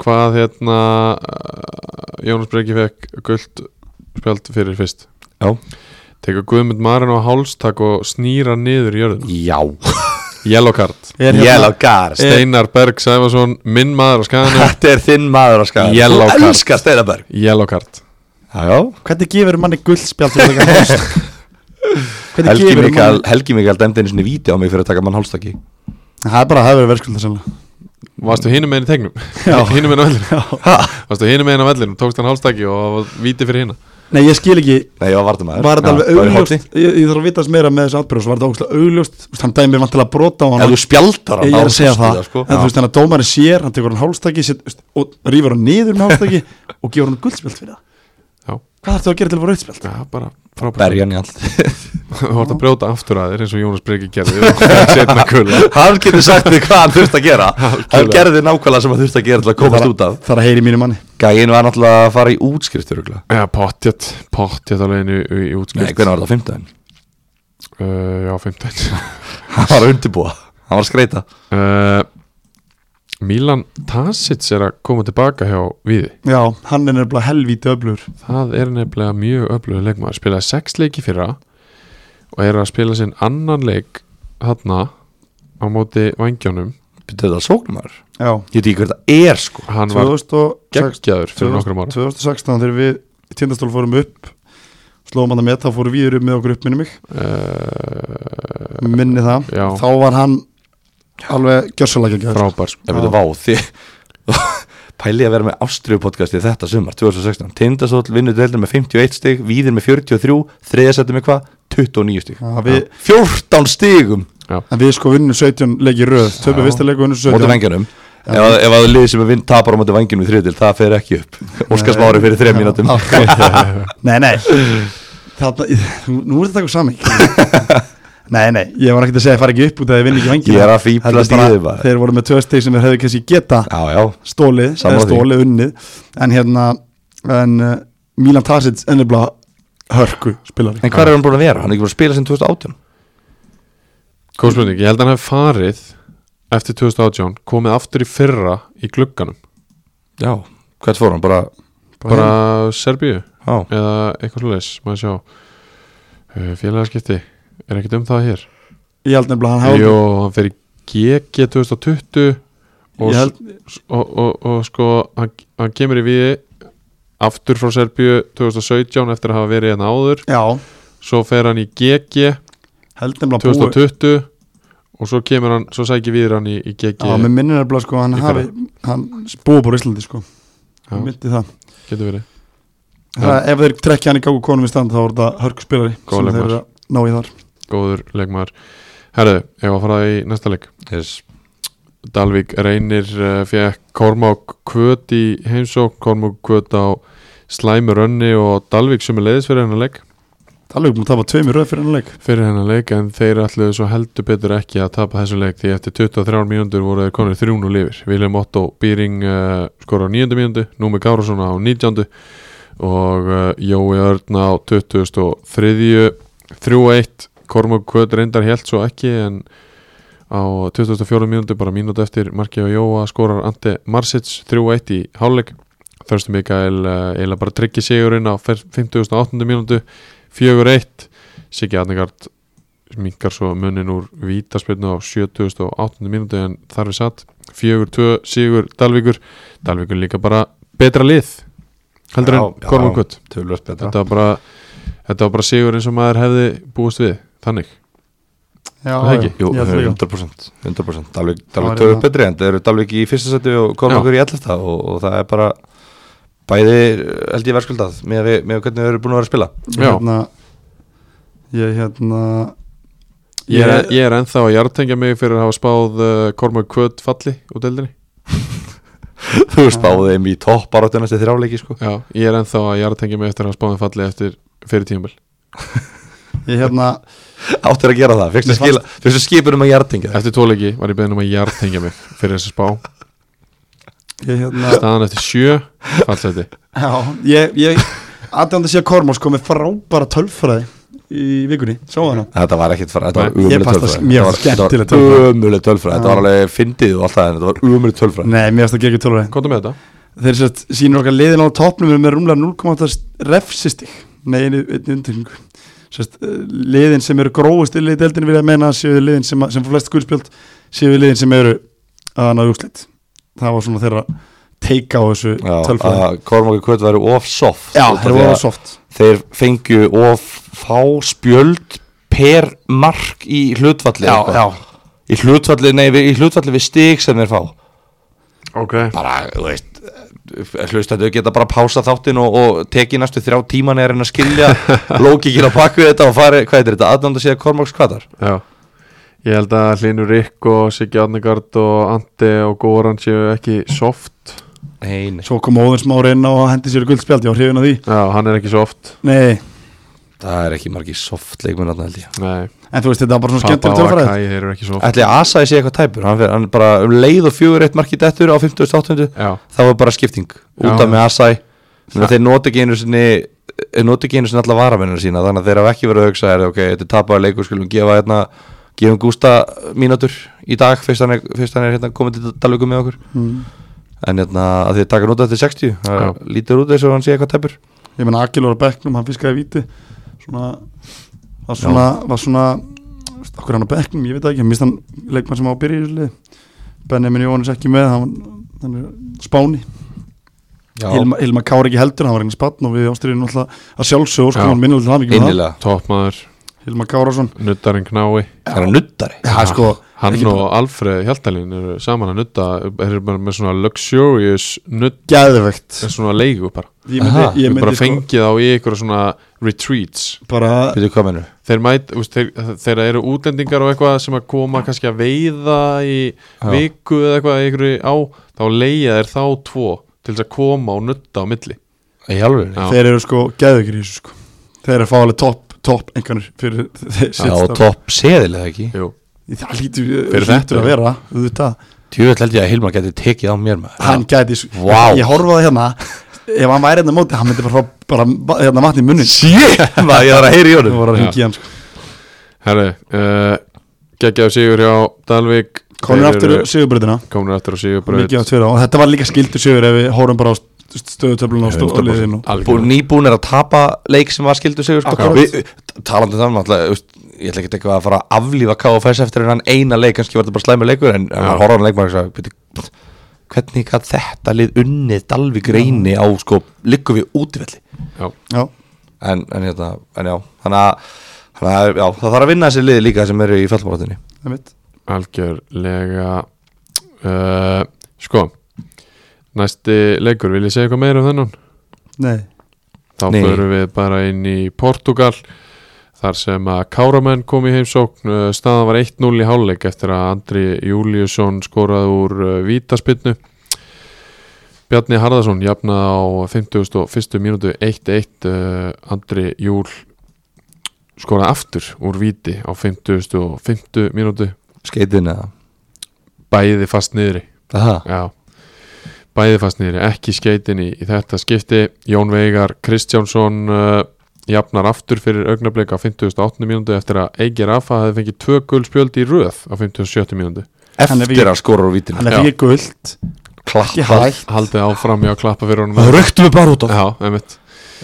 hvað hérna uh, Jónas Breki fekk guld spjald fyrir fyrst Já. tekur Guðmund Marin á hálstak og snýra niður jörðum Já Yellow card er hérna- Yellow card Steinar Berg Sæfason, minn maður á skæðinu Þetta er þinn maður að skaða Yellow Þú card. elskar Steinaberg Yellow card Já, já Hvernig gefur manni guldspjald fyrir að taka hálst? Hvernig Helgi gefur Mikael, manni? Helgi Mikael dæmdi einu sinni víti á mig fyrir að taka mann hálstaki Það er bara að hafa verið verðskulda sannlega Varstu hinum meginn í tegnum? hinum meginn á vellinu Varstu hinum meginn á vellinu, tókst hann hálstaki og var víti fyrir hinna Nei, ég skil ekki, Nei, ég var vartamæður var þetta alveg augljóst ég, ég þarf að vitast meira með þessu atbyrjus Var þetta ógustlega augljóst, Þú veist, hann dæmi vantilega að brota á hann Ef þú spjaldar hann Ég þá er að segja sástu það, sko. en þú veist þannig að dómari sér Hann tekur hann hálstaki set, veist, og rýfur hann niður með hálstaki Og gefur hann guldspjald fyrir það Já, Hvað þarf þú að gera til að fá rauðspjald? já bara frábært Berja hann í allt Þú vart að brjóta aftur að þér eins og Jónas Breki gerði og fekk setna kula Hann getur sagt þig hvað hann þurft að gera Hann Algjörlega. gerði nákvæmlega sem hann þurft að gera til að komast út af Það er að heyri mínu manni Gæin var náttúrulega að fara í útskriftur Nei, Já, pottjætt, pottjætt á leiðinu í, í útskipt hvernig var það á 15? uh, Já, 15 Hann var að undirbúa, hann var að skreita uh, Milan Tasic er að koma tilbaka hjá Víði Já, hann er nefnilega helvíti öflur Það er nefnilega mjög öflugur leikmaður spilaði sex leiki fyrra og er að spila sinn annan leik þarna á móti vangjónum Býttu þetta sóknumar? Já, Ég veit ekki hver það er sko hann var 2006 geggjaður fyrir nokkrum árum 2016 þegar við tindastól fórum upp slóðum hann að með, þá fóru við upp með okkur upp minni mig, uh, Eh, minni það Já, þá var hann alveg gjörsalega ekki frábær sko. Ég veit að vá, þið Pæli að vera með Ástriðu podcasti þetta sumar 2016, Tindastóll vinnur deildin með 51 stig Víðir með 43, þriðasætti með hvað 29 stig, Já, við, 14 stigum en við sko vinnum 17 leik í röð, töpu vista leik og vinnum Móti 17 vengjunum um- Ef að- ef að liðið sem að vinn tapar á móti vengjunum í þriðdil, það fer ekki upp Óskars Mári fyrir þrejum mínútum Nei, nei Þarna, Nú er þetta eitthvað saming Nei, nei, ég var ekkert að segja að fara ekki upp út að ég vinn ekki vangina Ég er að fíflast í þig bara. Þeir voru með tvö stig sem þeir hefðu kannski geta Já, já, stólið, Sammála eða því. stólið unnið En hérna, en uh, Milan Tasic ennibla hörku spilari en hvað er hann búin að vera? Hann er ekki búin að spila sem 2018 Góð spurning, ég held að hann hef farið eftir 2018, komið aftur í fyrra í glugganum, Já, hvert fór hann? Bara, bara hérna. Serbíu já, eða eitthvað sluðis, maður sjá uh, félagaskipti er ekkert um það hér Ég held nefnilega að hann hafa Jú, hann fer í GG 2020 og, Ég held, s- og, og, og sko hann, hann kemur í við aftur frá Serbíu 2017 eftir að hafa verið hérna áður já, svo fer hann í GG held nefnilega að búi 2020 og svo kemur hann, svo sækir við hann í, í GG Já, með minnir nefnilega sko, hann Í hafi Hann búið búið í Íslandi sko, Já, myndi það getur verið Það, ef þeir trekki hann í gangu konum í stand þá er þetta hörkuspilari Góð leikmaður. sem þeir eru að ná í þar góður leikmaður Herðu, ég var að fara í næsta leik yes. Dalvík Reynir uh, fekk Kormák Kvöt í heimsók Kormák Kvöt á slæmi rönni og Dalvík sem er leiðis fyrir hennar leik Dalvík múið um tapa tveimur röð fyrir hennar leik fyrir hennar leik en þeir ætluðu svo heldur betur ekki að tapa þessu leik því eftir 23 mínúndur voru þeir konir 3-0 lifir Vilhelm Otto Býring uh, skora á 9. mínúndu, Númi Gárason á 19. og uh, Jói Örn á 23. 3-1 Kormák Kvöt reyndar helt svo ekki en á 24 mínútu bara mínútu eftir markið og Jóa skorar Ante Marsic 3-1 í hálfleik Þörstum Mikael eh, eiginlega bara tryggir sigurinn á fer- 58. mínútu 4-1 Siggi Adningard minkar svo munin úr vítaspilnu á 78. mínútu en þar við satt 4-2 sigur Dalvíkur Dalvíkur líka bara betra lið heldur Já, en já. Kormur Gutt Tölvöld betra þetta var bara þetta var bara sigur eins og maður hefði búist við þannig Já, Það ekki? Jú, Ég held líka. 100%, 100%. Dalvik, Dalvik Það var tölvöld hérna- betri en það eru Dalvik í fyrsta seti og Kormakur í 11 og, og það er bara bæði eh, held ég verðskuldað með, við- með hvernig þau eru búin að vera að spila Ég Já. hérna Ég hérna Ég er, ég er ennþá að jartengja mig fyrir að hafa spáð uh, Kormur Kvöt falli úr deildinni Þú spáðu þeim í topparáttuna þessi þrjáleiki sko Já, ég er ennþá að jartengja mig eftir að hafa spáð þeim falli eftir fyrir tímabil ég hérna Áttir að gera það, fyrstu, Mér fannst- skila, fyrstu skipunum að jartingja Eftir tólegi var ég beðin um að jartengja mig fyrir þessi spá Ég hérna Staðan eftir sjö fallseti Já, ég, ég Aðdjóndi sé að Kormos komið frábæra tölfræði í vikunni, sá hana Þetta var ekkit fara, þetta var Nei, ég umulig fannst það tölfræð mjög Þetta var- skemmtileg þetta var tölfræði. umulig tölfræð Þetta var alveg fyndið og allt það en þetta var umulig tölfræð Nei, mér finnst það geggjur tölfræði Kontum með þetta Þeir sérst sínur okkar liðin á topnum með rúmlega 0,8 refsistig Nei, einu, einu undirningu sérst, eh, Liðin sem eru gróðust í deildinu vilja meina að séu liðin sem, að- sem fá flest guðspjöld séu liðin sem eru að náðu úslit Það var svona þeirra teika á þessu tölfræði Kormáki Kvöt væri of soft Já, út af þeir því voru að soft Þeir fengju of fá spjöld per mark í hlutfalli Já, eitthvað. já, Í hlutfalli, nei, við- í hlutfalli við stig sem þeir fá Ok bara, þú veist hlustandi þau geta bara pása þáttin og, og teki næstu þrjá tíman er en að skilja lókikir á bakvið þetta og fari hvað er þetta, aðnanda síðan Kormáks kvatar Já Ég held að Hlynur Rikk og Siggi Adnegard og Andi og Goran séu ekki soft nei, nei, svo kom Óðins Mári inn og hendi sér guldspjald, já, hrifin á því Já, hann er ekki soft Nei, það er ekki margi soft leikmenn þarna, held ég Nei en þú veist, þetta var bara svona Pappa skemmtileg og tölfræði Akai þeir eru ekki soft ætli að Asai sé eitthvað tæpur, hann, fer, hann bara um leið og fjögur eitt markið eftir á 58. Já, það var bara skipting, Já. út af með Asai þannig að þeir noti ekki einu sinni þeir noti ekki einu sinni alla varamennir sína þannig að þeir hafa ekki verið að hugsa, er, ok, þetta er tapaður leikur skulum gefa hérna, gefum Gústa mínútur í dag, fyrst hann er, fyrst hann er hérna, komið til dalvöku með okkur mm. En hérna að því að taka nút eftir 60 það Já. Lítur út eins og hann sé eitthvað tæpur Ég meina, Akil var á bekknum, hann fiskaði víti Svona Var svona, var svona Okkur hann á bekknum, ég veit það ekki, mist hann leikmann sem á að byrja í þessu lið Benjamin Jóhannes ekki með, hann, hann er á spáni Hilma, Hilma Kári ekki heldur, hann var einu spann og við ástriðum alltaf að sjálfsög og sko Já. hann minnum til hann ekki með það innilega Topmaður, Hilma Kárasson nuttarinn knái Það er að nuttari Já, sko, Hann ekki og Alfreð Hjaltalín eru saman að nutta Þeir eru bara með svona luxurious nutt Gæðvegt En svona leigu bara Ég Aha, myndi, ég Þeir myndi bara sko fengið þá í einhverja svona retreats bara Býtu hvað mennu Þeir mæt, úst, þeir, þeir eru útlendingar og eitthvað sem að koma kannski að veiða í viku eða eitthvað í einhverju á Þá leiða þeir þá tvo til þess að koma og nutta á milli Í alveg Já. Þeir eru sko gæðvegir í þessu sko Þeir eru að fá alveg topp, topp einhvernir fyrir þeir Já, og topp seðilega ekki Jú, Það lítur, Fyrir lítur þetta. að vera auðvitað. Tjöfell held ég að Hilmar geti tekið á mér maður Hann gæti svo- Vá. Ég horfaði hérna Ef hann væri hérna á móti, hann myndi bara, fá bara va- hérna vatn í munni Shit, maður, ég þarf að heyra í Það honum voru að Já. hringi hann sko herri uh, Gekkjaðu sigur hjá Dalvik Konur Þeir aftur eru sigurbröðina Komnir aftur á sigurbraut Mikið átt fyrir það og þetta var líka skildur sigur ef við horfum bara á stöðutöflun og hérna. stóliðin og Algjörlega. Bú- Nýbúin er að tapa leik sem var skildu sigur sko. Akkurat. Við- Talandi um það náttúrulega, veist, Ég ætla ekki eitthvað að fara að aflífa KFS eftir en hann eina leik, kannski var þetta bara slæmur leikur en hann horfði á hann leik maður og sagði "Bíddu, hvernig gætt þetta lið unnið Dalvík reyni á sko liggum við útivelli Já, já, en, en, hérna, en já, þannig að, þannig að já, það þarf að vinna þessi lið líka sem eru í fellbáratinni það mitt algjörlega uh, Sko Næsti leikur, vil ég segja eitthvað meira um þennan? Nei, Þá Nei. förum við bara inn í Portugal þar sem að Káramenn kom í heimsókn uh, staðan var 1-0 í hálfleik eftir að Andri Júliusson skoraði úr uh, vítaspinnu Bjarni Harðarsson jafnaði á 51. mínútu 1-1 uh, Andri Júl skoraði aftur úr víti á 55. mínútu skeitin eða bæði fast niðri Aha. Já Bæði fastnir ekki skeitin í, í þetta skipti Jón Veigar Kristjánsson uh, jafnar aftur fyrir augnablik á 58. mínúndu eftir að Eigi Rafa hefði fengið tvö guldspjöld í röð á 57. mínúndu Hann er eftir við- að skora úr vítinu hann er fyrir gult ekki hægt Haldið áfram já klappa fyrir það honum röktum við bara út af Já, einmitt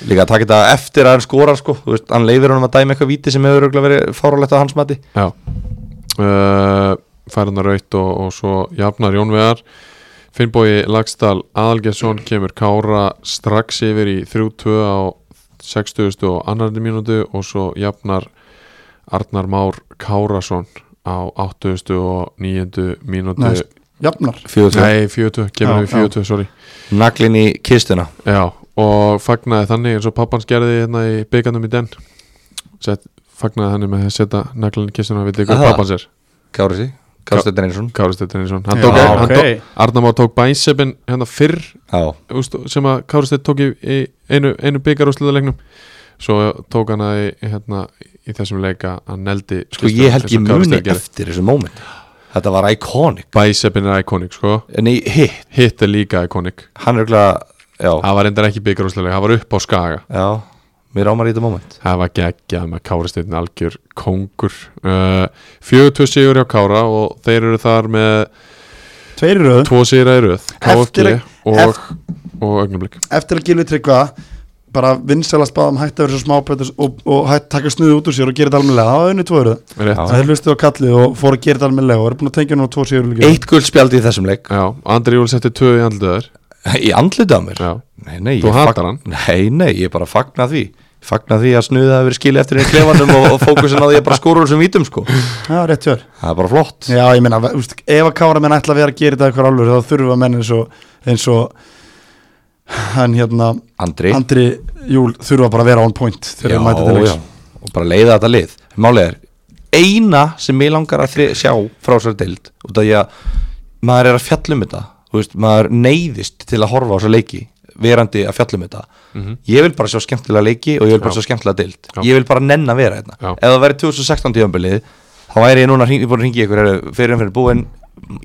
líka að taka þetta eftir að hann skorar sko, þú veist, hann leifir honum að dæma eitthvað víti sem hefur örugglega verið fáralegt að hans mati Já uh, Færðan raut og, og svo jafnar Jón Vegar Finnbói Lagstall Aðalgesson kemur Kára strax yfir í 3-2 á 60. og annarri mínútu og svo jafnar Arnar Már Kárasson á 80. og 9. mínútu Nei, Jafnar Fjögur Nei, 42, Já, kemur við já. 42, sorry naglin í kistuna Já, og fagnaði þannig eins og pappans gerði hérna í byggandum í den Sett, fagnaði þannig með að setja naglan kistuna við þig og Aha. pappans er Kári sí, Ká- Kári Steinar Einarsson Kári Steinn Einarsson hann Já, tók, ok. hann tók, Arnar Már tók bænsepin hérna fyrr já, úst, sem að Kári Steinn tók í, í einu, einu byggar úrslutalegnum svo tók hann að í, hérna, í þessum leika hann neldi sko ég held ég muni eftir þessu moment þetta var iconic bænsepin er iconic sko en í hitt, hitt er líka iconic hann er örugglega já, það var endar ekki byggar úrslutaleg það var upp á skaga já, mér ámar í þetta moment Það var geggjað með Kári Steinn algjör kongur uh, 42 sigur hjá Kára og þeir eru þar með Tveir í röð tvo sigur að röð KFG Eftir- og, og augnablik Eftir að Gilvi tryggva bara vinsælast báðum hætti að vera svo smápötur og, og hætti taka snuðu út úr sér og gera þetta almennilega það var unni tvo röð Rétt. það er hlustið á kallið og fór að gera þetta almennilega og er búin að tengja núna tvo sigur líka eitt guldspjald í þessum leik Já, Andri Júl setti tvö í andluðar í andlitið á mér Já, Nei, nei, Þú ég hatar fag- hann? Nei, nei, ég bara fagna því Fagna því að snuða að vera skilja eftir í klefanum og, og fókusin á því að bara skóra úr sem vítum sko Það já, rétt hjör er bara flott já, ég meina, úst, ef að kára menn ætla að vera að gera þetta eitthvað alveg þá þurfa menn eins og, eins og hann hérna Andri, Andri Júl þurfa bara að vera on point þegar já, þeir mæta til já, leiks og bara leiða þetta lið Málið er, eina sem ég langar að þri- sjá frá sér deild út af því að maður er að fjalla um þetta þú veist, maður neyðist til að horfa á svo leiki verandi að fjalla um þetta ég vil bara sjá skemmtilega leiki og ég vil bara Mhm. Já. sjá skemmtilega deild Já. ég vil bara nenn að vera hérna Já. ef það væri 2016 tíðanbilið þá væri ég núna hring- búin að ringi ykkur heyrðu, fyrir en fyrir búin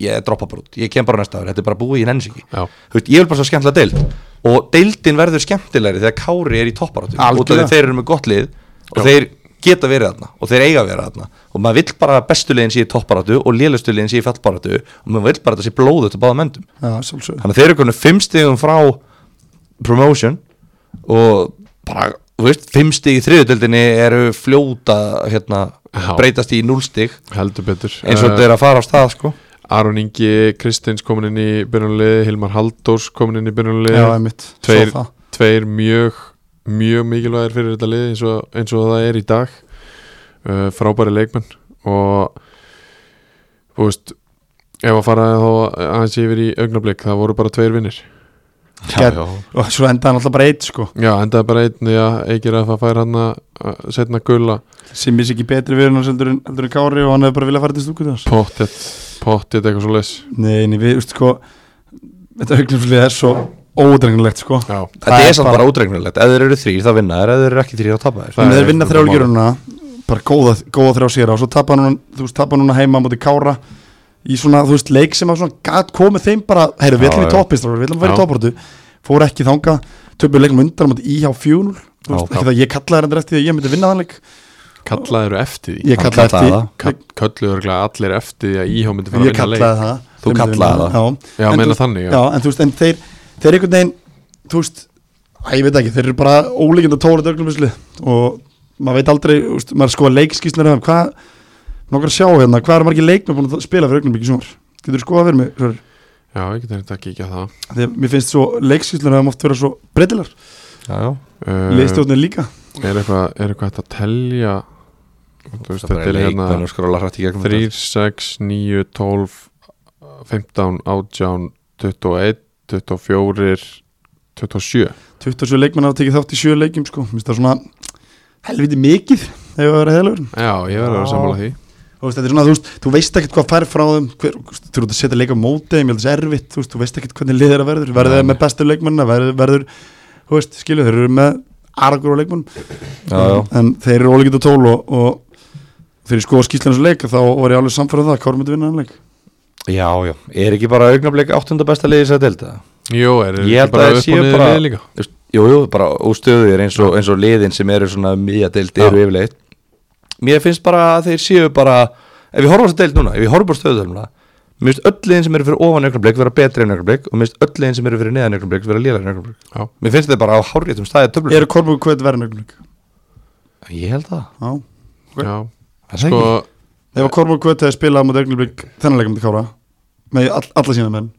ég droppa bara út, ég kem bara næsta ári þetta er bara búið, ég nenni sig ekki Já. Þú veist, ég vil bara sjá skemmtilega deild og deildin verður skemmtilegri þegar Kári er í topparátu út af því Algjörlega. að þeir eru með gott lið og Já. þeir geta verið þarna og þeir eiga að vera þarna og maður vill bara að bestu liðin sé í topparatu og lélustu liðin sé í fallbaratu og maður vill bara að þetta sé blóðut á báða mendum já, sjálfsögðu. þannig að þeir eru konum fimm stigum frá promotion og bara, þú veist, fimm stig í þriðutöldinni eru fljóta hérna, Já. breytast í núlstig heldur betur Eh, eins og þetta er að fara á stað sko Aron Ingi, Kristins komin inn í byrjunarliði, Hilmar Halldórs komin inn í já, byrjunarliði, einmitt, Tveir- svo það tveir mjög mjög mikilvægir fyrir þetta lið eins og, eins og það er í dag uh, frábæri leikmenn og þú veist ef að fara þá aðeins yfir í augnablik það voru bara tveir vinnir Gæt- og svo endaði hann alltaf bara eitt sko já, endaði bara einn því að Eikir að það fær hann að setna gulla sem vissi ekki betri við hann heldur, en- heldur en Kári og hann hefði bara viljað fara til stúkunni hans pottet, pottet eitthvað svo leis nei, nei, við, veist sko þetta augnumflið er svo ódrengilegt sko já, Þetta er samt bara ódregnulegt, ef þeir eru þrýr þá vinna þeir, ef þeir eru ekki þrýr þá tapa þeir Þannig að Það þeir er vinna bara mál. þrjálgjöruna bara góða, góða þrjá sér og svo tapa núna, þú veist, tapa núna heima á móti Kára í svona, þú veist, leik sem að svona gat komið þeim bara, heyrðu, við Já, ætlum í já. toppistráður, við ætlum að vera í Já. topportu fór ekki þanga, töpuðu leikum undan á móti íhjá fjúnul, þú veist, Já, ekki það ég kallaði þér endur eftir því að ég myndi vinna þann leik kallaður eftir því ég Hann kallaði kallaði eftir það. því, Kall- kölluðu örugglega allir eftir því að íhá myndi fara ég að vinna leik kallaði það Þú Þeir myndu kallaðir vinna það. það, já, já En þú meina veist- þannig, já, já, en þú veist, en þeir þeir einhvern veginn, þú veist að ég veit ekki, þeir eru bara ólíkind að tóla döglumisli og maður veit aldrei, þú veist, maður skoða leikskísnir eða hvað, nokkar að sjá hérna hvað eru margir leikmenn búin að spila fyrir augnum í sumar getur þú skoða fyrir mig, Sverrir? já, ég get þetta ekki ekki að það því að mér finnst svo leikskísnir eða oft vera svo breytilar, Já, Uh, leikstjórnir líka er eitthvað er eitthvað hægt að telja Þú veist, þetta þetta er er leik, hérna menn skróla hrætt í gegnum 3, 6, 9, 12 15, 18 21, 24 27 27 leikmenn hafa tekið þátt í 7 leikjum sko, mér finnst það svona helviti mikið ef að vera heðalur Já, ég verður að Já. sammála því þú veist, þetta er svona, þú veist, þú veist ekkert hvað fær frá þeim hver, þú veist, þú ert að setja leika á móti þeim, ég held þessi erfitt, þú veist, þú veist ekkert hvernig liðir að verður verður þeir með bestu leikmennina, verður, verður þú veist, skilju, þeir eru með aragur og leikmenn, Já, já, Mm. en þeir eru ólíkind og tól og, og þegar ég skoða skýslega þessu leik, þá var ég alveg samfæður það, hvað er myndi vinna hann leik? já, já Er ekki bara augnablik áttunda besta liðið sér að delta? Jú, er Ég ekki held bara að upp séu og niður bara- liðið líka Jú, jú, bara óstöðuðir eins, og- eins og liðin sem eru svona mýja deild eru yfirleitt Mér finnst bara að þeir séu bara Ef ég horfa á þess að deild núna, ef ég horfa bara stöðuðum Mér finnst öll liðin sem eru fyrir ofan augnablik vera betri en augnablik og mér finnst öll liðin sem eru fyrir neðan augnablik vera lélega en augnablik Já. Mér finnst þeir bara á háréttum staðið töflur Eru Kormáku hvað verður leik? Ég held það Já, Já, Það er sko, ekki. ef að Kormáku hvað hefði spilað á móti Augnablik þennan leikum til Kára með all, alla sína menn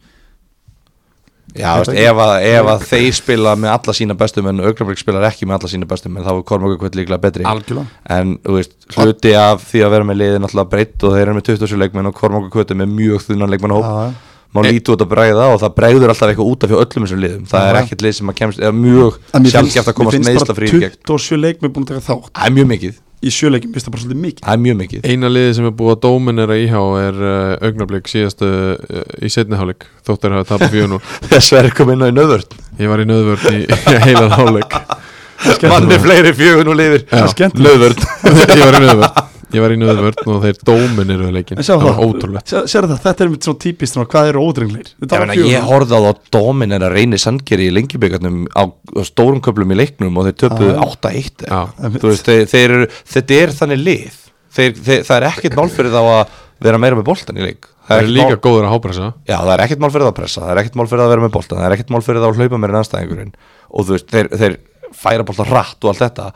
Já, veist, ef, að, ef að þeir spila með alla sína bestu menn og Augnablik spilar ekki með alla sína bestu menn þá er Kormáka kvöld líklega betri Algjörlega. en þú veist, hluti af því að vera með liðin alltaf breytt og þeir eru með 27 leikmenn og Kormáka kvöld er með mjög þunnan leikmenn hóp Já, já. má lítu út að bregða og það bregður alltaf eitthvað út af fyrir öllum þessum liðum það Já, er já. ekkert lið sem að kemst eða mjög En mér finnst- sjálfgeft að mér komast finnst meðsla bara frí gegn 27 leikmenn búin að taka þátt það er mjög mikið í sjöleikjum, mér finnst það bara svolítið mikið það er mjög mikið eina liðið sem er búið að dóminera íhá er uh, augnablik síðast uh, í setniháleik þóttir hafa tapað fjónu Eh. þess að er komin inn á í nöðvörn Ég var í nöðvörn í heilan háleik mann með fleiri fjögun og lifir Já. nöðvörn Ég var í nöðvörn Ég var í nöðvörn og þeir dóminiru leikin En sjá það, var ótrúlegt Sjá- sérðu það, þetta er mitt svona típist svona, hvað eru ódrenglir Ég, meina, um ég horfði á það dómin en að reyni sandgeri í lengjubikarnum á, á stórum köflum í leiknum og þeir töpuðu Já. 8-1 eða- Ah. Þú veist, þeir, þeir, eru- þetta er þannig lið þeir, þeir, það er ekkert mál fyrir þá að vera meira með boltan í leik Það er ekkert líka mál, góður að hápressa Já, það er ekkert mál fyrir það að pressa það er ekkert mál fyrir það að vera með boltan það er ekkert mál fyrir það að hlaupa meira en anstæðingurinn og þú veist, þeir, þeir færa boltan rætt og allt þetta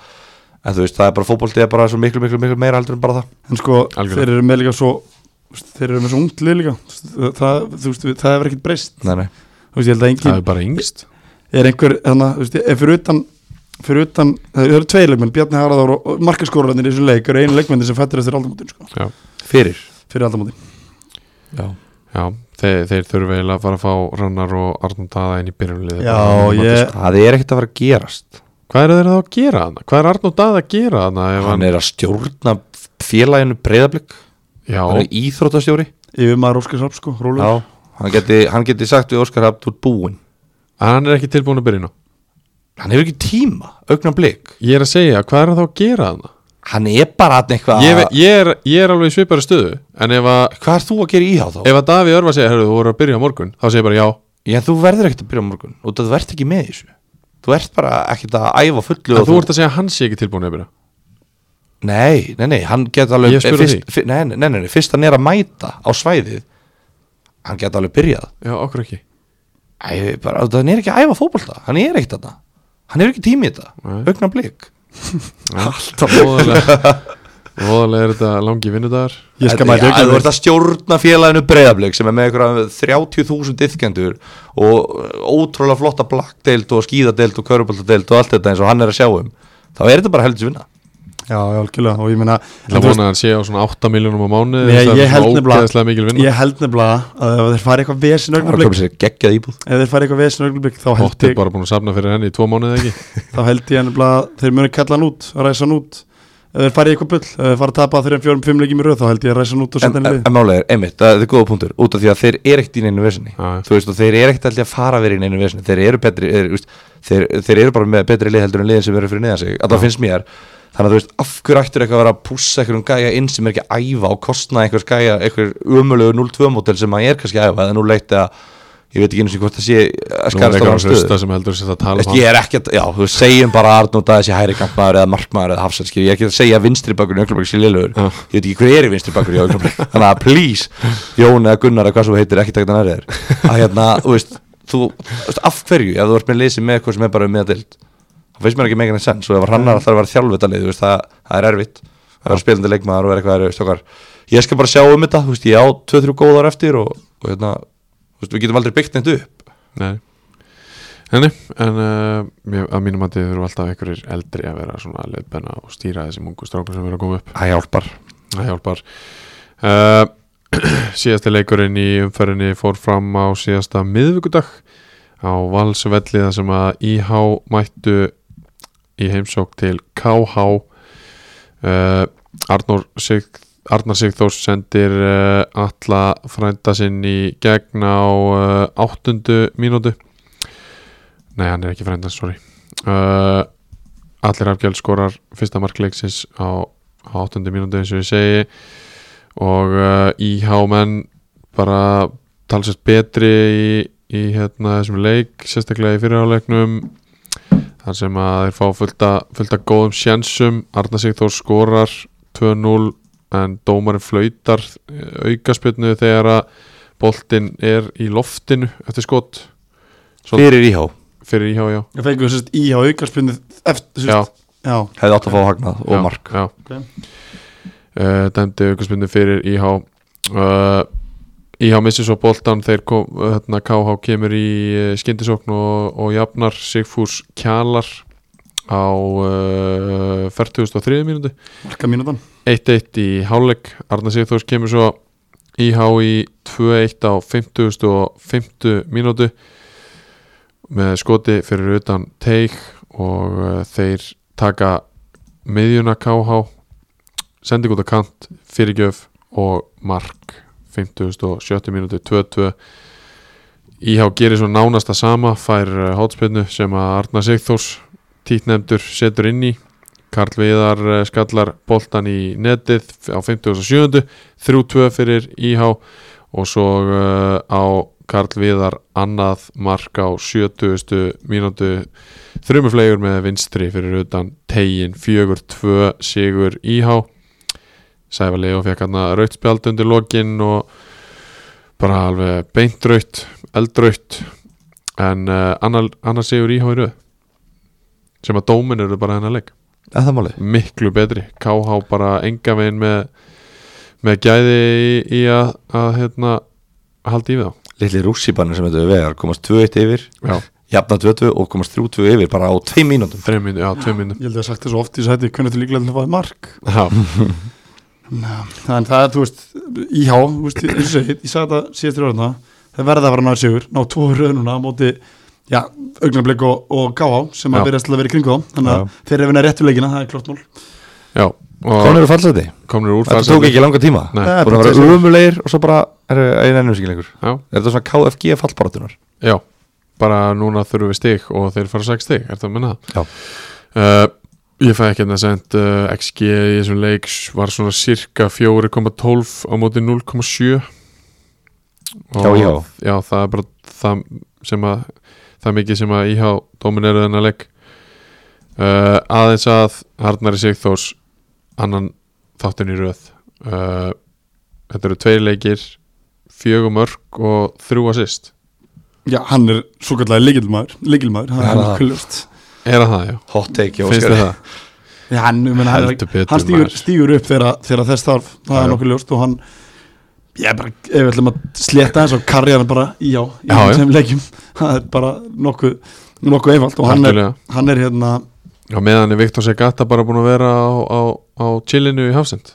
en þú veist, það er bara fótbolti er bara svo miklu, miklu, miklu meira heldur en bara það en sko, Algjörlega. þeir eru með líka svo þú veist, þeir eru með svo ungt lið líka Þú veist, það, þú veist, það hefur ekkert breyst Nei, nei, þú veist, ég held að Það engin, er bara yngst er einhver þannig, þú veist, ef fyrir utan fyrir utan, það eru tveir leikmenn, Bjarni Harðar og markaskóruleginn í þessum leik eru einu leikmenn sem fættir eftir aldamótin, sko, Já, fyrir fyrir aldamótin Já, já þeir, þeir þurfa eiginlega að fara að fá Rannar og Arnum Daða inn í byrjumlið ég sko. það er ekkert að fara að gerast Hvað er þeir þá að gera hana? Hvað er Arnum Daða að gera hana? ef hann er að stjórna félaginu breyðablík Já, hann er íþróttastjóri yfir maður Óskar Sarp, sko, rólegur já, hann, geti, hann geti sagt við Óskar Hafn þú ert búinn hann er ekki tilbúin að byrja nú hann hefur ekki tíma, augnan blik Ég er að segja, hvað er hann þá að gera hana? hann er bara hann eitthvað Ég, ve- ég, er, ég er alveg í svipari stöðu En ef að, hvað er þú að gera í þá þá? ef að Daví Örvar segja Herru, þú voru að byrja á morgun Þá segir ég bara já já, þú verður ekkert að byrja á morgun og þú ert ekki með í þessu þú ert bara ekkert að æfa fullu En og þú ert að segja að hann sé ekki tilbúin að byrja nei, nei, nei, hann geti alveg Ég spyr að fyrst, fyr, nei, nei, nei, nei, fyrst hann er að mæta á svæðið hann geti alveg byrjað Já, okkur ekki Æ, bara, hann er ekki að æfa fótbolta hann er ekkert þarna, hann hefur ekki tími í þetta augnan blik Alltaf óðalega voðalega er þetta langi vinnudagar Ég skal mæta Já, augnablik. þú ert að stjórna félaginu breyðablík sem er með einhverja 30.000 yfkendur og uh, ótrúlega flotta blakkdeild og skíðadeild og köruboltadeild og allt þetta eins og hann er að sjá um þá er þetta bara heldur vinna Já, já, algjörlega og ég meina Það vona að hann sé á svona 8 miljónum á mánu Nei, ég held ógeðslega mikil nefnilega vinna Ég held nefnilega að ef þeir fari eitthvað það vesen er að augnablik koma sér geggjað íbúð Ef þeir fari eitthvað vesen augnablik þá held Ótti ég, bara búin að safna fyrir henni í 2 mánuði ekki þá held ég nefnilega að þeir munu kalla hann út, ræsa hann út Ef þeir fari í eitthvað bull, ef þeir fari að tapa þeirra fjórum fimm leikjum í röð þá held ég að ræsa hann út en, og setja hann í en, lið en málega er, einmitt, það er góða punktur út af því að þeir eru ekkert í neinu vesinni Já, já. þú veist og þeir eru ekkert alltaf að fara verið í neinu vesinni þeir eru betri, er, veist, þeir, þeir eru bara með betri lið heldur en liðin sem eru fyrir neðan sig að það finnst mér þannig að þú veist af hverju ættir eitthvað að vera að pússa einhverjum gæja inn sem er ekki að æfa og kostna einhvers gæja einhver umölu 0-2 mótel sem maður er kannski að æfa eða nú leitt að ég veit ekki einu sem hvort það sé að Nú er skarast á eitthvað hans að stöðu hlusta sem heldur sér að tala Veist, um ég hann er ekki að, já, þú veist, segjum bara að Arnótt að þessi hæri kampmaður eða markmaður eða hafsælskir, ég er ekki að segja að vinstri bakurinn í augnablik sé liðlegur, Já. ég veit ekki hver er í vinstri bakurinn í augnablik, þannig að please Jón eða Gunnar eða hvað svo þú heitir, ekki takk þannig að þér að hérna, þú veist, þú þú veist, af hverju, ef þú ert með leysi með eitthvað sem er bara um meðadild, það finnst mér ekki megan en sens og ef hann er alltaf að vera þjálfvitalið, þú veist, það, það er erfitt að vera spilandi leikmaður og vera eitthvað erfitt okkar, ég skal bara sjá um þetta, þú veist, ég á 2-3 góðar eftir og, og hérna, þú veist, við getum aldrei byggt neitt upp Nei Henni, en uh, mér- að mínum að þið eru alltaf einhverjir eldri að vera svona leifbenna og stýra þessum ungu strákur sem eru að koma upp Það hjálpar Það hjálpar uh, Síðasti leikurinn í umferðinni fór fram á síðasta miðvikudag á valsvelli þar sem að IH mættu í heimsók til KH uh, Arnór Sig Arnar Sigþórs sendir uh, alla frænda sinn í gegn á uh, áttundu mínútu Nei, hann er ekki frænda, sorry uh, Allir Afgjald skorar fyrsta markleiksins á á áttundu mínútu eins og ég segi og uh, IH menn bara talsast betri í, í hérna þessum leik sérstaklega í fyrirháleiknum þar sem að þeir fá fullta, fullta góðum sjensum Arna Sigþór skorar 2-0 en dómarinn flautar aukaspjörnu þegar að boltinn er í loftinu eftir skot Svo- Fyrir íhá, fyrir IH já, Ég fengur sérst í á aukarspunni eftir já sérst Já, hefði átt að fá hagnað og Já, mark já. Ok. Eh, dæmdi aukarsmyndu fyrir IH uh, IH missi svo boltan þeir kom, hérna, KH kemur í eh, skyndisókn og, og jafnar Sigfús Kjalar á uh, 40.3 mínúti marka mínútan 1-1 í hálfleik Arna Sigþórs kemur svo IH í 2-1 á 50 og 50 mínútu með skoti fyrir utan teik og uh, þeir taka miðjuna KH sendi út að kant fyrirgjöf og mark 50 og 70 mínútu 2-2 IH gerir svo nánasta sama fær hátspinnu sem að Arna Sigþórs títnefndur setur inn í Karl Viðar eh, skallar boltan í netið f- á 57. 3-2 fyrir IH og svo uh, á Karl Viðar annað mark á 70. mínútu þrjumuflegur með vinstri fyrir utan tegin 4-2 sigur IH Sæfa Leo fekk hann að rautspjald undir lokin og bara alveg beintraut, eldraut en uh, annar, annar sigur IH í röð sem að dómin eru bara hennar leik Er það máli? miklu betri KH bara enga veginn með með gæði í, í að, að hérna haldi í við þá Lilli rússýbanir sem þetta við vegar komast 2-1 yfir já, Jafna 2-2 og komast 3-2 yfir bara á 2 mínútum þreim mínu, já, tvei mínu Ég held að ég hafi sagt það svo oft í þess að þetta Hvernig þetta líklega til að fáið mark já, Þannig það, þú veist, íhá, þú veist, ég, ég, segi, ég sagði þetta síðast fyrir orðina, það verða að vera náður sigur, ná tvo röðnuna á móti, já, augnablik og, og káá sem Já. að verðast til að vera í kringum þá, þannig að þeir eru vinna réttu leikina, það er klart mál. já og Konur eru fallseti komnir úr Þetta tók farsæti. ekki langa tíma Nei. Það er Búin að bara vera tveir- umulegir og svo bara er einu ennum sig lengur já, Er þetta svona KFG fallbaratunar? já, bara núna þurfum við stig og þeir fara sex stig, er það að menna Já. það? Uh, ég fæ ekki hérna sent uh, XG í þessum leik var svona cirka 4,12 á móti 0,7 Já, já. já, það er bara það sem að það er mikið sem að IH domineru þennan leik uh, aðeins að Arnari Sigþórs annan þáttinn í röð uh, þetta eru tveir leikir fjögum örk og þrjú assist Já, hann er svo kallega leikilmaður, leikilmaður, Já, það er það. hann kvöldust. er að það já, Hot take, já finnst þið það Já, hann, ég meina, hann, Heldur betur, hann stígur, maður. stígur upp þegar, þegar þess þarf það Já, er já. nokkuð ljóst og hann ég bara, ef við ætlum að sletta þess og karriðan bara í á í Já, já. sem leikjum, það er bara nokkuð, nokkuð einfalt og hann er, Algjörlega. hann er hérna Já, meðan er Viktor Segata bara búin að vera á, á, á chillinu í Hafsend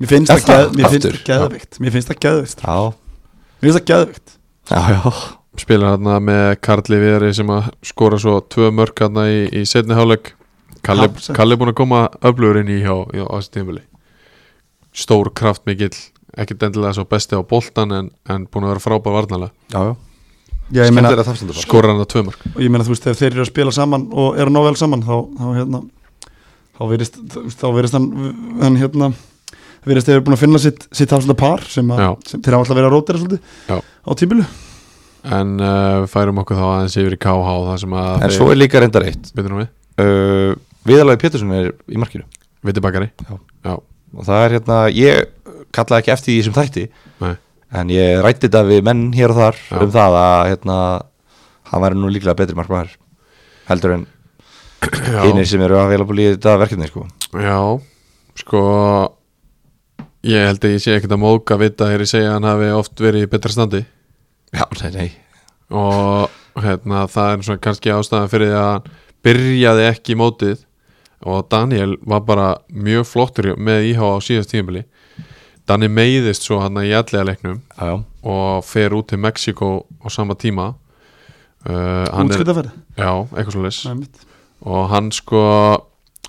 mér finnst Er það það geð- mér finnst aftur? það geðvikt mér finnst það geðvikt, Já, mér finnst það geðvikt já, já spilar hérna með Karli Viðari sem að skora svo tvö mörk hérna í, í setni hálfleik Kalli, Hafsend. Kalli er búin að koma öflugur inn í hjá, hjá á þessi tímuli stór kraftmikill ekkert endilega svo besti á boltan en, en búin að vera frábær varnalega Já, já já, ég meina, Skemmtilega þarfstendur bara. skora hann að tvö mörk og ég meina þú veist, ef þeir eru að spila saman og eru nóg vel saman, þá, þá hérna þá verist, þá verist hann hann hérna verist þeir eru búin að finna sitt, sitt hafsenda par sem, að, Já. sem þeir hafa alltaf verið að rótera Já. svolítið á tímilu en uh, við færum okkur þá aðeins yfir í KH þar sem að En svo er líka reyndar eitt byrjum við, uh, Viðalagi Pétursson er í markinu Viti Bakari Já. Já. Og það er hérna, ég kallaði ekki eftir því sem þætti Nei. En ég rætti þetta við menn hér og þar Já. Um það að hérna Hann væri nú líklega betri markmaður Heldur en Já. einir sem eru að vela búið í þetta verkefni sko. Já, sko ég held að ég sé ekkert að móka vita þegar ég segja að hann hafi oft verið í betra standi Já, nei, nei og hérna, það er svona kannski ástæðan fyrir því að hann byrjaði ekki mótið og Daniel var bara mjög flottur með íhá á síðast tímabili Daniel meiðist svo hann í allega leiknum Já, já og fer út til Mexiko á sama tíma uh, hann er, útskriðaferði já, eitthvað svo og hann sko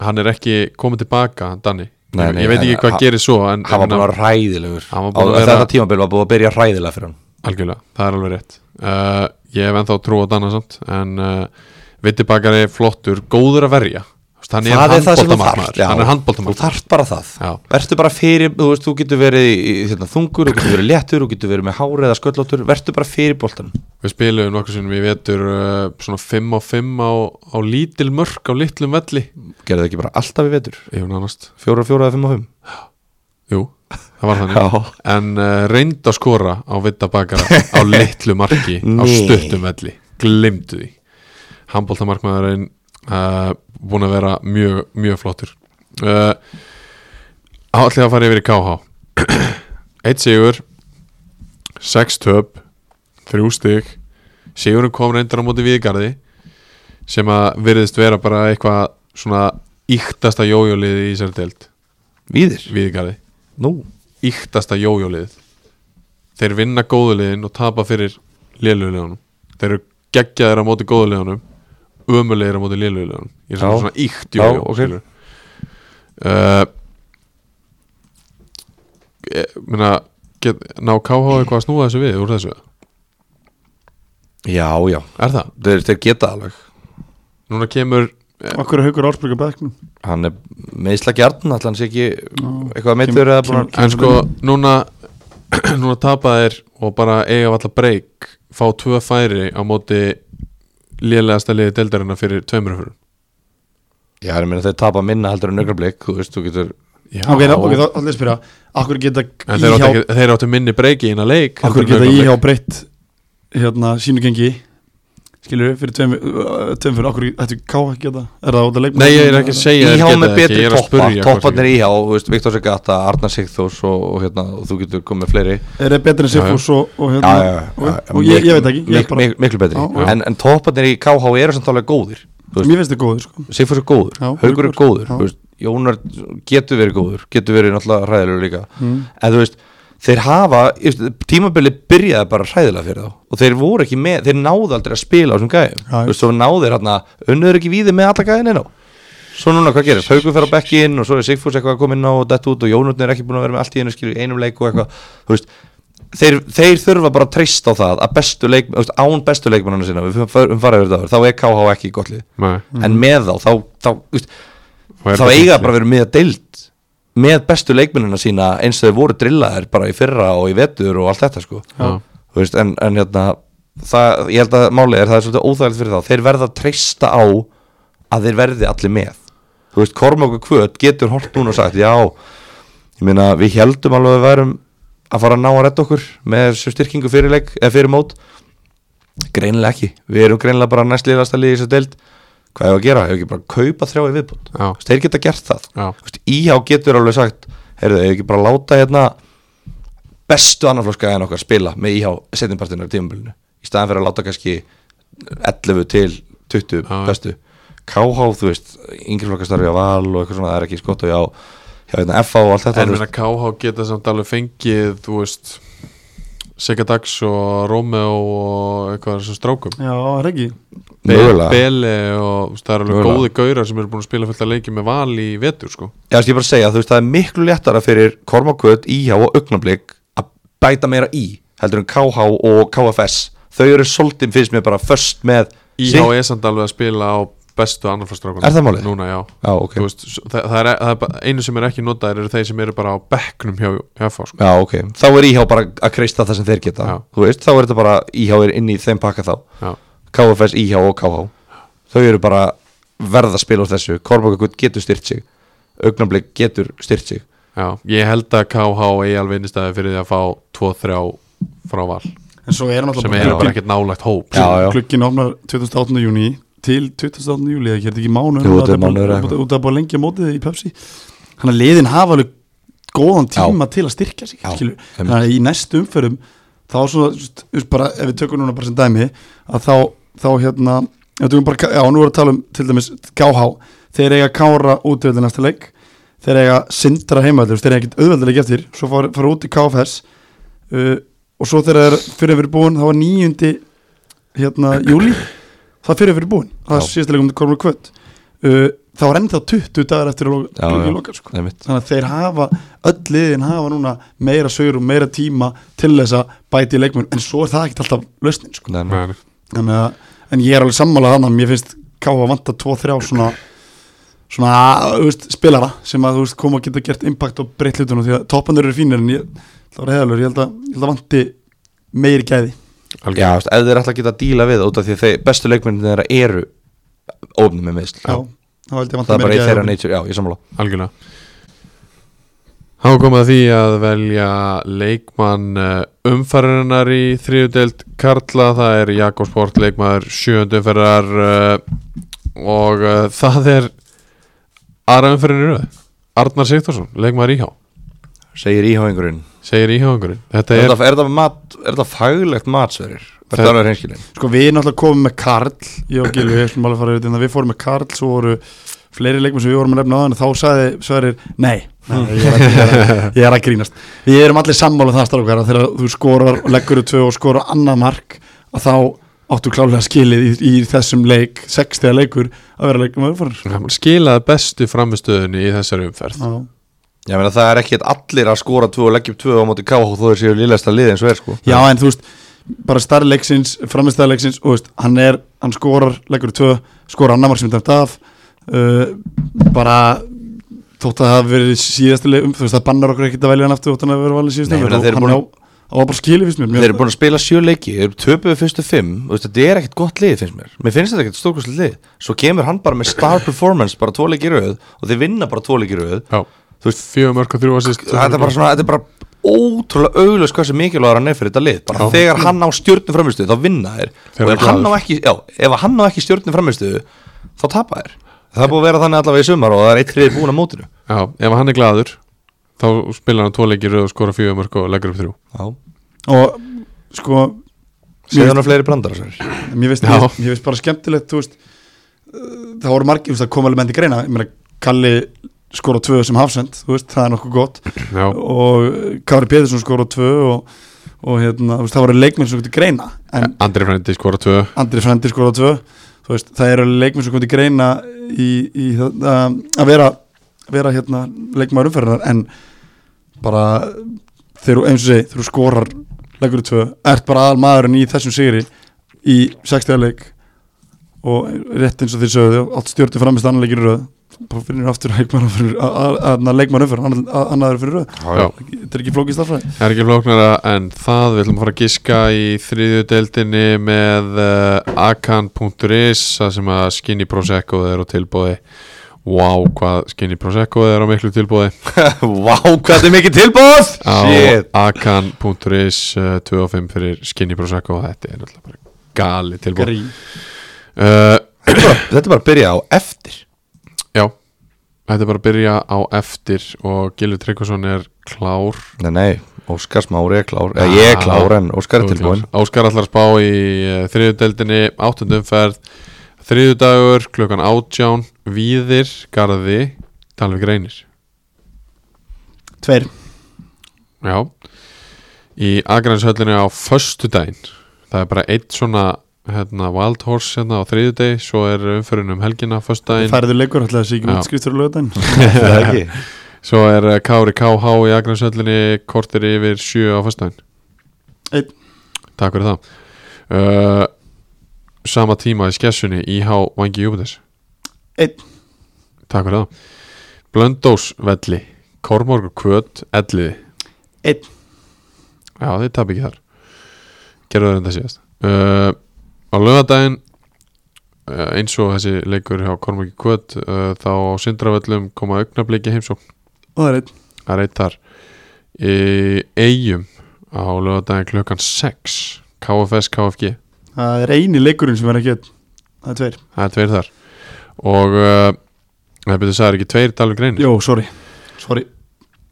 hann er ekki komið tilbaka Danni, Nei, nei, ég veit en ekki hvað ha- gerir svo en, Hann var en búin að vera ræðilegur Hann var búinn að Á- vera- Þetta tímabil var búin að byrja ræðilega fyrir hann algjörlega, það er alveg rétt uh, ég hef ennþá trú á Danna samt en uh, vittibakari flottur góður að verja Þú veist, hann það er er það sem þú handbóltamarkmaður þarft hann er þú handbóltamarkmaður þarft bara það Já. verður bara fyrir, þú veist, þú getur verið í, hérna, þungur, þú getur verið léttur, þú getur verið með hár eða sköllóttur, verður bara fyrir boltan við spilum nokkuð sem við vetur uh, svona 5 á 5 á, á lítil mörk á litlum velli gerðu það ekki bara alltaf í vetur ég hef nánast, fjóra, fjóra, fimm og fimm jú, það var þannig Já. en uh, reynd að skora á vittabakara á litlu marki á Nei. stuttum velli, glimtu því handbóltamarkmaðurinn uh, búin að vera mjög, mjög flottur uh, allir að fara yfir í KH eitt sigur sex töp þrjú stig sigurinn kom reyndar á móti viðgarði sem að virðist vera bara eitthvað svona íktasta jójólið í sér deild víðir, viðgarði nú, íktasta jójólið þeir vinna góðuliðin og tapa fyrir léluliðunum þeir eru geggjaðir á móti góðuliðunum ömulegir á móti léluliðunum ég er Já. svona, svona íkt Já, jójó ok. skilurðu. uh, ég, meina, eh, get, ná KH eitthvað að snúa þessu við úr þessu já, já er það? þeir, þeir geta alveg, Núna kemur okkur er haugur ársbyrg á bekknum hann er meðsla gjarn allan sé ekki eitthvað Kem- meittur eða búin kem- að en sko núna núna tapa þeir og bara eiga alltaf breyk fá tvö færi á móti lélegasta liði deildarinnar fyrir tveimur fyrir já, ég meina þeir tapa minna heldur en augnablik, þú veist, þú getur Já, ok, þá- ok, þá allir spyrja okkur geta en þeir áttu, íhjá ekki, þeir áttu minni breyki innan leik heldur okkur en geta augnablik. íhjá breytt hérna sínu gengi skilur við fyrir tveim uh, tveim fyrir okkur ættu ká að geta er það út að leikma Nei, ég er ekki að segja Íhá þeir geta með það ekki, betri ég er að toppa, spyrja hvort topparnir þeir- íhá, þú veist, Viktor Segata, Arnar Sigþós og, og, hérna, og þú getur komið fleiri er það betur en Já, já. Sigfús og, og hérna já, já, já, og, já, og, ég, ég veit ekki ég mik, bara, mik, miklu betri Já, já. en, en topparnir í KH eru samt alveg góðir þú veist, mér finnst það góður sko Sigfús er góður, Já, Haugur er Haukur, góður já. þú veist, Jónar getur verið góður getur verið náttúrulega hræðilegur líka Mm. en þú veist, þeir hafa ég veist, tímabilið byrjaði bara hræðilega fyrir þá og þeir voru ekki með, þeir náðu aldrei að spila á þessum gæðum, Já, já. þú veist, svo náður hérna unnur ekki víði með alla gæðin enná Svo núna hvað gerist, Haukur fer á bekkin og svo er Sigfús eitthvað að koma inn á og dett út og Jónurni er ekki búin að vera með allt í einu skilur í einum leik og eitthvað, þú veist þeir, þeir þurfa bara að treysta á það að bestu leik, þú veist, án bestu leikmannana sinna við förum farað yfir það, áður, þá er KH ekki í gott lið Nei, en með þá, þá, þá, þú veist, Mhm. og er þá það eiga ekki. bara að vera með að deild með bestu leikmannana sína eins og þeir voru drillaðir bara í fyrra og í vetur og allt þetta sko Já. Þú veist, en, en hérna það, ég held að málið er það er svolítið óþægilegt fyrir þá þeir verða að treysta á að þeir verði allir með þú veist, Kormáku Kvöt getur hort núna og sagt já, ég meina við heldum alveg að við værum að fara að ná að redda okkur með þessu styrkingu fyrir leik eða fyrir mót, greinilega ekki við erum greinilega bara næstliðasta liði í þessu deild hvað hefur að gera, hefur ekki bara að kaupa þrjá í viðbútt Já. þeir geta gert það Já. Þú veist, íhá getur alveg sagt heyrðu, hefur ekki bara að láta hérna bestu annarflokka en okkar spila með íhá setjumpartinu af tímabilinu í staðan fyrir að láta kannski 11 til 20 Já. bestu KH, þú veist, yngri flokka starfi á val og eitthvað svona, það er ekki skott og já, já, hérna, FH og allt þetta En þú meina veist. KH geta samt alveg fengið Þú veist Sigga Dags og Romeo og eitthvað þessum strákum Já, það er ekki Be- Mögulega. Bele og þú veist, það eru alveg Mögulega. góði gaurar sem eru búin að spila fullt að leiki með val í vetur sko Já, þú veist, ég bara að segja, þú veist, það er miklu léttara fyrir Kormakvöld, IH og Augnablik að bæta meira í, heldur en KH og KFS, þau eru svolítið finnst mér bara först með IH sitt- er samt alveg að spila á bestu annarflastrákunum Er það málið? Núna, já, Já, ok, Þú veist, s- það, það, er, e- það er bara- einu sem er ekki notaðir eru þeir sem eru bara á bekknum hjá, hjá FH sko. já, ok þá er IH bara að kreista það sem þeir geta Já. þú veist, þá er þetta bara, IH er inn í þeim pakka þá, Já, KFS, IH og KH þau eru bara verða að spila úr þessu, Kormakvöld getur styrt sig Augnablik getur styrt sig já, ég held að KH eigi alveg innistæði fyrir því að fá 2-3 frá val En svo er sem náttúrulega eru bara ekkert nálægt hóp Já, já. Klukkin opnar 28. júni til 28. júli eða ekki, er þetta ekki mánuður Jú, þetta er Þetta búið- mánuður eða eitthvað. Út af bara lengja mótið í Pepsi Þannig að liðin hafa alveg góðan tíma til að styrkja sig Já, skilur. einmitt. Þannig að í næstu umferðum þá svona, just, just bara, ef við tökum núna bara sem dæmi að þá, þá hérna ef við tökum bara, K- já, nú erum við að tala um til dæmis KH, þeir eiga Kára útvöldi næsta leik, þeir eiga Sindra heimaður, þeir eiga ekkert auðveldileg eftir svo fara, fara út í KFS uh, og svo þegar þeir fyrir fyrir búin þá var nýjundi hérna júli, það fyrir fyrir búin Já. það er síðasta leikum komur kvöld uh, þá er ennþá 20 dagar eftir að Já, já. loka sko Einmitt. þannig að þeir hafa öll liðin hafa núna meira sögur og meira tíma til þess að bæti í leikmenn en svo er það ekkert alltaf lausnin sko. Nei, nei. Nei, nei. Þannig að, en ég er alveg sammála þannig að mér finnst káfa vanta 2-3 svona, svona þú veist, spilara sem að þú veist, koma og geta gert impact og breytt hlutunum því að toppandur eru fínir en ég, það var heðalur, ég held að, ég held að vanti meiri gæði algjörlega. Já, þú veist, ef þeir ætla að geta að díla við það út af því að þeir, bestu leikmyndin þeirra eru ofnum með meðsl já, þá held ég að það er vanta bara í meiri gæði þeirra nature, já, ég samla Algjörlega Há komið að því að velja leikmann eh, umferðarinnar í þriðudeld Karla, það er Jakob Sport leikmaður sjöundu umferðar eh, og eh, það er aðra umferðin í röð Arnar Sigthorsson, leikmaður íhá segir íháingurinn segir íháðungurinn Þetta er, er, þetta- er, þetta mat- er þetta faglegt matsverir Það- þetta er alveg hreinskilin Sko við náttúrulega komum með Karl Ég og Gilvi, við ætlum alveg að fara yfir þetta Við fórum með Karl, svo voru fleiri leikmenn sem við vorum að nefna á en þá sagði Sverrir Nei, nei ég, er að, ég, er að, ég er að grínast Við erum allir sammála um það strákar að Þegar þú skorar, og leggur þú tvö og skorar annað mark að þá áttu klálega skilið í, í þessum leik 60 leikur að vera leikum öðurfórar hann skilaði bestu framistöðunni í þessari umferð Já, ég meina það er ekkit allir að skora tvö og leggja upp tvö á móti KH þó þeir séu liðlegsta lið eins og er sko Já en þú veist bara starleiksins, framistæðleiksins og þú veist, hann er, hann skorar, leggur í tvö skorar annar mark sem er dæmt af uh, bara þótt að það hafi verið síðastu leik um, þú veist, það bannar okkur ekkert að velja hann aftur þótt hann að vera valið síðastu Nei, ég leik, meina, og þeir eru hann á, búin- á að bara skilja fyrst mér, mér þeir eru búin að spila sjö leiki, þeir eru töpuðu fyrstu fimm þú veist, þetta er ekkit gott lið finnst mér mér finnst þetta ekkit stórkostlið lið svo kemur hann bara með star performance bara tvo leiki í röð og þeir vinna bara tvo leiki í röð Já, þú veist, fjögur mörg og þrjú assist þetta er bara svona þetta er bara ótrúlega auglust hversu mikilvægur hann er fyrir þetta lið bara þegar hann á stjórnum framistu þá vinna þær Þegar og hann er ef hann, á glaður. ekki, já, ef hann á ekki stjórnum framistu þá tapa þær það er búið að vera þannig allavega í sumar og það er eitt hriði búin að mótinu Já, ef hann er gladur þá spilar hann tvoleikir og skora fjögur mörg og leggur upp þrjú já, og sko segðu hann á fleiri brandar sér mér veist, Já. mér, mér veist bara skemmtilegt þú veist, uh, það voru margir þú veist, það kom alveg menn til greina, ég meina Kalli skora tvö sem hafsend, þú veist, það er nokkuð gott Já, og Kári Pétursson skora tvö og, og hérna, þú veist, það voru leikmenn sem kom til greina en Andri Frendi skora tvö Andri Frendi skora tvö þú veist, það eru leikmenn sem kom til greina í, í það, um, að vera vera hérna leikmaður umferðar en bara þegar þú eins og segi, þegar þú skorar leggur þú tvö, ert bara aðal maðurinn í þessum sigri í 60 leik og rétt eins og þeir sögðu allt stjórnum framist annar leikinu röð bara finnir aftur leikmaður fyrir, að, að, að, leikmaður umferðar, annar fyrir röð Já, þetta er ekki flókist af fræði það er ekki flóknara en það við ætlum að fara að giska í þriðju deildinni með uh, akan.is það sem að Skinny Prosecco er á tilbúði Wow, hvað Skinny Prosecco er á miklu tilbúði vá, hvað þetta er mikið tilbúð á shit, akan.is uh, 25 fyrir Skinny Prosecco þetta er náttúrulega bara gali tilbúð uh, er bara, þetta er bara að byrja á eftir Já, þetta er bara að byrja á eftir og Gilvi Tryggvason er klár Nei, nei, Óskar Smári er klár Eða ég er klár en Óskar er Þú ert tilbúin klár. Óskar allar spá í uh, þriðudeldinni, áttundumferð þriðudagur, klukkan átján Víðir, Garði Dalvik Reynir Tveir Já Í Akranshöllinni á föstudaginn Það er bara eitt svona hérna, wild horse hérna á þriðudegi svo er umfyrin um helgina föstudaginn Færður leikur, ætlaði að sé ekki Já. útskriftur á lögadaginn Er það ekki? svo er eh, Kári KH í Akranshöllinni kortir yfir sjö á föstudaginn Einn. Takk fyrir það uh, Sama tíma í skessunni IH Vangi Júpiters Einn. Takk fyrir það Blöndós Velli Kormorgur Kvöt Elliði Einn. Já, þið tap ekki þar Gerðu það reynda síðast uh, Á lögadaginn uh, eins og þessi leikur hjá Kormorgi Kvöt uh, þá á Sindravöllum koma augnabliki heimsókn Og það er einn Það er eitt þar Í Eyjum á lögadaginn klukkan 6 KFS KFG Það er eini leikurinn sem er ekki einn Það er tveir Það er tveir þar og uh, það byrja að sagði ekki tveir dalvi greinir Jó, sorry Sorry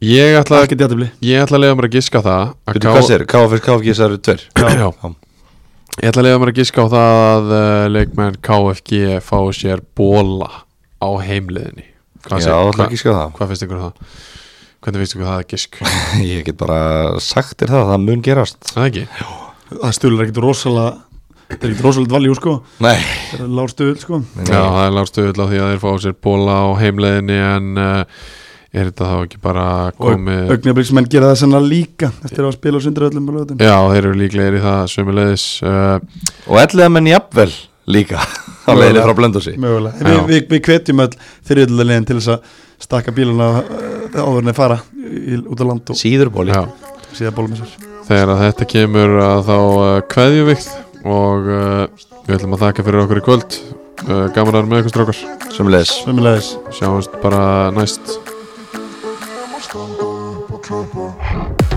ég ætla, Það er ekki djáttibli ég ætla að leiða mér að giska á það að Veitu hvað sér? KFS, KFG, það eru tver Já. ég ætla að leiða mér að giska á það að uh, leikmenn KFG fái sér bóla á heimliðinni Já, hvað, það seg- er ekki skoða það hvað finnst ykkur um það? hvernig finnst ykkur um það að gisk? Ég get bara sagt þér það, það mun gerast það ekki? Það stuðlar ekkit rosalega Það er ekkit rosalega dvaljú sko Nei, Það er lág stuðl sko Já, það er lágstuðull á því að þeir fá sér bóla á heimliðinni en uh, er þetta þá ekki bara komið Augnabliksmenn gera það sennan líka Eftir að spila á sunduröllum á lögadaginn Já, þeir eru líklegir í það sömulegis uh, Og elliða menn jafnvel líka á leiðinni frá blöndusi Mögulega Já. Við vi, vi hvetjum öll þriðlulegin til þess að stakka bíluna áður en þeir fara í, út á land og Síðurbóli Já síða bólum þessar Þegar að þetta kemur að þá uh, kveðjum við og uh, við ætlum að þakka fyrir okkur í kvöld uh, Gaman að vera með ykkur strókar sem leis Svömmulegis Sjáumst bara næst Standa upp og klappa